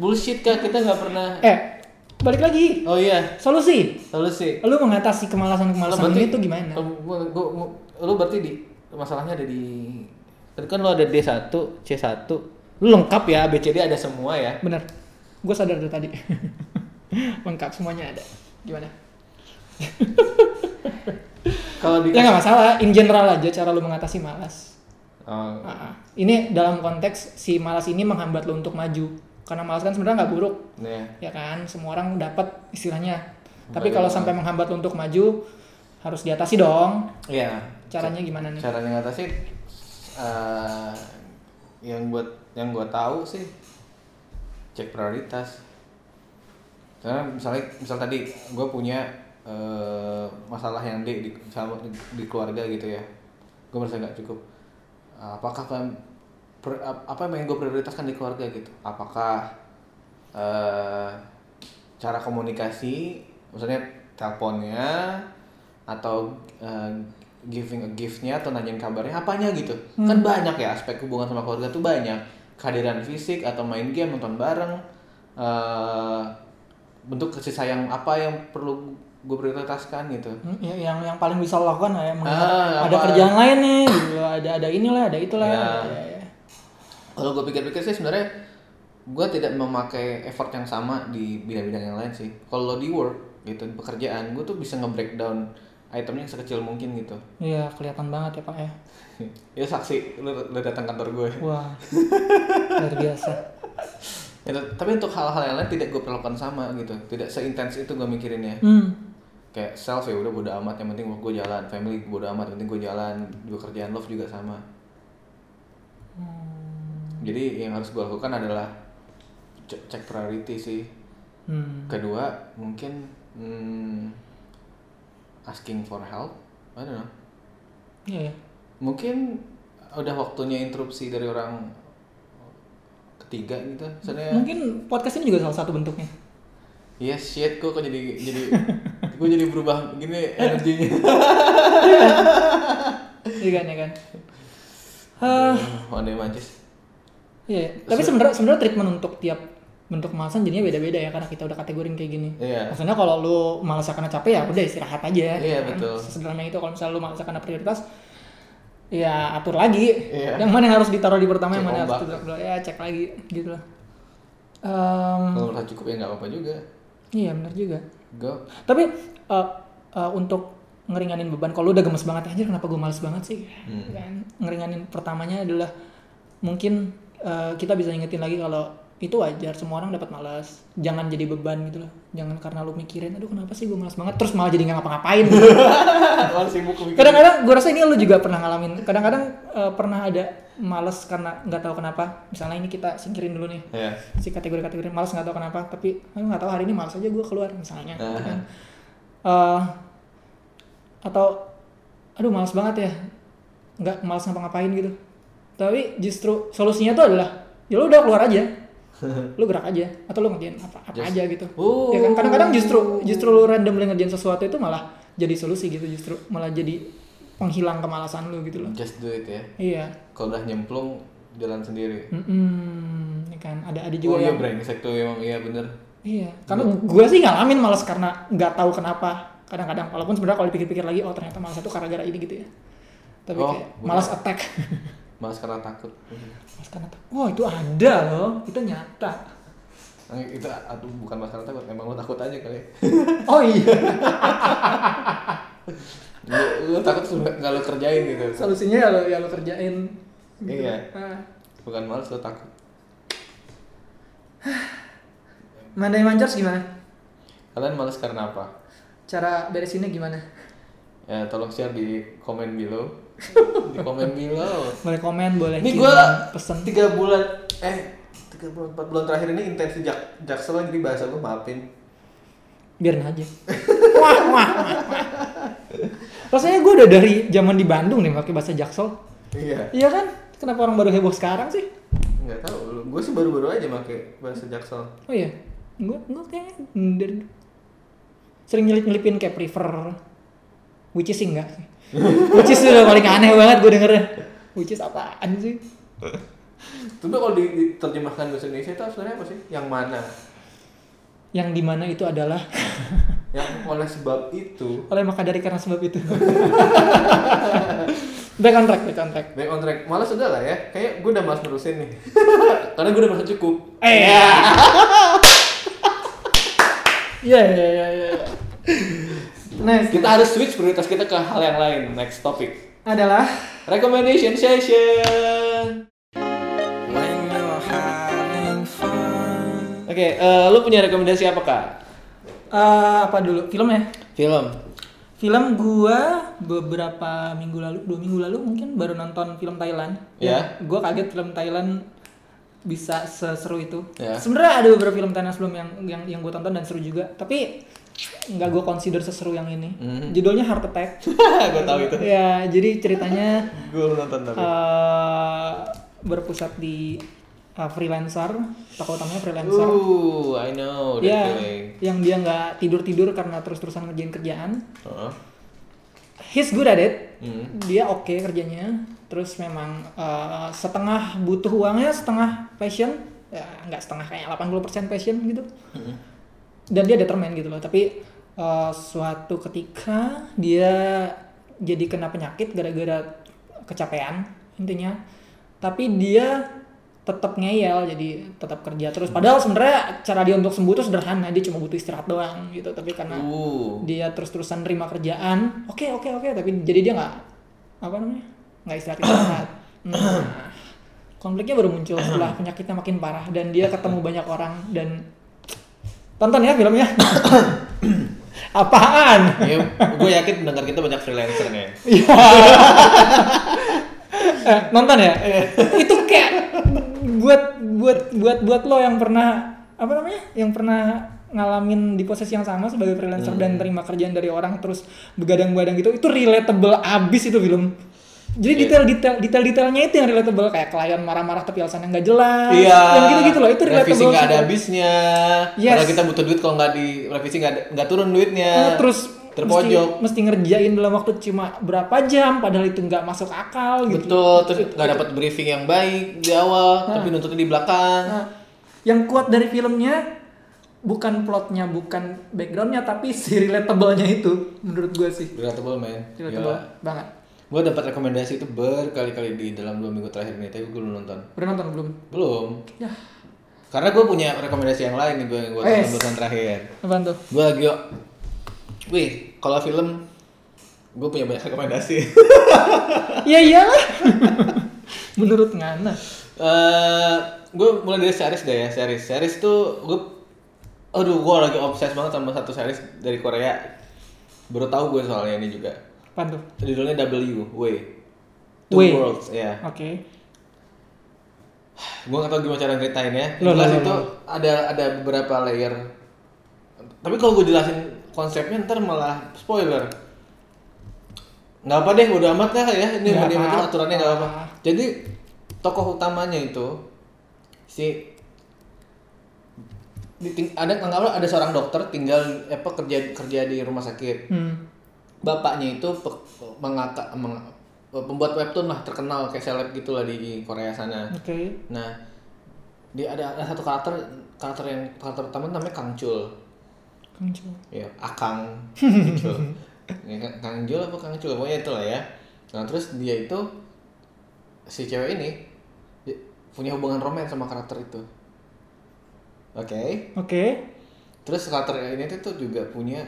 [SPEAKER 2] Bullshit kah kita nggak pernah.
[SPEAKER 1] eh, balik lagi.
[SPEAKER 2] Oh iya,
[SPEAKER 1] Solusi.
[SPEAKER 2] solusi.
[SPEAKER 1] Lu mengatasi kemalasan-kemalasan ini tuh gimana?
[SPEAKER 2] Lu, gua- gua- gua- lu berarti di masalahnya ada di tadi kan lu ada D1, C1. Lu lengkap ya, ABCD ada semua ya.
[SPEAKER 1] Bener. Gue sadar dari tadi. Lengkap semuanya ada. Gimana?
[SPEAKER 2] Kalau di
[SPEAKER 1] Ya nggak masalah. In general aja cara lu mengatasi malas.
[SPEAKER 2] Oh,
[SPEAKER 1] Ah, ah. Ini dalam konteks si malas ini menghambat lo untuk maju. Karena malas kan sebenarnya nggak buruk,
[SPEAKER 2] ya.
[SPEAKER 1] ya kan? Semua orang dapat istilahnya. Tapi kalau sampai menghambat lo untuk maju, harus diatasi dong.
[SPEAKER 2] Iya.
[SPEAKER 1] Caranya gimana nih?
[SPEAKER 2] Cara ngatasin eh yang buat yang gua tahu sih cek prioritas. Karena misalnya misal tadi gua punya eh, masalah yang di, di sama di keluarga gitu ya. Gua merasa nggak cukup. Apakah kan per- ap- apa yang gue prioritaskan di keluarga gitu? Apakah eh, cara komunikasi, maksudnya teleponnya atau eh, giving a gift-nya atau nanyain kabarnya apanya gitu. Kan banyak ya aspek hubungan sama keluarga tuh banyak. Kehadiran fisik atau main game, nonton bareng eh, bentuk kasih sayang apa yang perlu gue prioritaskan gitu.
[SPEAKER 1] Hmm, ya- yang yang paling bisa lo lakukan lah ya, mengingat
[SPEAKER 2] Ah,
[SPEAKER 1] ada
[SPEAKER 2] apa?
[SPEAKER 1] kerjaan lain nih, gitu. ada ada inilah, ada itulah.
[SPEAKER 2] Ya.
[SPEAKER 1] Ya, ya.
[SPEAKER 2] Kalau gue pikir-pikir sih sebenarnya gue tidak memakai effort yang sama di bidang-bidang yang lain sih. Kalau di work gitu di pekerjaan gue tuh bisa nge-breakdown itemnya sekecil mungkin gitu.
[SPEAKER 1] Iya, kelihatan banget ya pak ya.
[SPEAKER 2] ya saksi lu, lu datang kantor gue.
[SPEAKER 1] Wah, luar biasa.
[SPEAKER 2] Gitu. Tapi untuk hal-hal yang lain tidak gue perlakukan sama gitu. Tidak seintens itu gue mikirinnya.
[SPEAKER 1] Hmm,
[SPEAKER 2] Kayak self ya udah bodo amat yang penting gue jalan, family bodo amat yang penting gue jalan, juga kerjaan love juga sama. Jadi yang harus gue lakukan adalah cek cek priority sih.
[SPEAKER 1] hmm.
[SPEAKER 2] kedua mungkin hmm, asking for help I don't know
[SPEAKER 1] Iya, ya.
[SPEAKER 2] mungkin udah waktunya interupsi dari orang ketiga gitu misalnya
[SPEAKER 1] Mungkin podcast ini juga salah satu bentuknya.
[SPEAKER 2] yes iya, shit kok kok jadi jadi gue jadi berubah gini energinya
[SPEAKER 1] Iya kan, iya kan. Hah,
[SPEAKER 2] one day mancis
[SPEAKER 1] iya. iya. Tapi sebenarnya sebenarnya treatment untuk tiap bentuk malasan jadinya beda-beda ya karena kita udah kategorin kayak gini.
[SPEAKER 2] Iya.
[SPEAKER 1] Maksudnya kalau lu malas karena capek ya udah istirahat aja.
[SPEAKER 2] Iya,
[SPEAKER 1] kan?
[SPEAKER 2] betul.
[SPEAKER 1] Sesederhana itu kalau misalnya lu malas karena prioritas ya atur lagi.
[SPEAKER 2] Iya.
[SPEAKER 1] Yang mana yang harus ditaruh di pertama, yang
[SPEAKER 2] Cek
[SPEAKER 1] mana harus
[SPEAKER 2] ombak.
[SPEAKER 1] ditaruh di- ya cek lagi gitu lah. Em,
[SPEAKER 2] kalau merasa cukup ya nggak apa-apa juga
[SPEAKER 1] iya benar juga.
[SPEAKER 2] gue
[SPEAKER 1] Tapi eh, eh, untuk ngeringanin beban kalau lu udah gemes banget aja kenapa gue males banget sih? Kan ngeringanin pertamanya adalah mungkin eh, kita bisa ingetin lagi kalau itu wajar semua orang dapat malas jangan jadi beban gitu loh jangan karena lu mikirin aduh kenapa sih gue malas banget terus malah jadi nggak ngapa-ngapain gitu.
[SPEAKER 2] Orang sibuk mikir.
[SPEAKER 1] kadang-kadang gue rasa ini lu juga pernah ngalamin kadang-kadang eh, pernah ada malas karena nggak tahu kenapa misalnya ini kita singkirin dulu nih
[SPEAKER 2] Iya.
[SPEAKER 1] si kategori-kategori malas nggak tahu kenapa tapi aku nggak tahu hari ini malas aja gue keluar misalnya gitu
[SPEAKER 2] Aha.
[SPEAKER 1] kan. Eh, atau aduh malas banget ya nggak malas ngapa-ngapain gitu tapi justru solusinya tuh adalah ya lu udah keluar aja lu gerak aja atau lu ngerjain apa apa aja gitu
[SPEAKER 2] Oh.
[SPEAKER 1] ya kan kadang-kadang justru justru lu random ngerjain sesuatu itu malah jadi solusi gitu justru malah jadi penghilang kemalasan lu gitu loh
[SPEAKER 2] Just do it ya.
[SPEAKER 1] iya
[SPEAKER 2] Kalau udah nyemplung jalan sendiri.
[SPEAKER 1] Mm-mm. Ya kan ada ada
[SPEAKER 2] Oh
[SPEAKER 1] juga
[SPEAKER 2] iya
[SPEAKER 1] yang
[SPEAKER 2] brengsek tuh emang iya bener.
[SPEAKER 1] Iya, karena gue sih ngalamin malas karena nggak tahu kenapa. Kadang-kadang, walaupun sebenarnya kalau dipikir-pikir lagi, oh ternyata malas itu gara-gara ini gitu ya. Tapi
[SPEAKER 2] Oh,
[SPEAKER 1] kayak
[SPEAKER 2] bener.
[SPEAKER 1] malas attack.
[SPEAKER 2] Malas karena takut.
[SPEAKER 1] malas karena attack. Wah itu ada loh, itu nyata.
[SPEAKER 2] Nah, itu aduh bukan malas karena takut, emang lo takut aja kali. ya.
[SPEAKER 1] Oh iya,
[SPEAKER 2] Lo, lo takut sudah nggak lo kerjain gitu.
[SPEAKER 1] solusinya ya lo, ya lo kerjain.
[SPEAKER 2] Iya.
[SPEAKER 1] Nah,
[SPEAKER 2] Bukan malas lo takut.
[SPEAKER 1] Mandai Manjars gimana?
[SPEAKER 2] Kalian malas karena apa?
[SPEAKER 1] Cara beresinnya gimana?
[SPEAKER 2] Ya tolong share di komen below. di komen below.
[SPEAKER 1] Boleh komen, boleh
[SPEAKER 2] Ini
[SPEAKER 1] kirim
[SPEAKER 2] gue
[SPEAKER 1] pesan.
[SPEAKER 2] tiga bulan eh tiga bulan empat bulan terakhir ini intens sejak jaksel jadi bahasa gue maafin.
[SPEAKER 1] biarin aja wah wah wah, wah. rasanya gue udah dari zaman di Bandung nih pakai bahasa Jaksel
[SPEAKER 2] Iya.
[SPEAKER 1] iya kan kenapa orang baru heboh sekarang sih
[SPEAKER 2] Nggak tahu. Gue sih baru-baru aja pakai bahasa jaksel.
[SPEAKER 1] oh iya gue gue kayak dari sering nyelip nyelipin kayak prefer which is sih enggak sih which is udah paling aneh banget gue dengernya which is apaan sih
[SPEAKER 2] Tapi kalau di- diterjemahkan bahasa Indonesia itu sebenarnya apa sih? Yang mana?
[SPEAKER 1] yang dimana itu adalah
[SPEAKER 2] Yang oleh sebab itu
[SPEAKER 1] oleh maka dari karena sebab itu back on track back on track
[SPEAKER 2] back on track. Malah sudah lah ya. Kayak gue udah malas nerusin nih. Karena gue udah merasa cukup.
[SPEAKER 1] Eh. Iya iya iya iya. Next
[SPEAKER 2] Kita harus switch prioritas kita ke hal yang lain. Next topic.
[SPEAKER 1] adalah
[SPEAKER 2] Recommendation session. Oke, eh, lu punya rekomendasi apa kak?
[SPEAKER 1] eh, apa dulu film ya?
[SPEAKER 2] Film.
[SPEAKER 1] Film gua beberapa minggu lalu, dua minggu lalu mungkin baru nonton film Thailand. Ya,
[SPEAKER 2] Iya.
[SPEAKER 1] Gua kaget film Thailand bisa seseru itu.
[SPEAKER 2] Iya.
[SPEAKER 1] Sebenarnya ada beberapa film Thailand sebelum yang yang yang gua tonton dan seru juga, tapi nggak gua consider seseru yang ini.
[SPEAKER 2] Mhm.
[SPEAKER 1] Judulnya Heart Attack.
[SPEAKER 2] gue tahu itu.
[SPEAKER 1] ya, jadi ceritanya
[SPEAKER 2] Gue nonton tapi.
[SPEAKER 1] eh berpusat di eh, freelancer, tokoh utamanya freelancer.
[SPEAKER 2] Ooh, I know that
[SPEAKER 1] ya,
[SPEAKER 2] feeling.
[SPEAKER 1] yang dia nggak tidur-tidur karena terus-terusan ngerjain kerjaan.
[SPEAKER 2] Heeh.
[SPEAKER 1] He's good at it.
[SPEAKER 2] Hmm.
[SPEAKER 1] Dia oke kerjanya. Terus memang eh, setengah butuh uangnya, setengah passion. Ya, nggak setengah kayak 80% passion gitu. Dan dia determined gitu loh. Tapi eh, suatu ketika dia jadi kena penyakit gara-gara kecapean intinya. Tapi dia tetap ngeyel jadi tetap kerja terus padahal sebenarnya cara dia untuk sembuh itu sederhana dia cuma butuh istirahat doang gitu tapi karena
[SPEAKER 2] Ooh.
[SPEAKER 1] dia terus-terusan nerima kerjaan oke oke oke tapi jadi dia nggak apa namanya nggak istirahat istirahat nah, konfliknya baru muncul setelah penyakitnya makin parah dan dia ketemu banyak orang dan tonton ya filmnya apaan
[SPEAKER 2] Iya, gue yakin pendengar kita banyak freelancer nih.
[SPEAKER 1] Iya. Eh, nonton ya
[SPEAKER 2] Iya.
[SPEAKER 1] itu kayak buat buat buat buat lo yang pernah apa namanya yang pernah ngalamin di posisi yang sama sebagai freelancer dan
[SPEAKER 2] Hmm.
[SPEAKER 1] terima kerjaan dari orang terus begadang-begadang gitu itu relatable abis itu film jadi
[SPEAKER 2] Iya.
[SPEAKER 1] detail-detail detail-detailnya itu yang relatable kayak klien marah-marah tapi alasannya nggak jelas
[SPEAKER 2] Iya.
[SPEAKER 1] ya, yang gitu-gitu loh itu relatable
[SPEAKER 2] Revisi nggak ada
[SPEAKER 1] semua.
[SPEAKER 2] habisnya.
[SPEAKER 1] Yes.
[SPEAKER 2] Kalau kita butuh duit kalau nggak di revisi nggak ada- nggak turun duitnya.
[SPEAKER 1] Eh, terus
[SPEAKER 2] terpojok.
[SPEAKER 1] mesti, mesti ngerjain dalam waktu cuma berapa jam padahal itu nggak masuk akal gitu Ah.
[SPEAKER 2] Betul, terus nggak dapat briefing yang baik di awal, tapi nuntutnya di belakang.
[SPEAKER 1] Nah, yang kuat dari filmnya bukan plotnya, bukan backgroundnya, tapi si relatable-nya itu menurut gue sih
[SPEAKER 2] Relatable man.
[SPEAKER 1] Ah. relatable
[SPEAKER 2] Iya.
[SPEAKER 1] banget.
[SPEAKER 2] Gue dapat rekomendasi itu berkali-kali di dalam dua minggu terakhir nih, tapi gue belum nonton.
[SPEAKER 1] Udah nonton belum?
[SPEAKER 2] Belum.
[SPEAKER 1] Ya,
[SPEAKER 2] Karena gue punya rekomendasi yang lain nih gue yang gue
[SPEAKER 1] Eh.
[SPEAKER 2] tonton bulan terakhir.
[SPEAKER 1] apaan tuh?
[SPEAKER 2] Gue lagi Wih, kalau film gue punya banyak rekomendasi.
[SPEAKER 1] Iya iyalah. menurut Ngana.
[SPEAKER 2] Eh, gue mulai dari series deh ya series series tuh gue aduh gue lagi obses banget sama satu series dari Korea baru tahu gue soalnya ini juga
[SPEAKER 1] Apaan tuh?
[SPEAKER 2] judulnya W Way Two
[SPEAKER 1] Way.
[SPEAKER 2] Worlds ya
[SPEAKER 1] Oke.
[SPEAKER 2] gue gak tau gimana cara ceritainnya
[SPEAKER 1] Loh,
[SPEAKER 2] yang jelas
[SPEAKER 1] loh, loh,
[SPEAKER 2] itu ada ada beberapa layer tapi kalau gue jelasin konsepnya ntar malah spoiler nggak apa deh udah amat lah ya ini
[SPEAKER 1] Nggak
[SPEAKER 2] mau dimatiin
[SPEAKER 1] apa-apa.
[SPEAKER 2] aturannya nggak apa jadi tokoh utamanya itu si di ting- ada anggaplah ada seorang dokter tinggal apa kerja kerja di rumah sakit
[SPEAKER 1] Hmm.
[SPEAKER 2] bapaknya itu pe- mengata meng- pembuat webtoon lah terkenal kayak seleb gitulah di Korea sana
[SPEAKER 1] Oke.
[SPEAKER 2] Nah, dia ada, ada satu karakter karakter yang karakter utama namanya Kang Chul.
[SPEAKER 1] Kang Chul.
[SPEAKER 2] Ya, Akang Chul. Ya, Kang- Kang Chul apa Kang Chul pokoknya itulah ya. Nah, terus dia itu si cewek ini dia punya hubungan romans sama karakter itu. Oke.
[SPEAKER 1] Oke.
[SPEAKER 2] Terus karakter ini tuh juga punya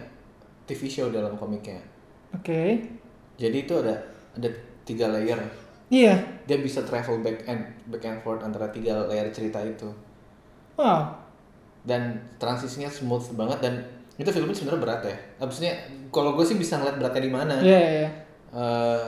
[SPEAKER 2] TV show dalam komiknya.
[SPEAKER 1] Oke.
[SPEAKER 2] Jadi itu ada ada tiga layer.
[SPEAKER 1] Iya.
[SPEAKER 2] Dia bisa travel back and back and forth antara tiga layer cerita itu.
[SPEAKER 1] Wow.
[SPEAKER 2] dan transisinya smooth banget dan itu filmnya sebenarnya berat ya. Abisnya kalau gue sih bisa ngeliat beratnya di mana.
[SPEAKER 1] Iya, iya, iya.
[SPEAKER 2] Eh,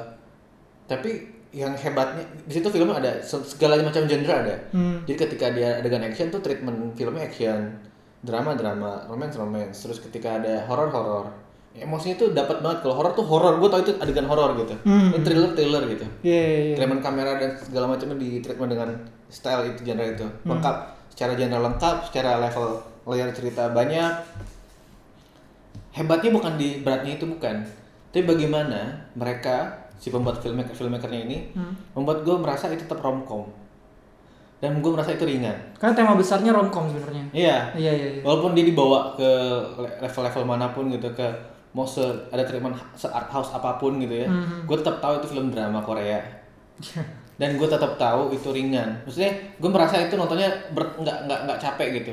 [SPEAKER 2] tapi yang hebatnya di situ film ada se- segala macam genre ada.
[SPEAKER 1] Hmm.
[SPEAKER 2] Jadi ketika dia adegan action tuh treatment filmnya action, drama drama, romance romance. Terus ketika ada horror horror, emosinya tuh dapat banget. Kalau horror tuh horror, gue tau itu adegan horror gitu.
[SPEAKER 1] Hmm.
[SPEAKER 2] Ini thriller thriller gitu.
[SPEAKER 1] Iya, iya, iya.
[SPEAKER 2] Treatment kamera dan segala macamnya di treatment dengan style itu genre itu
[SPEAKER 1] Hmm.
[SPEAKER 2] lengkap secara genre lengkap secara level layer cerita banyak hebatnya bukan di beratnya itu bukan tapi bagaimana mereka si pembuat filmmaker filmmakernya ini
[SPEAKER 1] Hmm.
[SPEAKER 2] membuat gue merasa itu tetap romcom dan gue merasa itu ringan
[SPEAKER 1] Karena tema besarnya romcom sebenarnya.
[SPEAKER 2] iya
[SPEAKER 1] Iya, iya, iya.
[SPEAKER 2] walaupun dia dibawa ke le- level-level manapun gitu ke mau se ada treatment se art house apapun gitu ya
[SPEAKER 1] Hmm.
[SPEAKER 2] gue tetap tahu itu film drama Korea dan gue tetap tahu itu ringan maksudnya gue merasa itu nontonnya ber- nggak nggak nggak capek gitu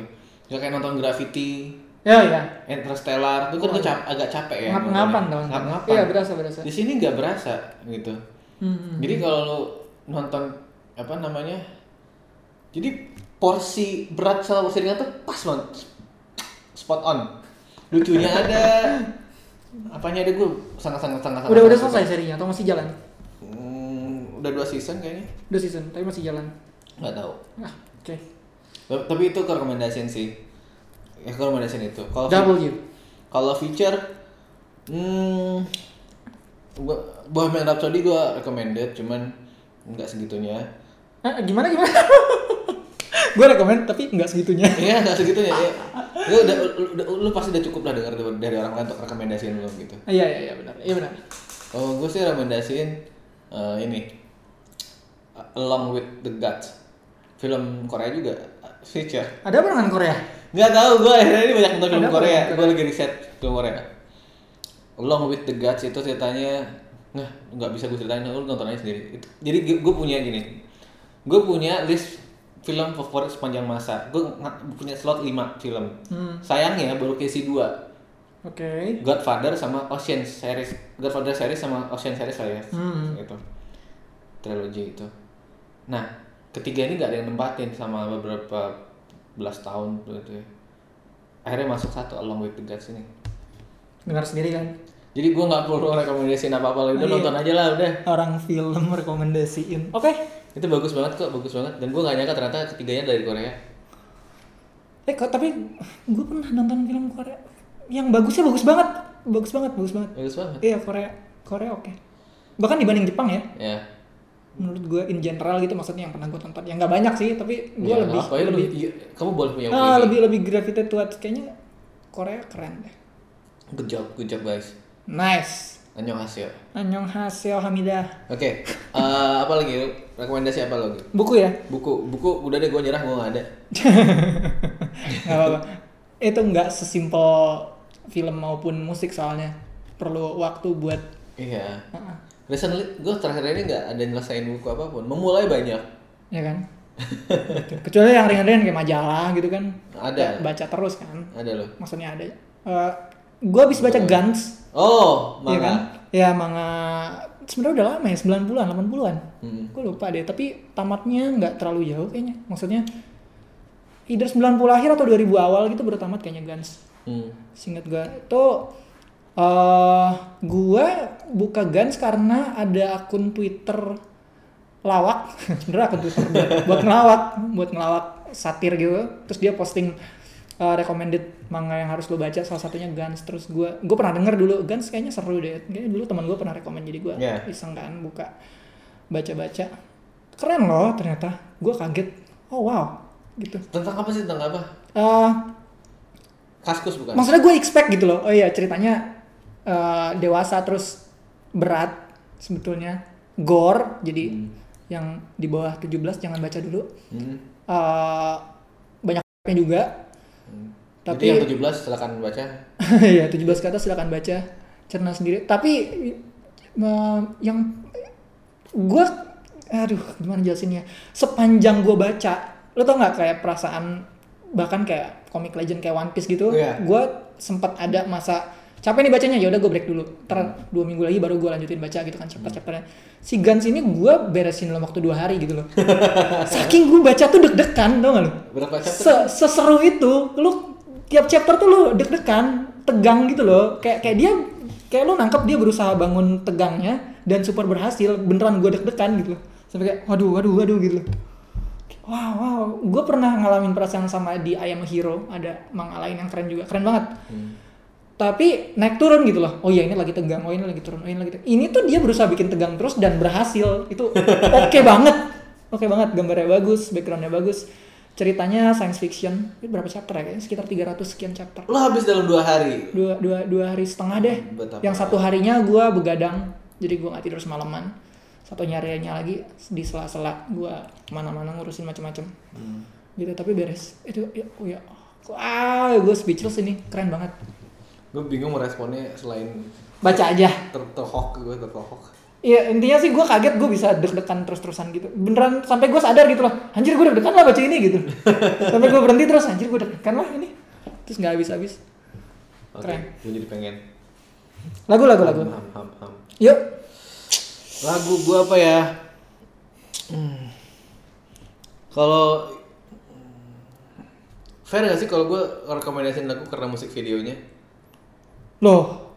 [SPEAKER 2] nggak kayak nonton Gravity
[SPEAKER 1] Iya, iya.
[SPEAKER 2] Interstellar itu kan gua cap- agak capek ya
[SPEAKER 1] Ngap-ngapan
[SPEAKER 2] nontonnya.
[SPEAKER 1] dong.
[SPEAKER 2] ngap-ngapan
[SPEAKER 1] Iya, berasa, berasa. Hmm.
[SPEAKER 2] di sini nggak berasa gitu jadi kalau lu nonton apa namanya jadi porsi berat sama porsi ringan tuh pas banget spot on lucunya ada apanya ada gue sangat sangat sangat
[SPEAKER 1] Udah
[SPEAKER 2] sangat
[SPEAKER 1] udah
[SPEAKER 2] suka.
[SPEAKER 1] selesai serinya atau masih jalan?
[SPEAKER 2] Hmm, udah dua season kayaknya
[SPEAKER 1] Udah season, tapi masih jalan.
[SPEAKER 2] nggak tahu
[SPEAKER 1] Ah, oke.
[SPEAKER 2] Ta- tapi itu rekomendasiin sih ya rekomendasiin itu kalau
[SPEAKER 1] W.
[SPEAKER 2] Kalau feature, hmm, gua, Bohemian Rhapsody gue recommended, cuman nggak segitunya.
[SPEAKER 1] Eh, gimana gimana? gue rekomend tapi nggak segitunya.
[SPEAKER 2] Iya, nggak segitunya. Ya. Lu, udah, lu, udah- lu pasti udah cukup lah denger dari, dari orang lain untuk rekomendasiin lu gitu.
[SPEAKER 1] Ah, Iya iya iya benar. Iya benar.
[SPEAKER 2] Kalau gue sih rekomendasiin eh, ini, Along with the Gods, film Korea juga feature.
[SPEAKER 1] Ada apa dengan Korea?
[SPEAKER 2] Nggak tahu gue akhirnya ini banyak nonton film
[SPEAKER 1] Ada apa
[SPEAKER 2] Korea.
[SPEAKER 1] yang
[SPEAKER 2] Gue lagi riset film Korea. Along with the Gods itu ceritanya, nah nggak bisa gue ceritain, lu nonton aja sendiri. Itu- Jadi gue punya gini, gue punya list film favorit sepanjang masa. Gue punya slot 5 film. Sayangnya baru keisi dua.
[SPEAKER 1] Hmm, Oke.
[SPEAKER 2] Godfather sama Ocean series. Godfather series sama Ocean series lah ya.
[SPEAKER 1] Hmm.
[SPEAKER 2] Gitu. Trilogy itu. Nah, ketiga ini nggak ada yang nempatin sama beberapa belas tahun gitu ya. Akhirnya masuk satu Along with the Gods ini.
[SPEAKER 1] Dengar sendiri kan.
[SPEAKER 2] Jadi gua nggak perlu rekomendasiin apa-apa lagi. Udah
[SPEAKER 1] Iya.
[SPEAKER 2] nonton aja lah udah.
[SPEAKER 1] Orang film rekomendasiin. Oke.
[SPEAKER 2] Itu bagus banget kok, bagus banget. Dan gua nggak nyangka ternyata ketiganya dari Korea.
[SPEAKER 1] Eh kok tapi gue pernah nonton film Korea yang bagusnya bagus banget. Bagus banget, bagus banget.
[SPEAKER 2] Bagus banget.
[SPEAKER 1] Iya Korea, Korea oke. Bahkan dibanding Jepang ya.
[SPEAKER 2] Ya.
[SPEAKER 1] Menurut gue in general gitu maksudnya yang pernah gue tonton. Ya nggak banyak sih, tapi gue
[SPEAKER 2] Ya,
[SPEAKER 1] lebih
[SPEAKER 2] apa ya, lebih, iya, kamu boleh punya
[SPEAKER 1] ah,
[SPEAKER 2] opini.
[SPEAKER 1] lebih lebih gravitate towards kayaknya Korea keren deh.
[SPEAKER 2] Good job, good job guys.
[SPEAKER 1] Nice.
[SPEAKER 2] Annyeonghaseyo.
[SPEAKER 1] Annyeonghaseyo Hamidah.
[SPEAKER 2] Oke, eh apa lagi? Rekomendasi apa lagi?
[SPEAKER 1] Buku ya?
[SPEAKER 2] buku buku udah deh gue nyerah gue nggak ada
[SPEAKER 1] Gak apa-apa. Itu nggak sesimpel film maupun musik soalnya. Perlu waktu buat ah,
[SPEAKER 2] iya
[SPEAKER 1] Heeh.
[SPEAKER 2] recently gue terakhir ini nggak ada nyelesain buku apapun memulai banyak
[SPEAKER 1] ya kan? Gitu. Kecuali yang ringan-ringan kayak majalah gitu kan.
[SPEAKER 2] Ada.
[SPEAKER 1] Baca terus kan.
[SPEAKER 2] ada loh
[SPEAKER 1] Maksudnya ada. Eh gue habis baca Guns,
[SPEAKER 2] oh manga
[SPEAKER 1] ya kan? Ya manga sebenarnya udah lama ya, 90-an, 80-an.
[SPEAKER 2] Hmm.
[SPEAKER 1] Gue lupa deh, tapi tamatnya nggak terlalu jauh kayaknya. Maksudnya either 90 akhir atau 2000 awal gitu baru tamat kayaknya Guns.
[SPEAKER 3] Hmm.
[SPEAKER 1] Singkat gue itu eh gue buka Guns karena ada akun Twitter lawak, sebenarnya akun Twitter buat, buat ngelawak, buat ngelawak satir gitu. Terus dia posting eh, recommended manga yang harus lo baca salah satunya Guns terus gue gue pernah denger dulu Guns kayaknya seru deh kayaknya dulu teman gue pernah rekomend jadi gue
[SPEAKER 2] Yeah.
[SPEAKER 1] iseng kan buka baca-baca keren loh ternyata gue kaget oh wow gitu
[SPEAKER 2] Tentang apa sih? Tentang apa?
[SPEAKER 1] Eh,
[SPEAKER 2] Kaskus bukan?
[SPEAKER 1] maksudnya gue expect gitu loh oh iya ceritanya eh, dewasa terus berat sebetulnya gore jadi yang di bawah 17 jangan baca dulu
[SPEAKER 2] Hmm.
[SPEAKER 1] Eh, banyak nya juga
[SPEAKER 2] Tapi
[SPEAKER 1] tapi
[SPEAKER 2] yang 17 silakan baca.
[SPEAKER 1] ya 17 ke atas silakan baca cerna sendiri tapi eh, yang gue aduh gimana jelasinnya sepanjang gue baca lo tau nggak kayak perasaan bahkan kayak komik legend kayak One Piece gitu
[SPEAKER 2] Iya.
[SPEAKER 1] gue sempat ada masa capek nih bacanya ya udah gue break dulu ntar dua minggu lagi baru gue lanjutin baca gitu kan chapter-chapternya si Guns ini gue beresin dalam waktu dua hari gitu loh saking gue baca tuh deg-degan tau gak lo
[SPEAKER 2] Berapa chapter?
[SPEAKER 1] Se- seseru itu lu tiap chapter tuh lu deg-degan tegang gitu loh kayak kayak dia kayak lu nangkep dia berusaha bangun tegangnya dan super berhasil beneran gue deg-degan gitu loh sampai kayak waduh waduh waduh gitu loh wow wow gue pernah ngalamin perasaan sama di I Am a Hero ada manga lain yang keren juga keren banget tapi naik turun gitu loh oh iya ini lagi tegang oh ini lagi turun oh ini lagi tegang. ini tuh dia berusaha bikin tegang terus dan berhasil itu oke banget oke banget gambarnya bagus backgroundnya bagus ceritanya science fiction ini berapa chapter ya kayaknya sekitar 300 sekian chapter
[SPEAKER 2] Lo habis dalam dua hari.
[SPEAKER 1] dua, dua, dua hari setengah deh
[SPEAKER 2] Buat apa?
[SPEAKER 1] yang satu harinya gue begadang jadi gue nggak tidur semalaman satu nyariannya lagi di sela-sela gue kemana-mana ngurusin macam-macam gitu tapi beres itu ya, oh ya ah gue speechless ini keren banget
[SPEAKER 2] Gue bingung meresponnya selain
[SPEAKER 1] baca aja
[SPEAKER 2] ter terhok gue terhok.
[SPEAKER 1] Iya intinya sih gue kaget gue bisa deg-degan terus-terusan gitu beneran sampai gue sadar gitu loh anjir gue deg-degan lah baca ini gitu sampai gue berhenti terus anjir gue deg-degan lah ini terus nggak habis-habis
[SPEAKER 2] Oke,
[SPEAKER 1] Keren.
[SPEAKER 2] gue jadi pengen.
[SPEAKER 1] lagu lagu lagu
[SPEAKER 2] Ham, ham, ham.
[SPEAKER 1] yuk
[SPEAKER 2] Lagu gue apa ya? Hmm. Kalau fair gak sih kalau gue rekomendasiin lagu karena musik videonya?
[SPEAKER 1] loh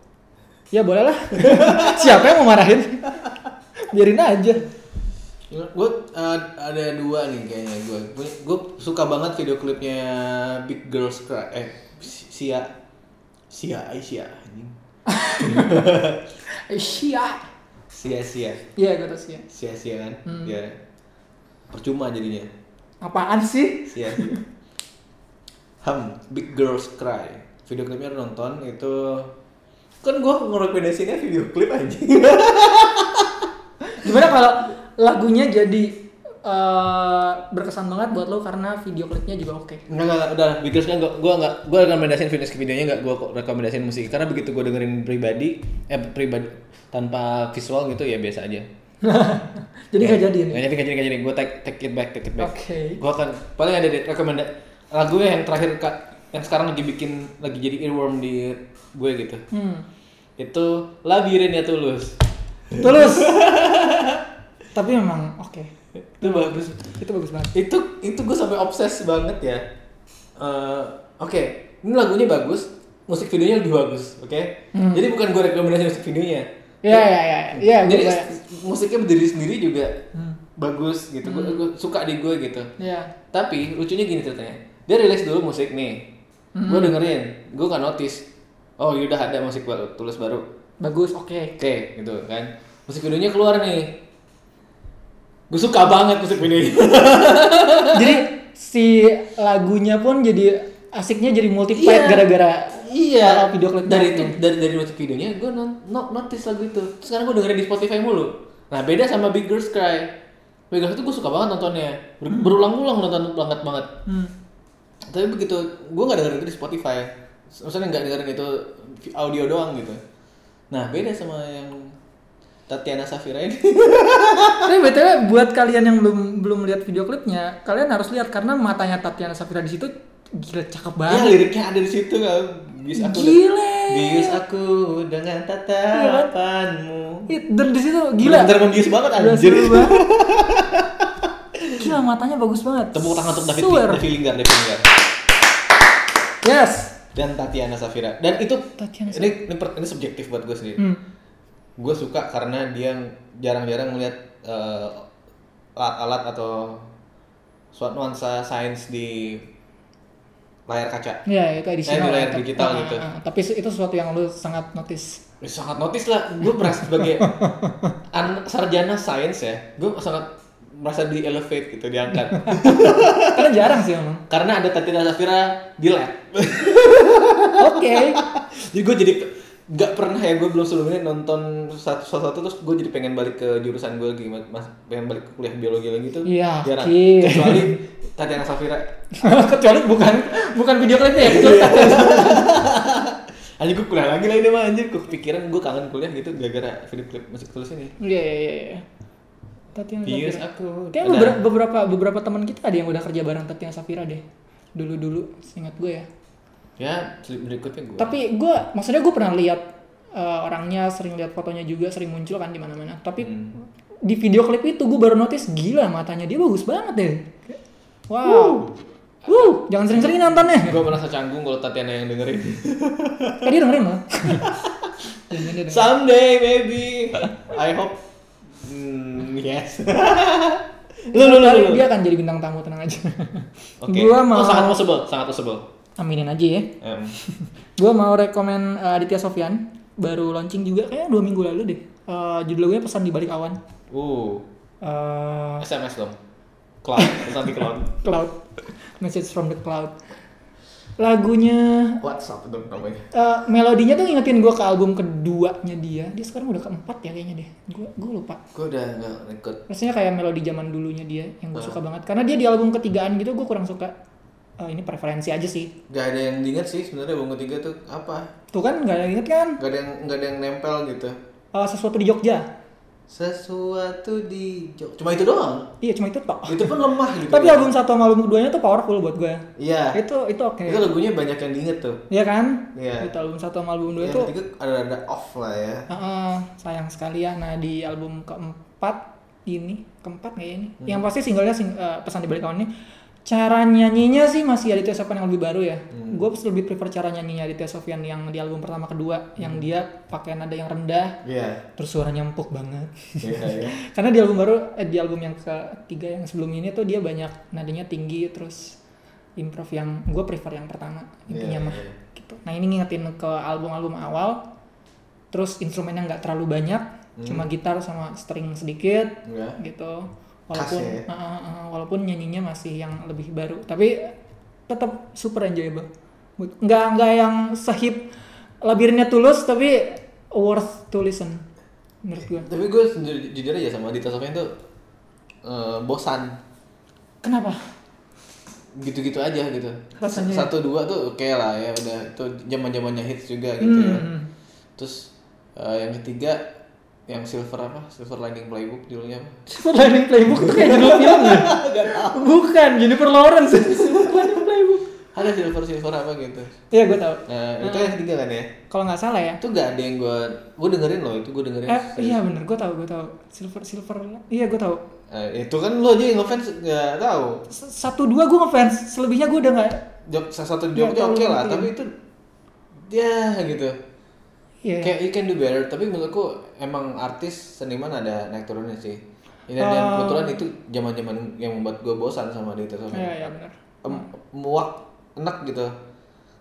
[SPEAKER 1] ya boleh lah siapa yang mau marahin biarin aja
[SPEAKER 2] Gue eh, ada dua nih kayaknya gue. Gue suka banget video klipnya Big Girls Cry. Eh, Sia. Sia, eh, Sia. anjing.
[SPEAKER 1] Sia
[SPEAKER 2] Sia, Sia.
[SPEAKER 1] iya gue tau Sia
[SPEAKER 2] Sia, Sia kan? Iya. Percuma jadinya.
[SPEAKER 1] apaan sih
[SPEAKER 2] Sia, Sia. Ham, Iya. Big Girls Cry. Video klipnya lu nonton itu kan gue ngerekomendasinya video klip anjing.
[SPEAKER 1] gimana kalau lagunya jadi eh, berkesan banget buat lo karena video klipnya juga oke
[SPEAKER 3] Enggak, enggak, udah lah. Because kan gua gua enggak gua rekomendasiin finish videonya enggak gua kok rekomendasiin musik karena begitu gua dengerin pribadi eh pribadi tanpa visual gitu ya biasa aja.
[SPEAKER 1] jadi nggak jadi ini
[SPEAKER 2] Iya.
[SPEAKER 3] Enggak jadi, enggak jadi, enggak jadi. Gua take take it back, take it back.
[SPEAKER 1] Oke.
[SPEAKER 3] Gua akan paling ada di rekomenda lagunya yang terakhir Kak, yang sekarang lagi bikin lagi jadi earworm di gue gitu.
[SPEAKER 1] hmm.
[SPEAKER 3] Itu Labirin ya Tulus.
[SPEAKER 1] Tulus. Tapi memang oke.
[SPEAKER 2] itu bagus.
[SPEAKER 1] Itu bagus banget.
[SPEAKER 2] itu itu gue sampai obses banget ya Eh, oke ini lagunya bagus musik videonya lebih bagus oke jadi bukan gue rekomendasi musik videonya
[SPEAKER 1] Ya ya ya. Hmm. Iya, Hmm. gue
[SPEAKER 2] jadi
[SPEAKER 1] kayak-
[SPEAKER 2] musiknya berdiri sendiri juga bagus gitu Gua
[SPEAKER 1] Hmm.
[SPEAKER 2] gue suka di gue gitu
[SPEAKER 1] Iya.
[SPEAKER 2] tapi lucunya gini ceritanya dia rilis dulu musik nih gue
[SPEAKER 1] Hmm.
[SPEAKER 2] dengerin gue nggak notice oh yaudah ada musik baru tulis baru
[SPEAKER 1] Bagus, oke.
[SPEAKER 2] oke gitu kan musik videonya keluar nih gue suka banget musik videonya
[SPEAKER 1] jadi si lagunya pun jadi asiknya jadi multiplied
[SPEAKER 2] Iya.
[SPEAKER 1] gara-gara
[SPEAKER 2] Iya,
[SPEAKER 1] kalau video klipnya.
[SPEAKER 2] dari itu dari dari musik videonya gue non, no- notice lagu itu. Terus sekarang gue dengerin di Spotify mulu. Nah beda sama Big Girls Cry. Big Girls itu gue suka banget nontonnya, Ber- berulang-ulang nonton banget banget.
[SPEAKER 1] Hmm.
[SPEAKER 2] Tapi begitu gue nggak dengerin itu di Spotify, maksudnya nggak dengerin itu audio doang gitu. Nah beda sama yang Tatiana Safira ini.
[SPEAKER 1] Tapi btw buat kalian yang belum belum lihat video klipnya, kalian harus lihat karena matanya Tatiana Safira di situ gila cakep
[SPEAKER 2] ya
[SPEAKER 1] banget.
[SPEAKER 2] liriknya ada di situ nggak? Bius aku de-
[SPEAKER 1] Gile.
[SPEAKER 2] Bius aku dengan tatapanmu. Iya.
[SPEAKER 1] It- Dan di situ Iya kan? gila.
[SPEAKER 2] Bener-bener membius banget
[SPEAKER 1] Gila,
[SPEAKER 2] anjir.
[SPEAKER 1] seru banget. Gila matanya bagus banget.
[SPEAKER 2] Tepuk tangan untuk David,
[SPEAKER 1] Swear.
[SPEAKER 2] David Lingard, David Lingard.
[SPEAKER 1] Yes.
[SPEAKER 2] dan Tatiana Safira dan itu
[SPEAKER 1] Tatiana
[SPEAKER 2] ini ini, per- ini subjektif buat gue sendiri
[SPEAKER 1] Hmm.
[SPEAKER 2] gue suka karena dia jarang-jarang melihat eh, alat-alat atau suatu nuansa sains di layar kaca
[SPEAKER 1] Ya itu
[SPEAKER 2] Eh,
[SPEAKER 1] additional.
[SPEAKER 2] di layar
[SPEAKER 1] Tapi-
[SPEAKER 2] digital
[SPEAKER 1] ah,
[SPEAKER 2] gitu.
[SPEAKER 1] ah, ah. Tapi itu sesuatu yang lu sangat notice.
[SPEAKER 2] Eh, sangat notice lah gue merasa sebagai an- sarjana sains ya gue sangat merasa di elevate gitu diangkat
[SPEAKER 1] Karena jarang sih emang.
[SPEAKER 2] karena ada Tatiana Safira di lab
[SPEAKER 1] Oke.
[SPEAKER 2] jadi gue jadi nggak pernah ya gue belum sebelumnya nonton satu salah satu terus gue jadi pengen balik ke jurusan gue lagi mas pengen balik ke kuliah biologi lagi tuh
[SPEAKER 1] Iya,
[SPEAKER 2] jarang
[SPEAKER 1] oke.
[SPEAKER 2] kecuali Tatiana Safira
[SPEAKER 1] Kecuali bukan bukan video klipnya ya. Kecuali
[SPEAKER 2] Iya. anjir gue kuliah lagi lah ini mah anjir gue kepikiran gue kangen kuliah gitu gara-gara video klip musik tulus ini
[SPEAKER 1] Iya iya iya. iya. Tatiana
[SPEAKER 2] Bius
[SPEAKER 1] Safira.
[SPEAKER 2] aku.
[SPEAKER 1] Kayaknya
[SPEAKER 2] Ada.
[SPEAKER 1] beberapa, beberapa beberapa teman kita ada yang udah kerja bareng Tatiana Safira deh. Dulu dulu, ingat gue ya.
[SPEAKER 2] ya slip berikutnya gue
[SPEAKER 1] Tapi gue, maksudnya gue pernah lihat eh, orangnya, sering lihat fotonya juga, sering muncul kan di mana-mana. Tapi
[SPEAKER 2] Hmm.
[SPEAKER 1] di video klip itu gue baru notice gila matanya dia bagus banget deh. Wow. Wuh, jangan sering-sering nontonnya.
[SPEAKER 2] gue merasa canggung kalau Tatiana yang dengerin
[SPEAKER 1] Kan dia dengerin loh. Jangan dia dengerin.
[SPEAKER 2] someday maybe I hope Hmm, yes lu lu lu,
[SPEAKER 1] Kali
[SPEAKER 2] lu lu
[SPEAKER 1] Dia akan jadi bintang tamu tenang aja.
[SPEAKER 2] Oke.
[SPEAKER 1] Gue mau
[SPEAKER 2] oh, sangat possible sangat possible
[SPEAKER 1] aminin aja ya.
[SPEAKER 2] Em,
[SPEAKER 1] Gue mau rekomen eh, Aditya Sofyan baru launching juga kayak dua minggu lalu deh. Eh, judul gue pesan di balik awan.
[SPEAKER 2] uh
[SPEAKER 1] Eh,
[SPEAKER 2] SMS dong. Cloud, pesan di cloud.
[SPEAKER 1] cloud message from the cloud lagunya
[SPEAKER 2] WhatsApp dong namanya.
[SPEAKER 1] eh, melodinya tuh ngingetin gue ke album keduanya dia dia sekarang udah keempat ya kayaknya deh gue gue lupa
[SPEAKER 2] Gue udah nggak ikut.
[SPEAKER 1] rasanya kayak melodi zaman dulunya dia yang
[SPEAKER 2] Nah.
[SPEAKER 1] gue suka banget karena dia di album ketigaan gitu gue kurang suka Eh, ini preferensi aja sih
[SPEAKER 2] Gak ada yang diinget sih sebenarnya bunga tiga tuh apa?
[SPEAKER 1] tuh kan nggak ada yang inget kan
[SPEAKER 2] Gak ada yang nggak ada yang nempel gitu.
[SPEAKER 1] Eh, sesuatu di Jogja
[SPEAKER 2] Sesuatu di Jog- Cuma itu doang.
[SPEAKER 1] iya cuma itu tok
[SPEAKER 2] Itu pun lemah gitu.
[SPEAKER 1] tapi album satu sama album keduanya tuh powerful buat gue
[SPEAKER 2] Iya.
[SPEAKER 1] itu itu oke
[SPEAKER 2] Itu lagunya banyak yang diinget tuh.
[SPEAKER 1] Iya kan
[SPEAKER 2] Iya.
[SPEAKER 1] itu album satu sama album dua
[SPEAKER 2] Yang
[SPEAKER 1] itu
[SPEAKER 2] ketiga ada ada off lah ya.
[SPEAKER 1] Heeh, sayang sekali ya. Nah di album keempat ini keempat nggak ya ini? Yang pasti singlenya sing, eh, pesan di balik awan ini cara nyanyinya sih masih Aditya Sofyan yang lebih baru ya. Gue lebih prefer cara nyanyinya Aditya Sofyan yang di album pertama kedua yang dia pakai nada yang rendah
[SPEAKER 2] Iya.
[SPEAKER 1] terus suaranya empuk banget.
[SPEAKER 2] Iya ya.
[SPEAKER 1] Karena di album baru eh, di album yang ketiga yang sebelum ini tuh dia banyak nadanya tinggi terus improv yang gue prefer yang pertama intinya
[SPEAKER 2] Iya,
[SPEAKER 1] mah
[SPEAKER 2] iya.
[SPEAKER 1] gitu. Nah ini ngingetin ke album-album awal terus instrumennya nggak terlalu banyak
[SPEAKER 2] Hmm.
[SPEAKER 1] cuma gitar sama string sedikit
[SPEAKER 2] Iya.
[SPEAKER 1] gitu walaupun
[SPEAKER 2] Khas ya.
[SPEAKER 1] Ah, ah, ah, walaupun nyanyinya masih yang lebih baru tapi tetap super enjoyable But- nggak nggak yang sehip labirinnya tulus tapi worth to listen menurut gue
[SPEAKER 2] Tapi gue jujur, jujur aja sama Dita Sofian tuh eh, bosan
[SPEAKER 1] kenapa
[SPEAKER 2] gitu-gitu aja gitu
[SPEAKER 1] Rasanya.
[SPEAKER 2] satu dua tuh oke lah ya udah itu zaman zamannya hits juga
[SPEAKER 1] Hmm,
[SPEAKER 2] gitu ya terus eh, yang ketiga yang silver apa silver lining playbook judulnya apa
[SPEAKER 1] Silver Lining Playbook tuh kayak judul film ya? Bukan, Jennifer Lawrence. Silver Lining Playbook.
[SPEAKER 2] ada silver silver apa gitu
[SPEAKER 1] Iya, gue tau.
[SPEAKER 2] nah itu yang ketiga kan ya
[SPEAKER 1] Kalau nggak salah ya.
[SPEAKER 2] itu nggak ada yang gue gue dengerin loh itu gue dengerin
[SPEAKER 1] Eh, iya bener, gue tau, gue tau. Silver, Silver, iya gue tau.
[SPEAKER 2] Eh, itu kan lo aja yang ngefans nggak tahu
[SPEAKER 1] S- Satu dua gue ngefans, selebihnya gue udah nggak.
[SPEAKER 2] jok salah satu
[SPEAKER 1] Nggak
[SPEAKER 2] joknya oke
[SPEAKER 1] terlalu
[SPEAKER 2] lah
[SPEAKER 1] penting.
[SPEAKER 2] tapi itu ya gitu
[SPEAKER 1] Iya.
[SPEAKER 2] kayak you can do better tapi menurutku emang artis seniman ada naik turunnya sih ini dan
[SPEAKER 1] Ah.
[SPEAKER 2] kebetulan itu zaman zaman yang membuat gue bosan sama Aditya Sofyan
[SPEAKER 1] Iya, iya bener.
[SPEAKER 2] Em- muak enak gitu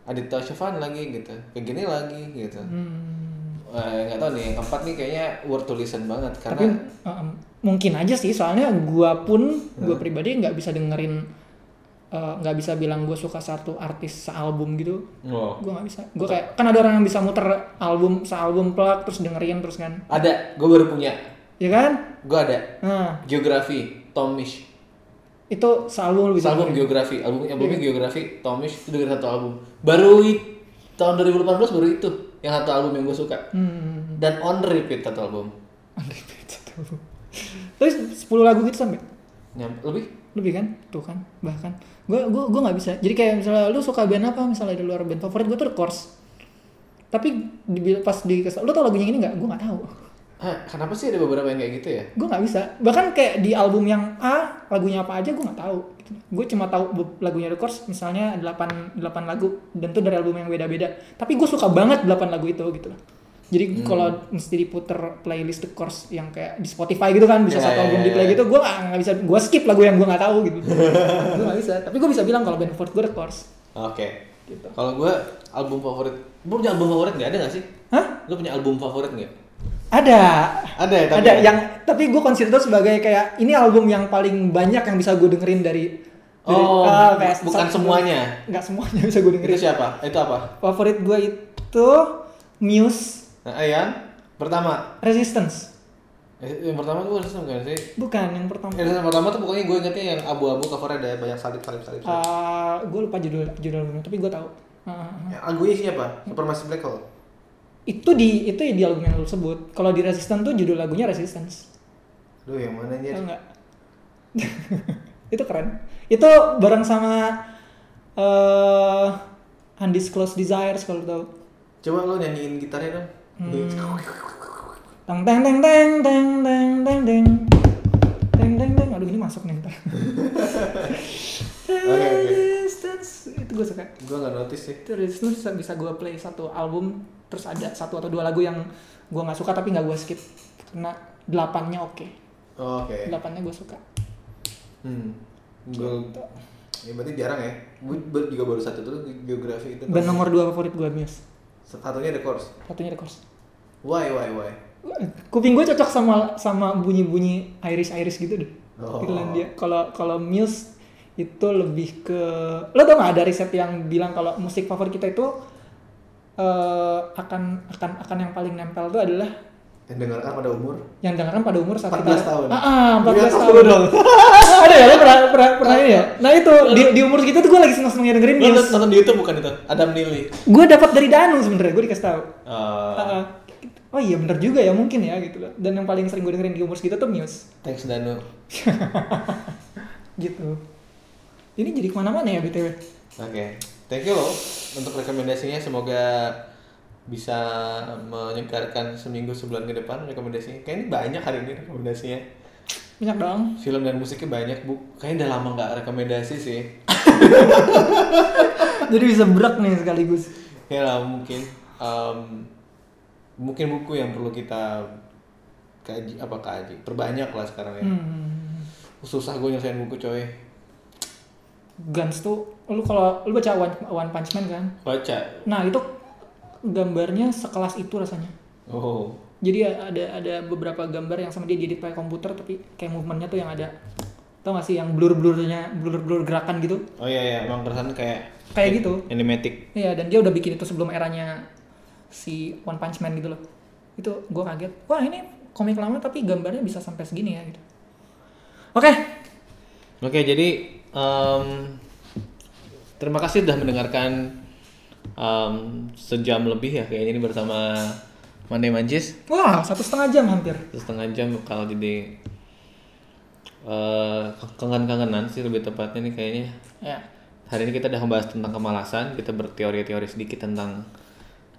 [SPEAKER 2] Aditya Sofyan lagi gitu kayak gini lagi gitu
[SPEAKER 1] Hmm.
[SPEAKER 2] Eh, nggak tahu nih yang keempat nih kayaknya worth to listen banget
[SPEAKER 1] Tapi
[SPEAKER 2] karena
[SPEAKER 1] eh, mungkin aja sih, soalnya gue pun, gue pribadi nggak bisa dengerin, eh, nggak bisa bilang gue suka satu artis sealbum gitu.
[SPEAKER 2] Wow.
[SPEAKER 1] Gue nggak bisa. Gue kayak, kan ada orang yang bisa muter album, sealbum plak, terus dengerin terus kan.
[SPEAKER 2] ada gue baru punya
[SPEAKER 1] Ya kan?
[SPEAKER 2] gue ada
[SPEAKER 1] Nah,
[SPEAKER 2] geografi Tomish
[SPEAKER 1] itu gitu. sealbum lebih
[SPEAKER 2] album geografi album albumnya geografi Tomish itu dengerin satu album baru i- tahun 2018 baru itu yang satu album yang gue suka
[SPEAKER 1] Hmm.
[SPEAKER 2] dan on repeat satu album
[SPEAKER 1] Unrepeated album. Terus 10 lagu gitu sampai
[SPEAKER 2] Nyam- lebih
[SPEAKER 1] lebih kan? Tuh kan, bahkan. Gue gua gua nggak bisa. Jadi kayak misalnya lu suka band apa misalnya di luar band favorit gue tuh The Course. Tapi di, pas di lu tau lagunya ini nggak? Gue nggak tahu.
[SPEAKER 3] Hah, kenapa sih ada beberapa yang kayak gitu ya?
[SPEAKER 1] gue nggak bisa bahkan kayak di album yang A lagunya apa aja gue nggak tahu gitu. gue cuma tahu be- lagunya The Course misalnya 8, 8 lagu dan itu dari album yang beda-beda tapi gue suka banget 8 lagu itu gitu loh jadi kalau mesti diputer playlist The Course yang kayak di Spotify gitu kan bisa
[SPEAKER 2] Ya,
[SPEAKER 1] satu
[SPEAKER 2] ya,
[SPEAKER 1] album
[SPEAKER 2] ya,
[SPEAKER 1] di play
[SPEAKER 2] ya.
[SPEAKER 1] gitu gue nggak nggak bisa gue skip lagu yang gue nggak tahu gitu gue nggak bisa tapi gue bisa bilang kalau band favorit gue The Course
[SPEAKER 2] Oke. Kalau gue album favorit, lu punya album favorit nggak ada nggak sih?
[SPEAKER 1] hah
[SPEAKER 2] Lu punya album favorit nggak?
[SPEAKER 1] ada
[SPEAKER 2] Ada ya, tapi
[SPEAKER 1] ada yang tapi gue consider itu sebagai kayak ini album yang paling banyak yang bisa gue dengerin dari dari-
[SPEAKER 2] Oh,
[SPEAKER 1] ah,
[SPEAKER 2] bukan
[SPEAKER 1] satu-
[SPEAKER 2] semuanya.
[SPEAKER 1] nggak semuanya bisa gue
[SPEAKER 2] Itu
[SPEAKER 1] dengerin
[SPEAKER 2] siapa? Itu apa?
[SPEAKER 1] favorit gue itu Muse
[SPEAKER 2] Nah, yang pertama.
[SPEAKER 1] Resistance
[SPEAKER 2] Eh, Yang pertama gue resistem kan sih.
[SPEAKER 1] bukan yang pertama
[SPEAKER 2] Eh, Yang pertama tuh pokoknya gue ingetnya yang abu-abu covernya ada banyak salib salib salib. salib.
[SPEAKER 1] gue Eh, lupa judul judul albumnya tapi gue tahu Ah,
[SPEAKER 2] Yang Lagunya siapa? Supermassive Black Hole.
[SPEAKER 1] itu di itu di album yang lu sebut kalau di Resistance tuh judul lagunya Resistance
[SPEAKER 2] Aduh yang mana anjir?
[SPEAKER 1] Tau nggak? itu keren itu bareng sama eh Undisclosed Desires kalau lu tahu
[SPEAKER 2] Coba lo nyanyiin gitarnya dong.
[SPEAKER 1] Hmm. Teng teng teng teng teng teng teng teng teng teng teng aduh ini masuk nih ntar.
[SPEAKER 2] oke.
[SPEAKER 1] Resistance itu gue suka.
[SPEAKER 2] Gue nggak notice sih.
[SPEAKER 1] Itu Resistance bisa- bisa gue play satu album terus ada satu atau dua lagu yang gue nggak suka tapi nggak gue skip karena delapannya oke
[SPEAKER 2] Oh, Oke.
[SPEAKER 1] delapannya gue suka.
[SPEAKER 2] Hmm. Gue ya berarti jarang ya. Gue juga baru satu tuh geografi itu.
[SPEAKER 1] Band nomor dua favorit gue Muse
[SPEAKER 2] Satunya ada course.
[SPEAKER 1] satunya The Course.
[SPEAKER 2] Why why why?
[SPEAKER 1] Kuping gue cocok sama sama bunyi-bunyi Irish Irish gitu deh.
[SPEAKER 2] Oh.
[SPEAKER 1] Irlandia. Kalau kalau Muse itu lebih ke lo tau gak ada riset yang bilang kalau musik favorit kita itu eh, akan akan akan yang paling nempel itu adalah
[SPEAKER 2] Yang dengarkan pada umur.
[SPEAKER 1] yang dengarkan pada umur saat
[SPEAKER 2] 14 tahun.
[SPEAKER 1] Ah, ah, 14
[SPEAKER 2] Iya,
[SPEAKER 1] tahun.
[SPEAKER 2] tahu dong.
[SPEAKER 1] ada ya lo pernah pernah pernah ini ya. Nah itu di, di umur kita tuh gue lagi seneng senengnya dengerin
[SPEAKER 2] Lo
[SPEAKER 1] Muse.
[SPEAKER 2] nonton di YouTube bukan itu? Adam Eh, Nili.
[SPEAKER 1] Gue dapat dari Danu sebenarnya gue dikasih tahu. Ah,
[SPEAKER 2] Eh,
[SPEAKER 1] ah. Oh iya bener juga ya mungkin ya gitu loh. Dan yang paling sering gue dengerin di umur segitu tuh Muse.
[SPEAKER 2] thanks Danu.
[SPEAKER 1] gitu ini jadi kemana-mana ya btw
[SPEAKER 2] Oke, thank you loh untuk rekomendasinya. Semoga bisa menyegarkan seminggu sebulan ke depan rekomendasinya. Kayaknya banyak hari ini rekomendasinya.
[SPEAKER 1] banyak dong
[SPEAKER 2] Film dan musiknya banyak bu. Kayaknya udah lama nggak rekomendasi sih.
[SPEAKER 1] jadi bisa berat nih sekaligus
[SPEAKER 2] Ya lah mungkin em, mungkin buku yang perlu kita kaji apa kaji perbanyak lah sekarang ya.
[SPEAKER 1] hmm.
[SPEAKER 2] Susah gue nyelesain buku coy.
[SPEAKER 1] Guns tuh lu kalau lu baca One, One Punch Man kan
[SPEAKER 2] Baca.
[SPEAKER 1] nah itu gambarnya sekelas itu rasanya
[SPEAKER 2] Oh.
[SPEAKER 1] jadi ya, ada ada beberapa gambar yang sama dia jadi kayak komputer tapi kayak movementnya tuh yang ada tau gak sih yang blur blurnya blur blur gerakan gitu
[SPEAKER 2] Oh iya ya, emang keresan kayak
[SPEAKER 1] kayak gitu
[SPEAKER 2] animatic.
[SPEAKER 1] Iya, dan dia udah bikin itu sebelum eranya si One Punch Man gitu loh. Itu gue kaget. Wah ini komik lama tapi gambarnya bisa sampai segini ya gitu. Oke,
[SPEAKER 2] Oke, jadi em, terima kasih sudah mendengarkan em, sejam lebih ya kayaknya ini bersama Mande Mancis
[SPEAKER 1] wah satu setengah jam hampir.
[SPEAKER 2] setengah jam bakal jadi eh, kangen-kangenan sih lebih tepatnya nih kayaknya.
[SPEAKER 1] Ya,
[SPEAKER 2] Hari ini kita udah membahas tentang kemalasan, kita berteori-teori sedikit tentang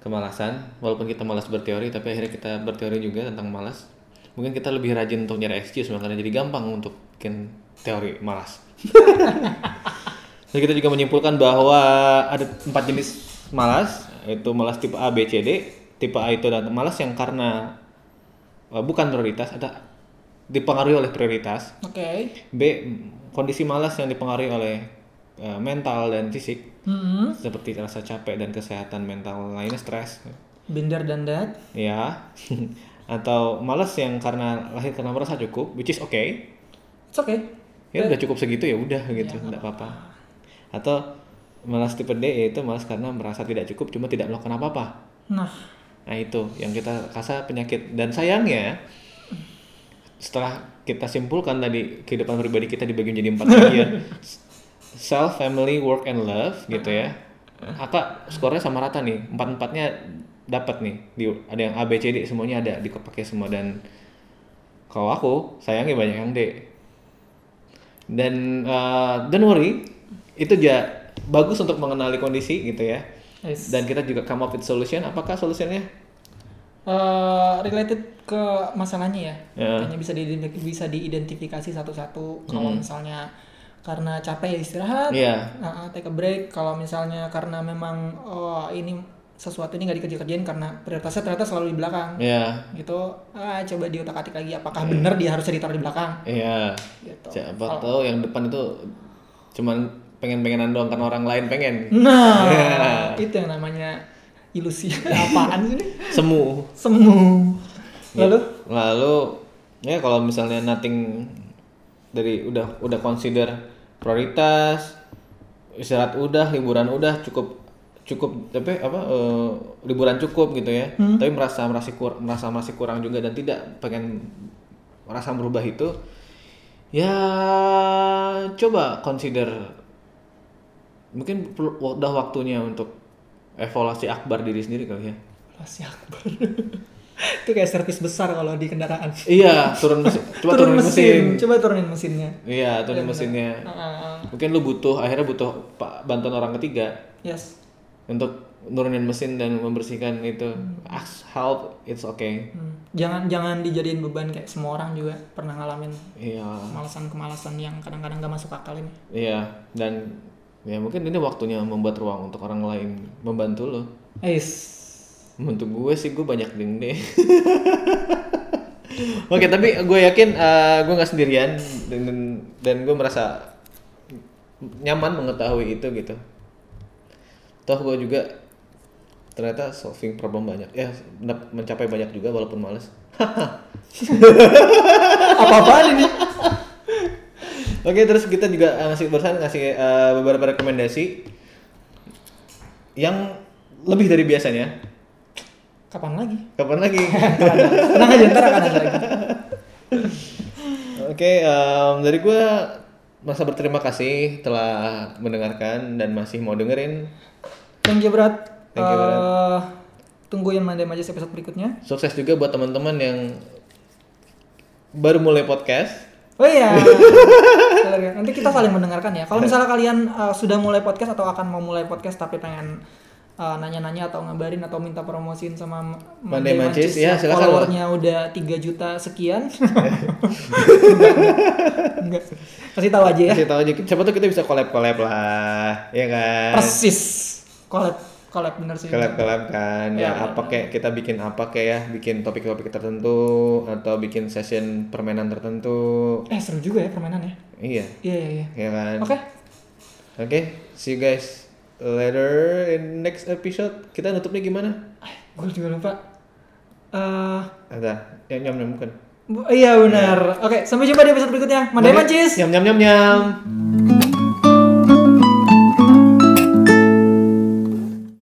[SPEAKER 2] kemalasan. Walaupun kita malas berteori, tapi akhirnya kita berteori juga tentang malas. Mungkin kita lebih rajin untuk nyari excuse, makanya jadi gampang untuk bikin teori malas. Dan kita juga menyimpulkan bahwa ada empat jenis malas, yaitu malas tipe A, B, C, D. Tipe A itu adalah malas yang karena eh, bukan prioritas, ada dipengaruhi oleh prioritas.
[SPEAKER 1] oke.
[SPEAKER 2] B. Kondisi malas yang dipengaruhi oleh eh, mental dan fisik
[SPEAKER 1] Hmm,
[SPEAKER 2] seperti rasa capek dan kesehatan mental lainnya stres
[SPEAKER 1] Binder dan Dad.
[SPEAKER 2] ya atau malas yang karena lahir karena merasa cukup which is okay
[SPEAKER 1] It's okay.
[SPEAKER 2] ya udah cukup segitu ya udah gitu tidak apa-apa atau malas tipe D yaitu malas karena merasa tidak cukup cuma tidak melakukan apa-apa
[SPEAKER 1] Nah,
[SPEAKER 2] Nah itu yang kita rasa penyakit dan sayangnya setelah kita simpulkan tadi kehidupan pribadi kita dibagi menjadi empat bagian self, family, work, and love gitu ya. Aka skornya sama rata nih empat empatnya dapat nih di ada yang A B C D semuanya ada dipakai semua dan kalau aku sayangnya banyak yang D dan uh, don't worry itu ja bagus untuk mengenali kondisi gitu ya
[SPEAKER 1] yes.
[SPEAKER 2] dan kita juga come up with solution apakah solutionnya
[SPEAKER 1] eh, related ke masalahnya ya.
[SPEAKER 2] Ya.
[SPEAKER 1] Kayaknya bisa di bisa diidentifikasi satu-satu. Kalau misalnya karena capek ya istirahat,
[SPEAKER 2] Iya.
[SPEAKER 1] uh, uh, take a break. Kalau misalnya karena memang oh, ini sesuatu ini nggak dikerja-kerjain karena prioritasnya ternyata selalu di belakang.
[SPEAKER 2] Iya.
[SPEAKER 1] Gitu, ah, coba diotak-atik lagi apakah benar dia harusnya ditaruh di belakang
[SPEAKER 2] Iya.
[SPEAKER 1] gitu.
[SPEAKER 2] Siapa tahu yang depan itu cuman pengen-pengenan doang karena orang lain pengen.
[SPEAKER 1] Nah, itu yang namanya ilusi apaan sih ini? Iya.
[SPEAKER 2] Semu.
[SPEAKER 1] Semu. Lalu
[SPEAKER 2] Iya. Lalu ya kalau misalnya nothing dari udah udah consider prioritas istirahat udah liburan udah cukup cukup tapi apa eh, liburan cukup gitu ya tapi merasa merasa kur, merasa masih kurang juga dan tidak pengen merasa berubah itu ya coba consider mungkin perlu- udah waktunya untuk evaluasi akbar diri sendiri kali ya
[SPEAKER 1] Masih Akbar. itu kayak servis besar kalau di kendaraan.
[SPEAKER 2] iya turun mesin coba turun, mesin.
[SPEAKER 1] Coba turunin mesinnya.
[SPEAKER 2] Iya, tuh di mesinnya.
[SPEAKER 1] Heeh.
[SPEAKER 2] Mungkin lu butuh akhirnya butuh pa- bantuan orang ketiga
[SPEAKER 1] yes.
[SPEAKER 2] untuk nurunin mesin dan membersihkan itu. Ask help, it's okay.
[SPEAKER 1] Hmm. Jangan jangan dijadiin beban kayak semua orang juga pernah ngalamin
[SPEAKER 2] Iya.
[SPEAKER 1] kemalasan-kemalasan yang kadang-kadang gak masuk akal ini.
[SPEAKER 2] Iya, dan ya mungkin ini waktunya membuat ruang untuk orang lain membantu lo.
[SPEAKER 1] Eis.
[SPEAKER 2] Untuk gue sih gue banyak ding deh. Oke, tapi gue yakin eh, gue nggak sendirian dan dan- dan gue merasa nyaman mengetahui itu gitu. Toh gue juga ternyata solving problem banyak ya men- mencapai banyak juga walaupun males.
[SPEAKER 1] Apa-apaan ini?
[SPEAKER 2] Oke, terus kita juga eh, ngasih barusan ngasih eh, beberapa rekomendasi yang lebih dari biasanya.
[SPEAKER 1] Kapan lagi?
[SPEAKER 2] Kapan lagi?
[SPEAKER 1] Tenang aja, ntar akan ada lagi.
[SPEAKER 2] Oke, em, dari gue merasa berterima kasih telah mendengarkan dan masih mau dengerin.
[SPEAKER 1] Thank you, Brad.
[SPEAKER 2] Thank you, Brad.
[SPEAKER 1] Eh, tungguin Mandem aja episode berikutnya.
[SPEAKER 2] Sukses juga buat teman-teman yang baru mulai podcast.
[SPEAKER 1] Oh iya. Bener ya. Nanti kita saling mendengarkan ya. Kalau misalnya kalian uh, sudah mulai podcast atau akan mau mulai podcast tapi pengen uh, nanya-nanya atau ngabarin atau minta promosiin sama M-
[SPEAKER 2] Monday Mancis, ya,
[SPEAKER 1] yang
[SPEAKER 2] silakan.
[SPEAKER 1] Followernya udah 3 juta sekian. Enggak. Kasih tahu aja ya.
[SPEAKER 2] Kasih tahu aja, siapa tuh kita bisa collab-collab lah, ya kan?
[SPEAKER 1] Persis. Collab collab bener sih.
[SPEAKER 2] Collab-collab kan,
[SPEAKER 1] Ya,
[SPEAKER 2] ya, apa kayak kita bikin apa kayak ya, bikin topik-topik tertentu atau bikin session permainan tertentu,
[SPEAKER 1] Eh seru juga ya permainannya.
[SPEAKER 2] iya,
[SPEAKER 1] Iya iya iya.
[SPEAKER 2] ya kan?
[SPEAKER 1] Oke.
[SPEAKER 2] Oke, see you guys later in next episode. Kita nutupnya gimana?
[SPEAKER 1] Gue Ah, juga lupa. Eh
[SPEAKER 2] Ada yang nyam nyam kan?
[SPEAKER 1] Iya. bu- iya benar. Oke, sampai jumpa di episode berikutnya. Mandai Mancis.
[SPEAKER 2] Nyam nyam nyam nyam.